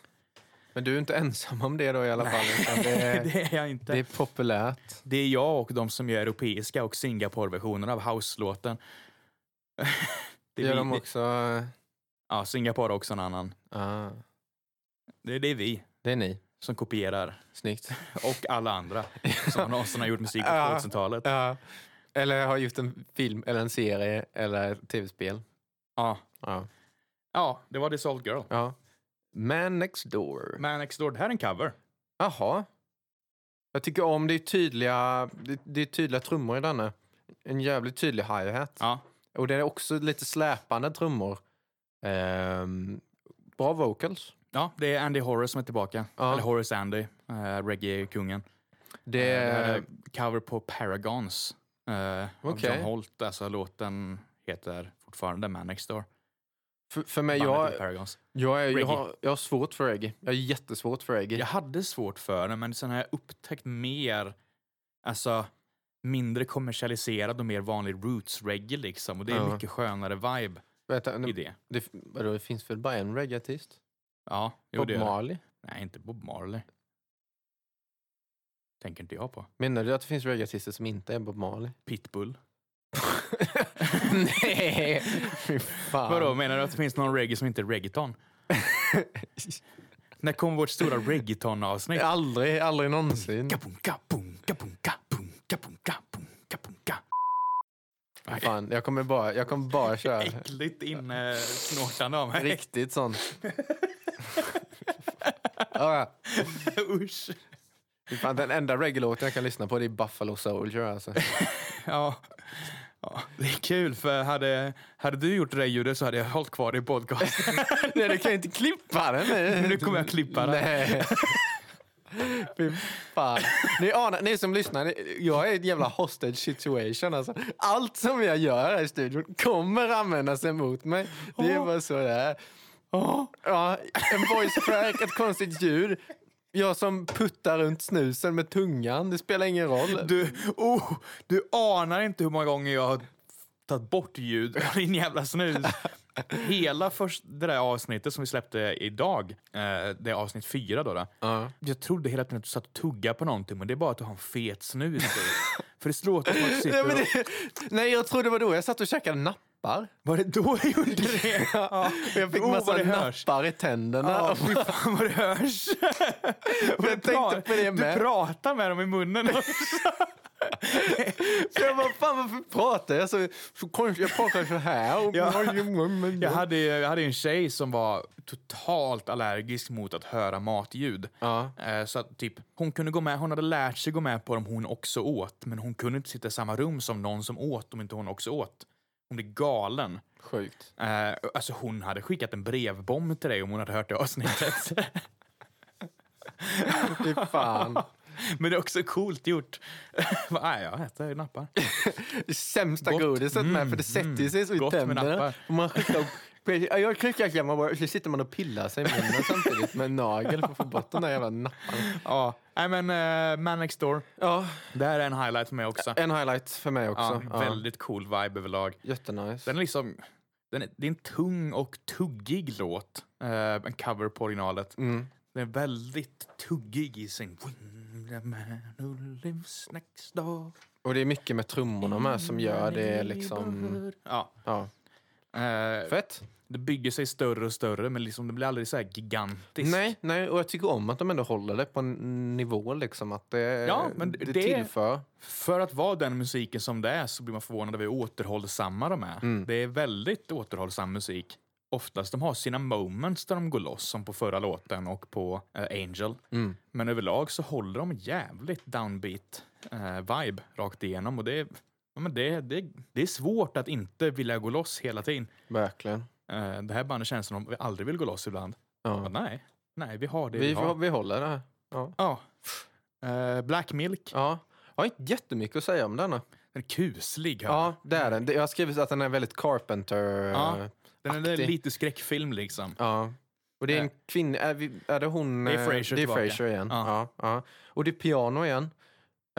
Men du är inte ensam om det då i alla fall. utan Det är, det är jag inte. det är populärt. Det är jag och de som gör europeiska och Singapore-versionen av House-låten. det Det är gör vi, de det- också. Ja, Singapore har också en annan. Ah, Det, det är vi det är ni. som kopierar. Snyggt. Och alla andra som någonsin har gjort musik på Ja. 2000-talet. Ja. Eller har gjort en film, eller en serie, eller ett tv-spel. Ja. Ja. ja, det var The Salt Girl. ja. Man Next Door. Man Next Door, det här är en cover. Jaha. Jag tycker om det är tydliga, det, det är tydliga trummor i denna. En jävligt tydlig hi-hat. Ja. Och det är också lite släpande trummor. Ehm, bra vocals. ja, det är Andy Horace som är tillbaka. Ja. Eller Horace Andy, eh, reggae-kungen. Det Eh, det här är, är cover på Paragons eh, av Okej. John Holt. Alltså låten heter fortfarande Man Next Door. för, för mig, Bandet jag, heter Paragons. jag, är, jag, Reggae. har, jag har svårt för reggae. Jag är jättesvårt för reggae. Jag hade svårt för den, men sen har jag upptäckt mer, alltså mindre kommersialiserad och mer vanlig roots-reggae liksom. Och det är Ja. mycket skönare vibe Vänta, i nu, det. det, vadå, det finns väl bara en reggaeartist? Ja, jo, Bob det gör det. Marley? Nej, inte Bob Marley. Tänker inte jag på. Menar du att det finns reggaeartister som inte är Bob Marley? Pitbull. Nej! Fy fan. Vadå, menar du att det finns någon reggae som inte är reggaeton? När kom vårt stora reggaeton-avsnitt? Aldrig, aldrig någonsin. Kapunka, punka, punka, punka, punka, punka, punka. Fan, jag kommer bara, jag kommer bara köra Äckligt insnortande av mig. riktigt sånt. Ja, Usch. fy fan, den enda reggae-låten jag kan lyssna på det är Buffalo Soldier alltså. Ja. ja. Det är kul, för hade, hade du gjort det ljudet så hade jag hållit kvar det i podcasten. Nej, du kan ju inte klippa den. nu kommer jag klippa det. Nej. Fy fan. Ni, anar, ni som lyssnar, ni- jag är i ett jävla hostage situation. Alltså. Allt som jag gör här i studion kommer användas emot mig. Det är bara så det är. Ja, en voice crack, ett konstigt ljud. Jag som puttar runt snusen med tungan, det spelar ingen roll. Du, oh, du anar inte hur många gånger jag har tagit bort ljud av din jävla snus. Hela först, det där avsnittet som vi släppte idag, eh, det är avsnitt fyra då. då. Ja. Jag trodde hela tiden att du satt och tuggade på någonting, men det är bara att du har en fet snus. för det låter som att du Nej, sitter men och... det, nej, jag trodde det var då jag satt och käkade nappar. Var det då jag gjorde det? Ja, jag fick Oh, massa vad det hörs. nappar i tänderna. Ja, fy fan vad det hörs. jag tänkte på det med. Du pratar med dem i munnen också. Så jag bara, fan varför pratar jag så, så konstigt? Jag pratar så här. Och Ja. Mm. Jag hade, jag hade en tjej som var totalt allergisk mot att höra matljud. Ja. Eh, Så att typ, hon kunde gå med, hon hade lärt sig gå med på dem hon också åt, men hon kunde inte sitta i samma rum som någon som åt om inte hon också åt. Hon blev galen. Sjukt. Eh, Alltså hon hade skickat en brevbomb till dig om hon hade hört det avsnittet. Fy fan. Men det är också coolt gjort. Bara, Nej, jag äter nappar. Sämsta godiset med, för det sätter ju sig så i Gott med tänderna. nappar. Och man skickar upp... Ja, Jag klickar hemma bara, så sitter man och pillar sig i munnen samtidigt med en nagel för att få bort den där jävla napparen. Ja, nej men uh, Man Next Door. Ja, Det här är en highlight för mig också. en highlight för mig Ja, också. Ja, Väldigt cool vibe överlag. Jättenice. Den är liksom... Den är, det är en tung och tuggig låt. Eh, en cover på originalet. Mm. Den är väldigt tuggig i sin... When the man who lives next door. Och det är mycket med trummorna med som gör det liksom... Ja. Ja. eh, Fett. det bygger sig större och större, men liksom det blir aldrig så här gigantiskt. Nej, nej, och jag tycker om att de ändå håller det på en nivå liksom att det, Ja, men det, det- tillför. För att vara den musiken som det är så blir man förvånad över hur återhållsamma de är. Det är väldigt återhållsam musik. Oftast de har sina moments där de går loss, som på förra låten och på eh, Angel. Men överlag så håller de jävligt downbeat eh, vibe rakt igenom. Och det, är- ja, men det, det, det är svårt att inte vilja gå loss hela tiden. Verkligen. Eh, det här bandet känns som att de aldrig vill gå loss ibland. Ja. Men nej, nej, vi har det vi, Vi, har. vi håller det här. Ja. Eh, Black Milk, Ja. Jag har inte jättemycket att säga om denna. den är kuslig. hör Ja, det är den. Det- Jag har skrivit att den är väldigt Carpenter... Ja. Den är Aktig. lite skräckfilm liksom. Ja. Och det är en Eh. kvinna... Är, vi, är det hon... Det är eh, Frasier det är tillbaka. Frasier igen. Ja. Ja. Ja, Och det är piano igen.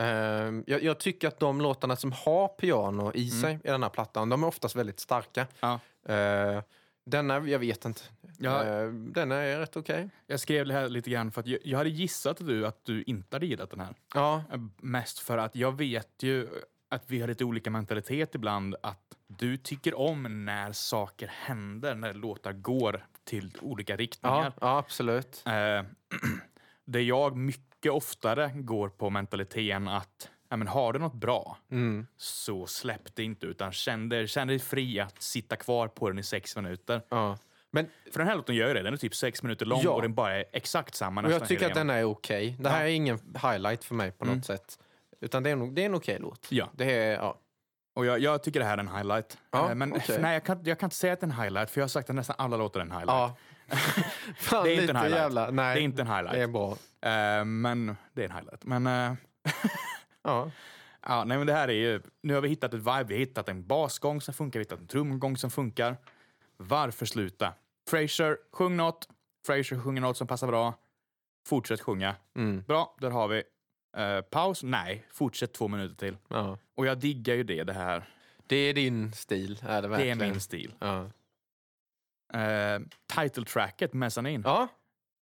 Ehm, jag, jag tycker att de låtarna som har piano i sig i den här plattan, de är oftast väldigt starka. Mm. Ja. Eh, denna, jag vet inte. Ja. Eh, denna är rätt okej. Jag skrev det här lite grann för att jag, jag hade gissat att du, att du inte hade gillat den här. Ja, Eh, Mest för att jag vet ju att vi har lite olika mentalitet ibland. Att du tycker om när saker händer, när låtar går till olika ja, riktningar. ja, absolut. Eh, där jag mycket oftare går på mentaliteten att ja, men har du något bra Mm. så släpp det inte utan känn dig, känn dig fri att sitta kvar på den i sex minuter. Ja. Men För den här låten gör ju det. Den är typ sex minuter lång Ja. och den bara är exakt samma och nästan jag tycker hela att den igenom. är okej. Det här är ingen highlight för mig på något sätt. Utan det är, nog- det är en okej låt. Mm. Ja. Det är, ja. Och jag, jag tycker det här är en highlight. Ja, Eh, Men okej. nej, jag, kan, jag kan inte säga att det är en highlight för jag har sagt att nästan alla låtar är en highlight. ja. Fan, Det är inte en lite highlight. jävla- nej, Det är inte en highlight. Det är bra. Eh, men det är en highlight. Men, eh, Ja. ja, nej, men det här är ju... Nu har vi hittat ett vibe. Vi har hittat en basgång som funkar. Vi har hittat en trumgång som funkar. Varför sluta? Frasier, sjung något. Frasier sjunger något som passar bra. Fortsätt sjunga. Mm. Bra, där har vi. Eh, paus? Nej, fortsätt två minuter till. ja. Och jag diggar ju det, det här. Det är din stil. Är det, verkligen. Det är min stil. Ja. Eh, title tracket, Mezzanin. ja.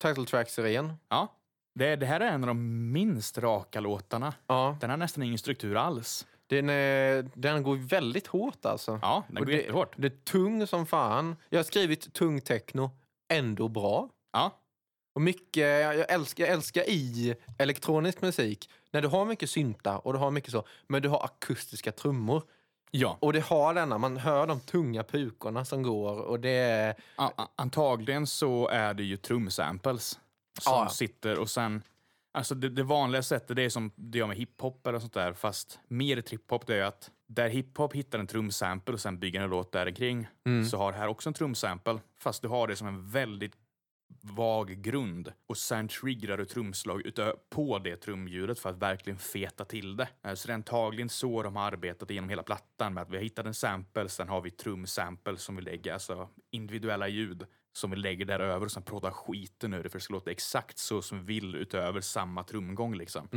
Title tracks är ren. Ja. Det, det här är en av de minst raka låtarna. Ja. Den har nästan ingen struktur alls. Den, är, den går väldigt hårt alltså. Ja, den Och går det, jättehårt. Det är tung som fan. Jag har skrivit tung techno, ändå bra. Ja. Och mycket, jag jag älskar, jag älskar i elektronisk musik när du har mycket synta och du har mycket så, men du har akustiska trummor. Ja. Och det har denna, man hör de tunga pukorna som går och det är... A- a- antagligen så är det ju trumsamples som Ja, ja. sitter och sen... Alltså det, det vanliga sättet det är som det gör med hiphop eller sånt där fast mer trip-hop det är att där hiphop hittar en trumsample och sen bygger en låt där kring så har det här också en trumsample fast du har det som en väldigt vag grund och sen triggar du trumslag utö- på det trumljudet för att verkligen feta till det. Eh, Så det är antagligen så de har arbetat genom hela plattan med att vi har hittat en sample, sen har vi trumsample som vi lägger, alltså individuella ljud som vi lägger där över och sen proddar skiten ur det för det ska låta exakt så som vi vill utöver samma trumgång liksom.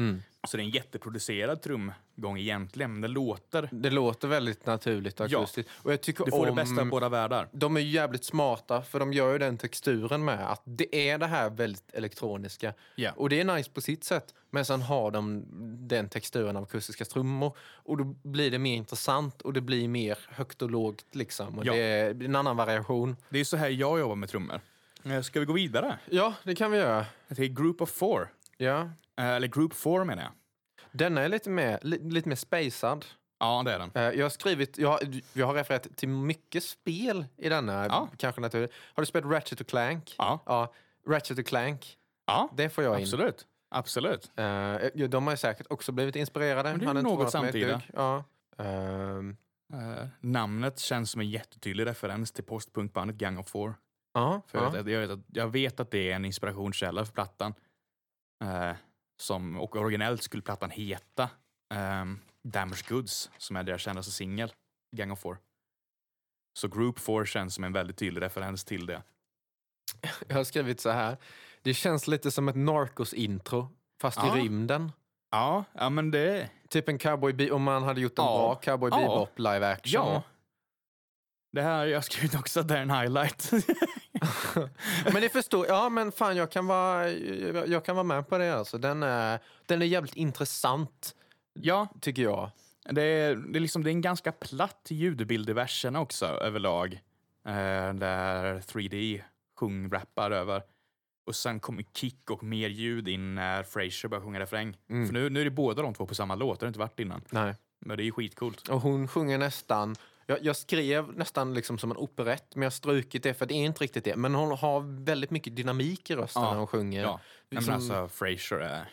Så det är en jätteproducerad trumgång egentligen, men det låter... Det låter väldigt naturligt och Ja. akustiskt. Och jag tycker Du får om... det bästa av båda världar. de är ju jävligt smarta för de gör ju den texturen med att det är det här väldigt elektroniska. Ja. Och det är nice på sitt sätt men sen har de den texturen av akustiska trummor och då blir det mer intressant och det blir mer högt och lågt liksom. Och Ja. Det är en annan variation. Det är så här jag jobbar med trummor. Eh, Ska vi gå vidare? Ja, det kan vi göra. Till Group of Four. Ja. Eh, Eller Group Four menar jag. Denna är lite mer, li, lite mer spacad. Ja, det är den. Eh, Jag har skrivit, jag har, jag har refererat till mycket spel i denna. Ja. Kanske naturligt. Har du spelat Ratchet och Clank? Ja. Ratchet och Clank, Ja, det får jag in. absolut. Absolut. Eh, ja, de har ju säkert också blivit inspirerade. Men det är Han väl inte något varit med ett samtida. dugg. Ja. Ehm, Eh, namnet känns som en jättetydlig referens till postpunkbandet Gang of Four. ja, För jag, vet, ja. att- jag, vet att, jag vet att det är en inspirationskälla för plattan. Eh, Som, och originellt skulle plattan heta ehm, Damaged Goods, som är deras kändaste singel, Gang of Four. Så Group Four känns som en väldigt tydlig referens till det. Jag har skrivit så här. Det känns lite som ett Narcos-intro, fast Ja. i rymden. Ja, ja men det... Typ en cowboy... Be- om man hade gjort en Ja. bra cowboy Ja. bebop live action. Ja. Det här, jag har skrivit också att det är en highlight. Men det förstår Ja, men fan, jag kan vara, jag jag kan vara med på det. Alltså. Den, är, den är jävligt intressant, ja, tycker jag. Det är, det, är liksom, det är en ganska platt ljudbild i verserna också överlag. Eh, där 3D sjungrappar över. Och sen kommer kick och mer ljud in när Fraser börjar sjunga refräng. Mm. För nu, nu är det båda de två på samma låt, det har det inte varit innan. Nej. Men det är ju skitcoolt. Och hon sjunger nästan... Jag, jag skrev nästan liksom som en operett, men jag har strukit det för det är inte riktigt det. Men hon har väldigt mycket dynamik i rösten Ja. när hon sjunger. Ja. Nej, Som- men alltså, Fraser är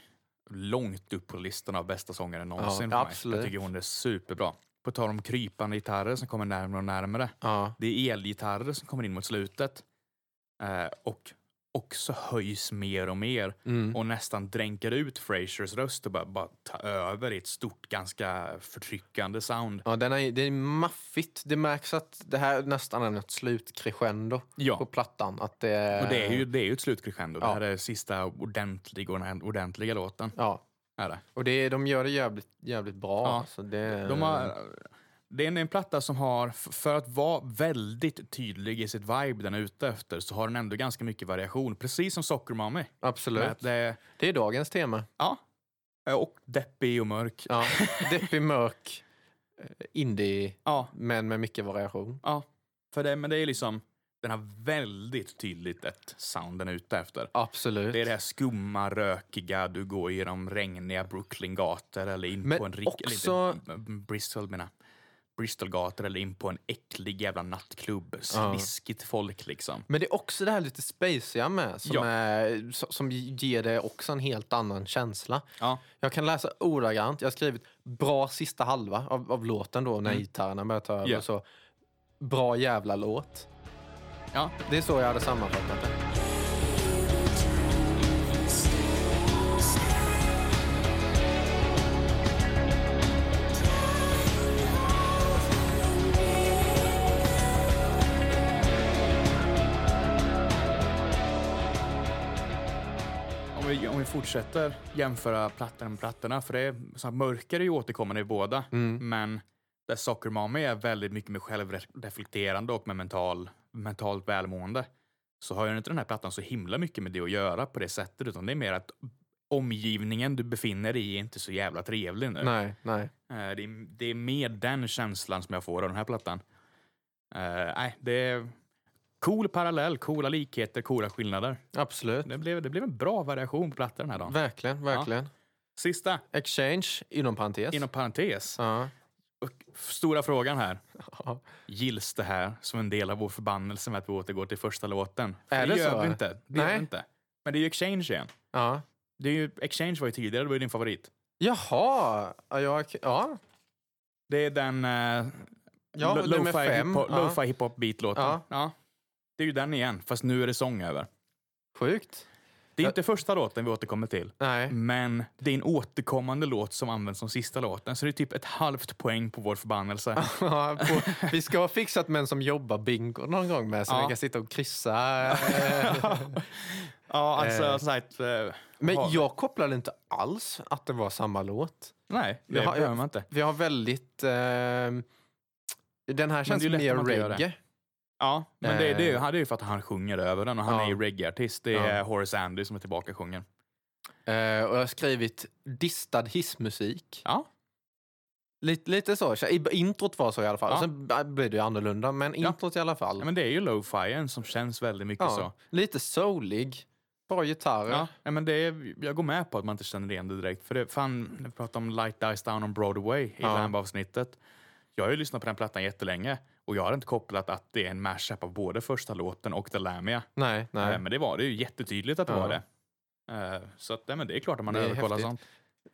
långt upp på listan av bästa sångare någonsin Ja, för mig. absolut. Jag tycker hon är superbra. På tal om krypande gitarrer som kommer närmare och närmare. Ja. Det är elgitarrer som kommer in mot slutet. Eh, och också höjs mer och mer. Mm. Och nästan dränker ut Frasers röst och bara, bara tar över i ett stort, ganska förtryckande sound. Ja, den är, det är maffigt. Det märks att det här nästan är ett slutcrescendo Ja. på plattan. Att det, Och det är ju, det är ju ett slutcrescendo. Eh. Ja. Det här är sista ordentliga, ordentliga låten. Ja, Är det. och det, de gör det jävligt, jävligt bra. Ja. Alltså, det, De har, det är en- en platta som har, f- för att vara väldigt tydlig i sitt vibe den är ute efter, så har den ändå ganska mycket variation. Precis som Sockermami. Absolut. Med att Det är, Det är dagens tema. ja. Och deppig och mörk. Ja. Deppig, mörk, eh, indie, Ja, men med mycket variation. ja. För det, men det är liksom, den har väldigt tydligt ett sound den är ute efter. Absolut. Det är det här skumma, rökiga, du går genom regniga Brooklyn-gator eller in Men på en rik... också- Eller inte, Bristol menar jag. Bristol-gator eller in på en äcklig jävla nattklubb. Sliskigt folk liksom. Men det är också det här lite spaciga med som, Ja. är, so- som ger det också en helt annan känsla. Ja. Jag kan läsa ordagrant. Jag har skrivit bra sista halva av, av låten då när gitarrerna börjar ta över. Mm. Ja. Så, bra jävla låt. Ja. Det är så jag hade sammanfattat det. Om vi, om vi fortsätter jämföra plattorna med plattorna, för det är, så här, mörker är ju återkommande i båda, men där Soccer Mommy är väldigt mycket med självreflekterande och med mental, mentalt välmående, så har ju inte den här plattan så himla mycket med det att göra på det sättet, utan det är mer att omgivningen du befinner dig i är inte så jävla trevlig nu. Nej, nej. Eh, Det är, det är mer den känslan som jag får av den här plattan. Eh, nej, det är cool parallell, coola likheter, coola skillnader. Absolut. Det blev, det blev en bra variation på plattan den här dagen. Verkligen, verkligen. Sista, Exchange, inom parentes. inom parentes. Ja. Och stora frågan här. Gills det här som en del av vår förbannelse med att vi återgår till första låten? För Är det det gör så? vi inte. Det gör vi Nej. inte. Men det är ju Exchange igen. Ja. Det är ju, Exchange var ju tidigare, det var ju din favorit. Jaha! Ja, jag, ja. Det är den eh, Ja, lo- nummer lo-fi fem. hipho- Ja. lo-fi hiphop beat-låten. Ja. Ja. Det är ju den igen, fast nu är det sång över. Sjukt. Det är Ja. inte första låten vi återkommer till, Nej. men det är en återkommande låt som används som sista låten. Så det är typ ett halvt poäng på vår förbannelse. Ja, på, vi ska ha fixat män som jobbar bingo någon gång med så Ja. vi kan sitta och kryssa. eh. Ja, alltså Eh. som sagt... eh, Men har- jag kopplade inte alls att det var samma låt. Nej, det Jag har- behöver man inte. Vi har väldigt... Eh, den här känns ju lätt mer att man inte gör det. reggae. Ja, men det, det, är ju- Eh. han- det är ju för att han sjunger över den och han Ja. är ju reggae-artist. Det är Ja. Horace Andy som är tillbaka och sjunger. Eh, och jag har skrivit distad hissmusik. Ja. Lite, lite så. I, introt var så i alla fall. Ja. Sen b- blev det ju annorlunda, men Ja. introt i alla fall. ja men det är ju lo-fi som känns väldigt mycket Ja. så. Lite soulig. Bra gitarrer. Ja, nej, men det är, jag går med på att man inte känner igen det direkt. För det, fan, när vi pratade om Light Dies Down on Broadway i Ja. Lamb-avsnittet. Jag har ju lyssnat på den plattan jättelänge och jag har inte kopplat att det är en mashup av både första låten och The Lamia. Nej, nej. Eh, Men det var det är ju jättetydligt att det Ja. var det. Eh, Så att, nej, men det är klart att man Det är överkollar häftigt. sånt.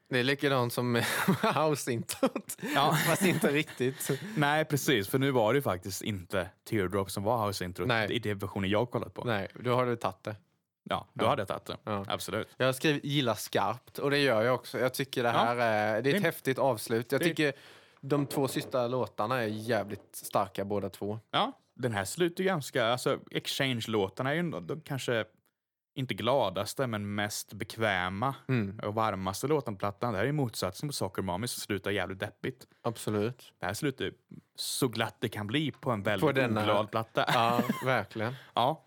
Det är likadant som house-introt. Ja. Fast inte riktigt. Nej, precis. För nu var det ju faktiskt inte Teardrop som var house-introt Nej. i den versionen jag kollat på. Nej, då har du tagit det. Ja, då hade jag tagit det. Absolut. Jag skriver gillar skarpt och det gör jag också. Jag tycker det här är, det är ett häftigt avslut. Jag Det- tycker de två sista låtarna är jävligt starka båda två. Ja, den här slutar ju ganska... Alltså, Exchange-låtarna är ju de, de kanske inte gladaste, men mest bekväma Mm. och varmaste låten på plattan. Det här är ju motsatsen på Soccer Mommy som slutar jävligt deppigt. Absolut. Det här slutar ju så glatt det kan bli på en väldigt På denna- glad platta. Ja, verkligen. ja.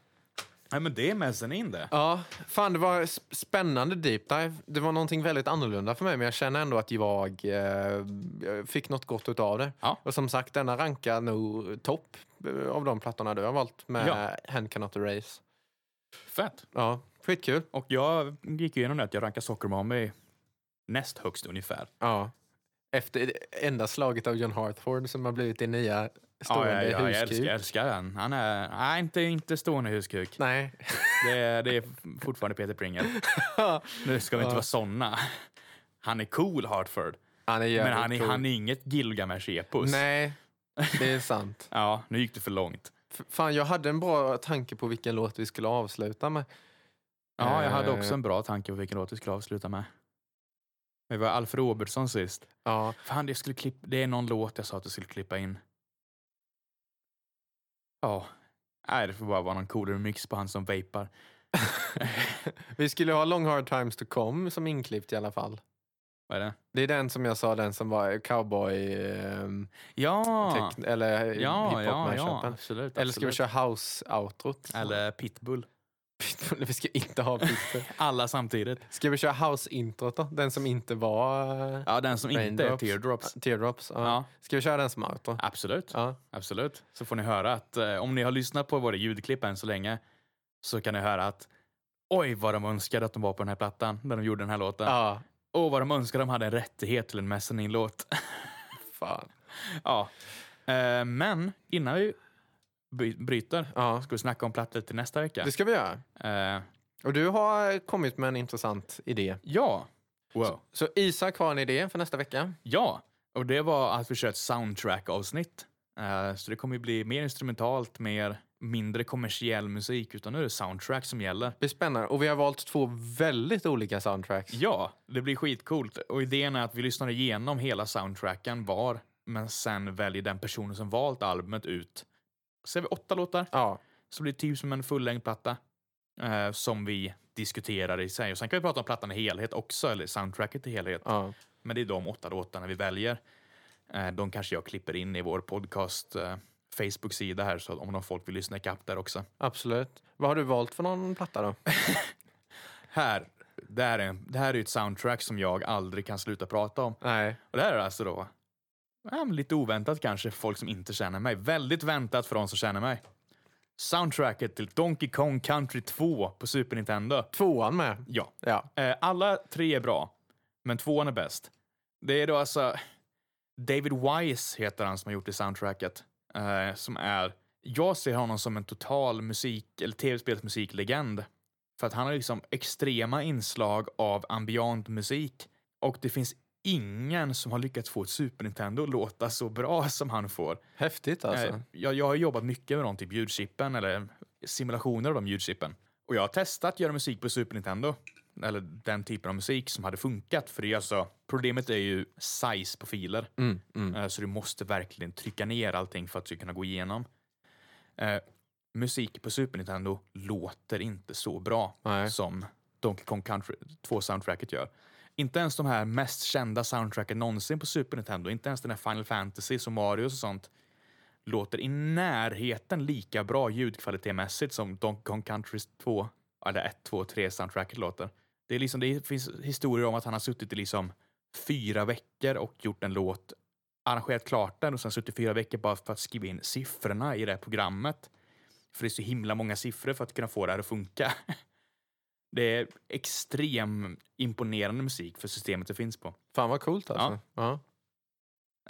Nej, men det är mezzanine det. Ja, fan det var s- spännande deep dive. Det var någonting väldigt annorlunda för mig men jag känner ändå att jag eh, jag fick något gott av det. Och som sagt, denna rankar nog topp eh, av de plattorna du har valt med Ja. Hand Cannot Erase. Fett. Ja, skitkul. Och jag gick igenom det att jag rankar Soccer Mommy näst högst ungefär. Ja. Efter det enda slaget av John Hartford som har blivit din nya stående ja, ja, ja, jag, huskuk. älskar, jag älskar den. Han är nej, inte, inte stående huskuk. Nej. Det, är- det är fortfarande Peter Pringle. Nu ska vi inte Ja. vara såna. Han är cool, Hartford. Han är men jävligt han är, cool. han är inget Gilgamesh-epos. Nej, det är sant. Ja, nu gick det för långt. F- Fan, jag hade en bra tanke på vilken låt vi skulle avsluta med. Ja, jag hade Eh, också en bra tanke på vilken låt vi skulle avsluta med. Det var Alf Robertson sist. Ja. Fan, det, skulle klipp, det är någon låt jag sa att du skulle klippa in. Ja. Nej, det får bara vara någon coolare mix på han som vapar. Vi skulle ha Long Hard Times To Come som inklippt i alla fall. Vad är det? Det är den som jag sa, den som var cowboy... ehm, Ja! teck- eller Ja, ja, ja, hiphop-mashupen. absolut. Eller ska vi absolut. köra house-outrot? Eller pitbull. Pitbull, vi ska inte ha pitbull. Alla samtidigt. Ska vi köra house-introt då? Den som inte var... eh, Ja, den som inte är Raindrops. teardrops. Teardrops, ja. Ja. Ska vi köra den som outro? Absolut. Ja. Absolut. Så får ni höra att eh, om ni har lyssnat på våra ljudklipp än så länge så kan ni höra att oj vad de önskade att de var på den här plattan när de gjorde den här låten. Ja. Och vad de önskade de hade en rättighet till en Messanin-låt. Fan. ja. Eh, men innan vi by- bryter Ja. ska vi snacka om plattor till nästa vecka. Det ska vi göra. Eh, Och du har kommit med en intressant idé. ja. Wow. Så Isak har en idé för nästa vecka. Ja, och det var att vi kör ett soundtrack-avsnitt. Eh, Så det kommer ju bli mer instrumentalt, mer mindre kommersiell musik, utan nu är det soundtrack som gäller. Det är spännande. Och vi har valt två väldigt olika soundtracks. Ja, det blir skitcoolt. Och idén är att vi lyssnar igenom hela soundtracken var, men sen väljer den personen som valt albumet ut. Ser vi åtta låtar, Ja. så blir det typ som en fullängdplatta eh, som vi diskuterar i sig. Och sen kan vi prata om plattan i helhet också, eller soundtracket i helhet. ja. Men det är de åtta låtarna vi väljer. Eh, De kanske jag klipper in i vår podcast eh, Facebook-sida här, så att om de folk vill lyssna ikapp där också. Absolut. Vad har du valt för någon platta då? Här, det här är, en- det här är ju ett soundtrack som jag aldrig kan sluta prata om. Nej. Och det här är alltså då, ja, men lite oväntat kanske, för folk som inte känner mig. Väldigt väntat för de som känner mig. Soundtracket till Donkey Kong Country 2 på Super Nintendo. Tvåan med. Ja. Ja. Eh, Alla tre är bra, men tvåan är bäst. Det är då alltså David Wise heter han som har gjort det soundtracket. Eh, som är, jag ser honom som en total musik, eller tv-spelsmusiklegend. För att han har liksom extrema inslag av ambient musik. Och det finns ingen som har lyckats få ett Super Nintendo att låta så bra som han får. Häftigt alltså. Eh, Jag, jag har jobbat mycket med de typ ljudchippen eller simulationer av de ljudchippen. Och jag har testat att göra musik på Super Nintendo. Eller den typen av musik som hade funkat. För det är alltså, problemet är ju size på filer. Mm, mm. Eh, Så du måste verkligen trycka ner allting för att du ska kunna gå igenom. Eh, musik på Super Nintendo låter inte så bra Nej. som Donkey Kong Country 2-soundtracket gör. Inte ens de här mest kända soundtracken någonsin på Super Nintendo, inte ens den här Final Fantasy som Mario och sånt, låter i närheten lika bra ljudkvalitetmässigt som Donkey Kong Country 2, eller 1, 2, 3 soundtracket låter. Det, är liksom, det finns historier om att han har suttit i liksom fyra veckor och gjort en låt, arrangerat klart den och sen suttit fyra veckor bara för att skriva in siffrorna i det här programmet. För det är så himla många siffror för att kunna få det här att funka. Det är extrem imponerande musik för systemet det finns på. Fan vad coolt alltså. Ja.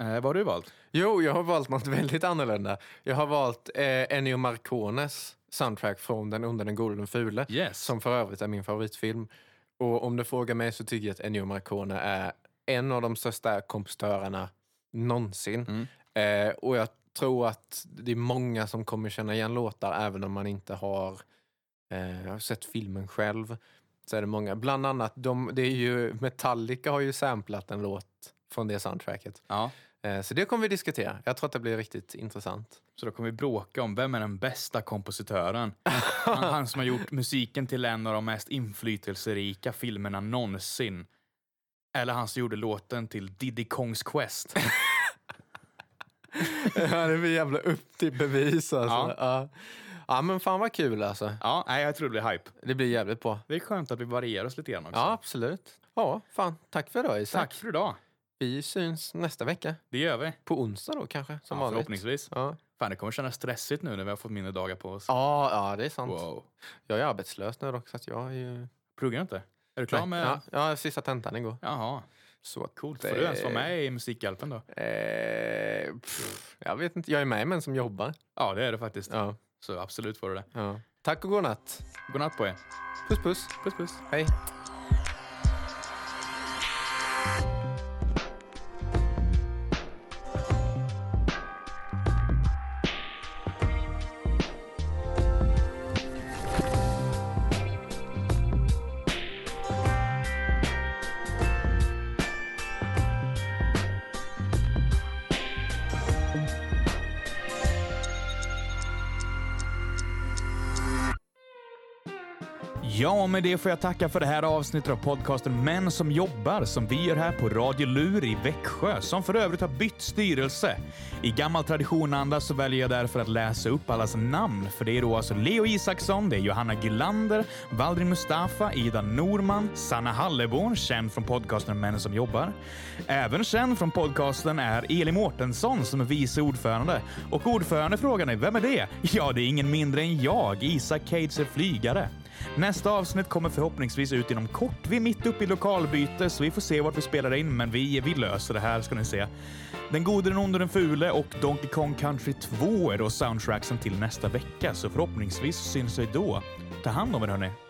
Eh, vad har du valt? Jo, jag har valt något väldigt annorlunda. Jag har valt eh, Ennio Marcones soundtrack från Den onde, den gode, den fule. Yes. Som för övrigt är min favoritfilm. Och om du frågar mig så tycker jag att Ennio Marcone är en av de största kompositörerna någonsin. Eh, och jag tror att det är många som kommer känna igen låtar även om man inte har Eh, jag har sett filmen själv. Så är det många. Bland annat, de, det är ju, Metallica har ju samplat en låt från det soundtracket. Eh, så det kommer vi diskutera. Jag tror att det blir riktigt intressant. Så då kommer vi bråka om vem är den bästa kompositören. Han, han som har gjort musiken till en av de mest inflytelserika filmerna någonsin. Eller han som gjorde låten till Diddy Kongs Quest. ja, det blir jävla upp till bevis alltså. Ja. Ja. men fan vad kul alltså. Ja, nej, jag tror det blir hype. Det blir jävligt bra. Det är skönt att vi varierar oss lite grann också. Ja, absolut. Ja, fan. Tack för idag Isak. Tack för idag. Vi syns nästa vecka. Det gör vi. På onsdag då kanske, som Ja, vanligt. förhoppningsvis. Ja. Fan, det kommer kännas stressigt nu när vi har fått mindre dagar på oss. Ja, ja, det är sant. Wow. Jag är arbetslös nu dock, så att jag är ju... Pluggar du inte? Är du klar Nej, med... ja, ja, sista tentan igår. Jaha. Så Coolt. Får du ens vara med i Musikhjälpen då? Eh, pff, jag vet inte. Jag är med men som jobbar. Ja, det är det faktiskt. Ja, Så absolut får du det. ja. Tack och godnatt. Godnatt på er. Puss, puss. Puss puss. Hej. Ja, med det får jag tacka för det här avsnittet av podcasten Män som jobbar som vi gör här på Radio Lur i Växjö, som för övrigt har bytt styrelse. I gammal traditionanda så väljer jag därför att läsa upp allas namn, för det är då alltså Leo Isaksson, det är Johanna Gylander, Valdrin Mustafa, Ida Norman, Sanna Halleborn, känd från podcasten Män som jobbar. Även känd från podcasten är Eli Mårtensson som är vice ordförande. Och ordförande frågar ni, vem är det? Ja, det är ingen mindre än jag, Isak Keitzer Flygare. Nästa avsnitt kommer förhoppningsvis ut inom kort. Vi är mitt uppe i lokalbyte, så vi får se vart vi spelar in, men vi, vi löser det här ska ni se. Den gode, den onde, den fule och Donkey Kong Country 2 är då soundtracksen till nästa vecka, så förhoppningsvis syns vi då. Ta hand om er hörni.